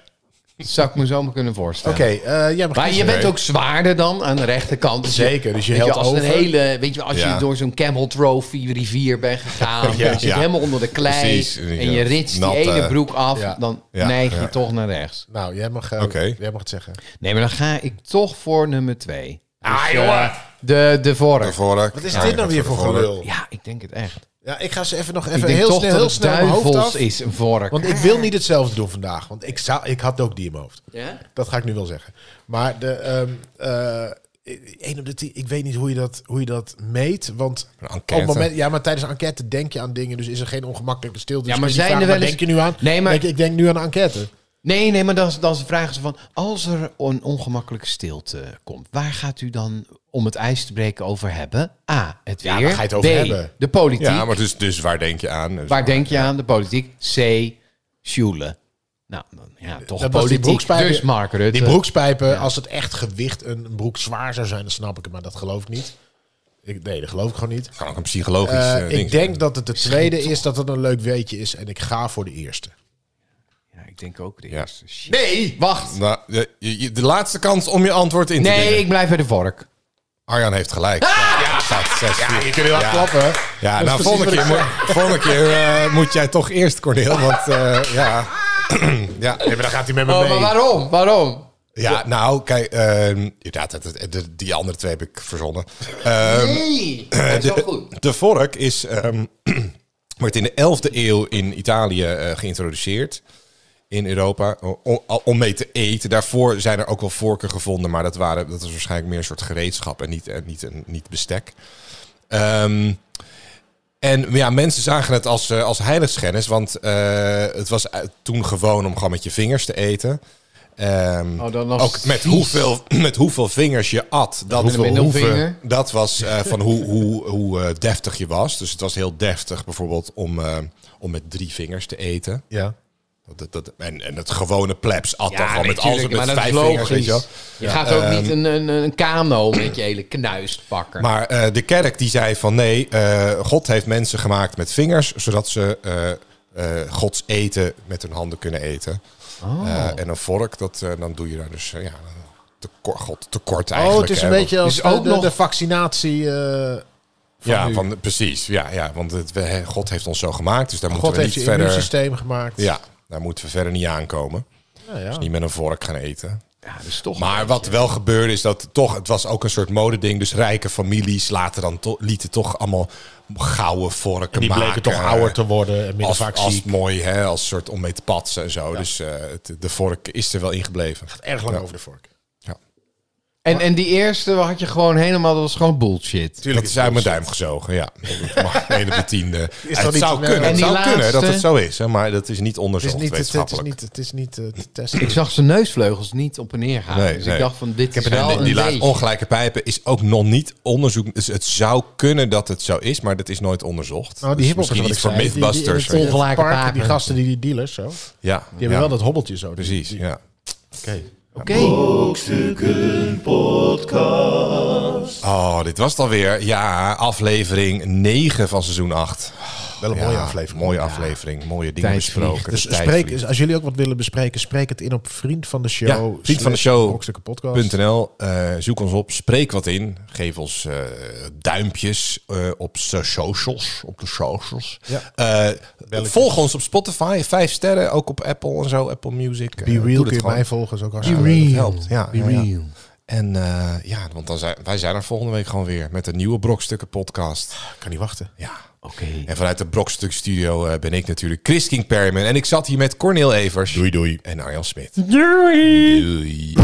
[SPEAKER 2] Dat zou ik me zo maar kunnen voorstellen.
[SPEAKER 1] Oké, eh, jij mag
[SPEAKER 2] Maar je
[SPEAKER 1] kiezen.
[SPEAKER 2] bent ook zwaarder dan aan de rechterkant. Dus je-
[SPEAKER 1] Zeker, dus je
[SPEAKER 2] weet
[SPEAKER 1] helpt
[SPEAKER 2] als Een
[SPEAKER 1] over.
[SPEAKER 2] hele, weet je, wel, als
[SPEAKER 3] Ja.
[SPEAKER 2] je door zo'n Camel Trophy rivier bent gegaan,
[SPEAKER 3] Ja,
[SPEAKER 2] je zit
[SPEAKER 3] ja.
[SPEAKER 2] helemaal onder de klei
[SPEAKER 3] Precies, en
[SPEAKER 2] en
[SPEAKER 3] je
[SPEAKER 2] je ritst
[SPEAKER 3] nat,
[SPEAKER 2] die ene
[SPEAKER 3] eh,
[SPEAKER 2] broek af,
[SPEAKER 1] ja.
[SPEAKER 2] dan
[SPEAKER 3] Ja,
[SPEAKER 2] neig je
[SPEAKER 3] ja.
[SPEAKER 2] toch naar rechts.
[SPEAKER 1] Nou, jij mag, eh,
[SPEAKER 3] Oké.
[SPEAKER 1] jij mag het zeggen.
[SPEAKER 2] Nee, maar dan ga ik toch voor nummer twee. Dus, eh,
[SPEAKER 6] Ah, jongen.
[SPEAKER 2] De, de vork.
[SPEAKER 3] Daarvoor,
[SPEAKER 1] Wat is
[SPEAKER 3] ja,
[SPEAKER 1] dit
[SPEAKER 3] ik
[SPEAKER 1] nou
[SPEAKER 3] had
[SPEAKER 1] weer
[SPEAKER 3] het
[SPEAKER 1] voor
[SPEAKER 3] ervoor.
[SPEAKER 1] gelul? Ja.
[SPEAKER 2] Ja, ik denk het echt.
[SPEAKER 1] ik ga ze even nog
[SPEAKER 2] ik
[SPEAKER 1] even
[SPEAKER 2] denk
[SPEAKER 1] heel
[SPEAKER 2] toch
[SPEAKER 1] snel,
[SPEAKER 2] dat
[SPEAKER 1] heel
[SPEAKER 2] het
[SPEAKER 1] snel mijn hoofd
[SPEAKER 2] duivels
[SPEAKER 1] af.
[SPEAKER 2] is een vork.
[SPEAKER 1] Want ik wil niet hetzelfde doen vandaag. Want ik, zou, ik had ook die in mijn hoofd.
[SPEAKER 2] Ja?
[SPEAKER 1] Dat ga ik nu wel zeggen. Maar de, ehm eh, één op de tien, ik weet niet hoe je dat, hoe je dat meet. Want
[SPEAKER 3] Een
[SPEAKER 1] op
[SPEAKER 3] enquête.
[SPEAKER 1] het moment, ja, maar tijdens een enquête denk je aan dingen. Dus is er geen ongemakkelijke stilte. Dus
[SPEAKER 2] Ja, maar
[SPEAKER 1] kun je niet
[SPEAKER 2] zijn er
[SPEAKER 1] vragen,
[SPEAKER 2] wel
[SPEAKER 1] "Waar
[SPEAKER 2] eens-
[SPEAKER 1] denk je nu aan?
[SPEAKER 2] Nee, maar-
[SPEAKER 1] Denk je, ik denk nu aan een enquête.
[SPEAKER 2] Nee, nee, maar dan, dan vragen ze van... als er een ongemakkelijke stilte komt... waar gaat u dan om het ijs te breken over hebben? A, het weer.
[SPEAKER 1] Ja, waar ga je het over
[SPEAKER 2] B,
[SPEAKER 1] hebben?
[SPEAKER 2] de politiek.
[SPEAKER 3] Ja, maar dus, dus waar denk je aan? Dus
[SPEAKER 2] Waar denk je aan? De politiek. C, Sjoelen. Nou, dan, ja,
[SPEAKER 1] Dat was
[SPEAKER 2] toch
[SPEAKER 1] die
[SPEAKER 2] politiek.
[SPEAKER 1] broekspijpen-
[SPEAKER 2] Dus Mark Rutte.
[SPEAKER 3] eh,
[SPEAKER 1] Die broekspijpen, als het echt gewicht een, een broek zwaar zou zijn, dan snap ik het. Maar dat geloof ik niet. Ik, nee, dat geloof ik gewoon niet.
[SPEAKER 3] Kan ook een psychologisch
[SPEAKER 1] Eh,
[SPEAKER 3] eh, ding
[SPEAKER 1] ik denk
[SPEAKER 3] zijn.
[SPEAKER 1] dat het de tweede is dat het een leuk weetje is. En ik ga voor de eerste.
[SPEAKER 2] Ja, ik denk ook de
[SPEAKER 3] Ja.
[SPEAKER 2] eerste. Nee! Wacht.
[SPEAKER 3] Nou, je- je- je- de laatste kans om je antwoord in te
[SPEAKER 2] Nee,
[SPEAKER 3] dingen.
[SPEAKER 2] ik blijf bij de vork.
[SPEAKER 3] Arjan heeft gelijk. Ja, staat zes, vier.
[SPEAKER 1] Ah! Je kunt heel hard klappen.
[SPEAKER 3] Ja,
[SPEAKER 1] Dat is
[SPEAKER 3] nou,
[SPEAKER 1] precies
[SPEAKER 3] volgende
[SPEAKER 1] wat
[SPEAKER 3] keer,
[SPEAKER 1] ik
[SPEAKER 3] moet, volgende keer eh, moet jij toch eerst, Corneel. Want eh, ja, Ja,
[SPEAKER 1] Nee, maar dan gaat hij met me
[SPEAKER 2] Oh,
[SPEAKER 1] mee.
[SPEAKER 2] maar waarom? Waarom?
[SPEAKER 3] ja nou, kijk, ehm, inderdaad, dat- dat- dat- die andere twee heb ik verzonnen. Ehm,
[SPEAKER 2] Nee, dat is wel goed.
[SPEAKER 3] De vork is, ehm, wordt in de 11e eeuw in Italië eh, geïntroduceerd. In Europa. o- o- Om, mee te eten. Daarvoor zijn er ook wel vorken gevonden. Maar dat, waren, dat was waarschijnlijk meer een soort gereedschap. En niet, en niet, en niet bestek. Ehm, en ja, mensen zagen het als, eh, als heiligschennis. Want eh, het was eh, toen gewoon om gewoon met je vingers te eten. Ehm,
[SPEAKER 2] Oh, dan nog
[SPEAKER 3] ook met
[SPEAKER 2] vies.
[SPEAKER 3] hoeveel, met hoeveel vingers je at. Dat
[SPEAKER 2] Met een
[SPEAKER 3] hoeveel
[SPEAKER 2] middelvinger.
[SPEAKER 3] dat was eh, van hoe, hoe, hoe eh, deftig je was. Dus het was heel deftig bijvoorbeeld om, eh, om met drie vingers te eten.
[SPEAKER 1] Ja.
[SPEAKER 3] Dat, dat, en, en het gewone plebs at dan gewoon
[SPEAKER 2] nee,
[SPEAKER 3] met, alles,
[SPEAKER 2] tuurlijk,
[SPEAKER 3] met
[SPEAKER 2] maar dat is
[SPEAKER 3] vijf vingers. Weet je wel.
[SPEAKER 2] logisch. Je gaat ook niet een, een, een kano met je hele knuist pakken.
[SPEAKER 3] Maar eh, de kerk die zei van nee, eh, God heeft mensen gemaakt met vingers, zodat ze eh, eh, Gods eten met hun handen kunnen eten.
[SPEAKER 2] Oh.
[SPEAKER 3] Eh, en een vork, dat, eh, dan doe je daar dus eh, ja, tekort, God tekort
[SPEAKER 1] Oh,
[SPEAKER 3] eigenlijk.
[SPEAKER 1] het is een
[SPEAKER 3] hè,
[SPEAKER 1] beetje als
[SPEAKER 2] is
[SPEAKER 1] de-
[SPEAKER 2] ook
[SPEAKER 1] de,
[SPEAKER 2] nog-
[SPEAKER 1] de vaccinatie. eh,
[SPEAKER 3] Ja,
[SPEAKER 1] nu.
[SPEAKER 3] van, precies. Ja, ja, want het, we- God heeft ons zo gemaakt, dus daar
[SPEAKER 1] God
[SPEAKER 3] moeten we
[SPEAKER 1] heeft
[SPEAKER 3] niet
[SPEAKER 1] je
[SPEAKER 3] verder...
[SPEAKER 1] immuunsysteem gemaakt.
[SPEAKER 3] Ja, daar moeten we verder niet aankomen.
[SPEAKER 1] Nou ja.
[SPEAKER 3] Dus niet met een vork gaan eten.
[SPEAKER 2] ja, dat is toch
[SPEAKER 3] Maar wat wel gebeurde is dat toch, het was ook een soort modeding. Dus rijke families later dan to- lieten toch allemaal gouden vorken
[SPEAKER 1] En die bleken
[SPEAKER 3] maken.
[SPEAKER 1] toch ouder te worden en minder
[SPEAKER 3] als,
[SPEAKER 1] vaak
[SPEAKER 3] als
[SPEAKER 1] ziek.
[SPEAKER 3] mooi, hè, als soort om mee te patsen en zo. Dus eh, het- de vork is er wel ingebleven.
[SPEAKER 1] Erg lang
[SPEAKER 3] Ja.
[SPEAKER 1] over de vork.
[SPEAKER 2] En, en die eerste had je gewoon helemaal, dat was gewoon bullshit.
[SPEAKER 3] Dat is uit mijn duim gezogen, ja. Dat mag één op de tiende.
[SPEAKER 1] niet
[SPEAKER 3] het
[SPEAKER 1] te
[SPEAKER 3] zou
[SPEAKER 1] merken.
[SPEAKER 2] En
[SPEAKER 3] kunnen, het
[SPEAKER 2] die
[SPEAKER 3] zou kunnen dat
[SPEAKER 2] laatste?
[SPEAKER 3] het zo is, hè, maar dat is niet
[SPEAKER 1] Het is
[SPEAKER 3] onderzocht
[SPEAKER 1] niet, het, het is
[SPEAKER 3] wetenschappelijk.
[SPEAKER 1] niet, het is niet eh, te
[SPEAKER 2] Ik
[SPEAKER 1] testen.
[SPEAKER 2] zag zijn neusvleugels niet op en neer gaan.
[SPEAKER 3] Nee,
[SPEAKER 2] dus
[SPEAKER 3] nee.
[SPEAKER 2] ik dacht van, dit is
[SPEAKER 3] En
[SPEAKER 2] wel
[SPEAKER 3] die-
[SPEAKER 2] een
[SPEAKER 3] die laat-
[SPEAKER 2] beetje.
[SPEAKER 3] ongelijke pijpen is ook nog niet onderzoek. Dus het zou kunnen dat het zo is, maar dat is nooit onderzocht.
[SPEAKER 1] Nou,
[SPEAKER 3] Dus
[SPEAKER 1] die hippels
[SPEAKER 3] misschien
[SPEAKER 1] wat ik
[SPEAKER 3] iets voor
[SPEAKER 1] zei. die- die- in het-
[SPEAKER 3] Mythbusters.
[SPEAKER 1] in het
[SPEAKER 3] weet je.
[SPEAKER 2] Ongelijke
[SPEAKER 1] park,
[SPEAKER 2] papen.
[SPEAKER 1] Die gasten die die dealers zo. Die
[SPEAKER 3] ja,
[SPEAKER 1] hebben
[SPEAKER 3] ja,
[SPEAKER 1] wel dat hobbeltje zo. Dus
[SPEAKER 3] Precies,
[SPEAKER 1] die-
[SPEAKER 3] ja.
[SPEAKER 1] Oké.
[SPEAKER 2] Oké,
[SPEAKER 3] Oh, dit was het alweer. Ja, aflevering 9 van seizoen 8.
[SPEAKER 1] Wel een
[SPEAKER 3] Ja,
[SPEAKER 1] mooie aflevering.
[SPEAKER 3] Mooie aflevering, mooie dingen
[SPEAKER 2] Tijd vliegt.
[SPEAKER 3] besproken.
[SPEAKER 1] Dus
[SPEAKER 3] De tijd
[SPEAKER 1] spreek,
[SPEAKER 3] vliegt.
[SPEAKER 1] als jullie ook wat willen bespreken, spreek het in op vriend van de show.
[SPEAKER 3] Ja, vriend van de
[SPEAKER 1] slash
[SPEAKER 3] show.
[SPEAKER 1] Brokstukken podcast.
[SPEAKER 3] .nl, eh, zoek ons op, spreek wat in, geef ons eh, duimpjes eh, op so- socials, op de socials.
[SPEAKER 1] Ja.
[SPEAKER 3] Eh, volg ons op Spotify, vijf sterren, ook op Apple en zo, Apple Music. Eh,
[SPEAKER 1] Be real
[SPEAKER 3] doe dat
[SPEAKER 1] kun je
[SPEAKER 3] gewoon.
[SPEAKER 1] mij volgen. Is ook
[SPEAKER 3] Ja,
[SPEAKER 1] hartstikke
[SPEAKER 3] dat
[SPEAKER 1] leuk.
[SPEAKER 3] helpt. Ja, ja, ja.
[SPEAKER 2] real.
[SPEAKER 3] En eh, ja, want dan zijn, wij zijn er volgende week gewoon weer met een nieuwe Brokstukken podcast.
[SPEAKER 1] Ik kan niet wachten.
[SPEAKER 3] Ja.
[SPEAKER 2] Oké.
[SPEAKER 3] En vanuit de Brokstuk Studio eh, ben ik natuurlijk Chris King Perryman. En ik zat hier met Cornel Evers. Doei doei. En Arjan Smit. Doei.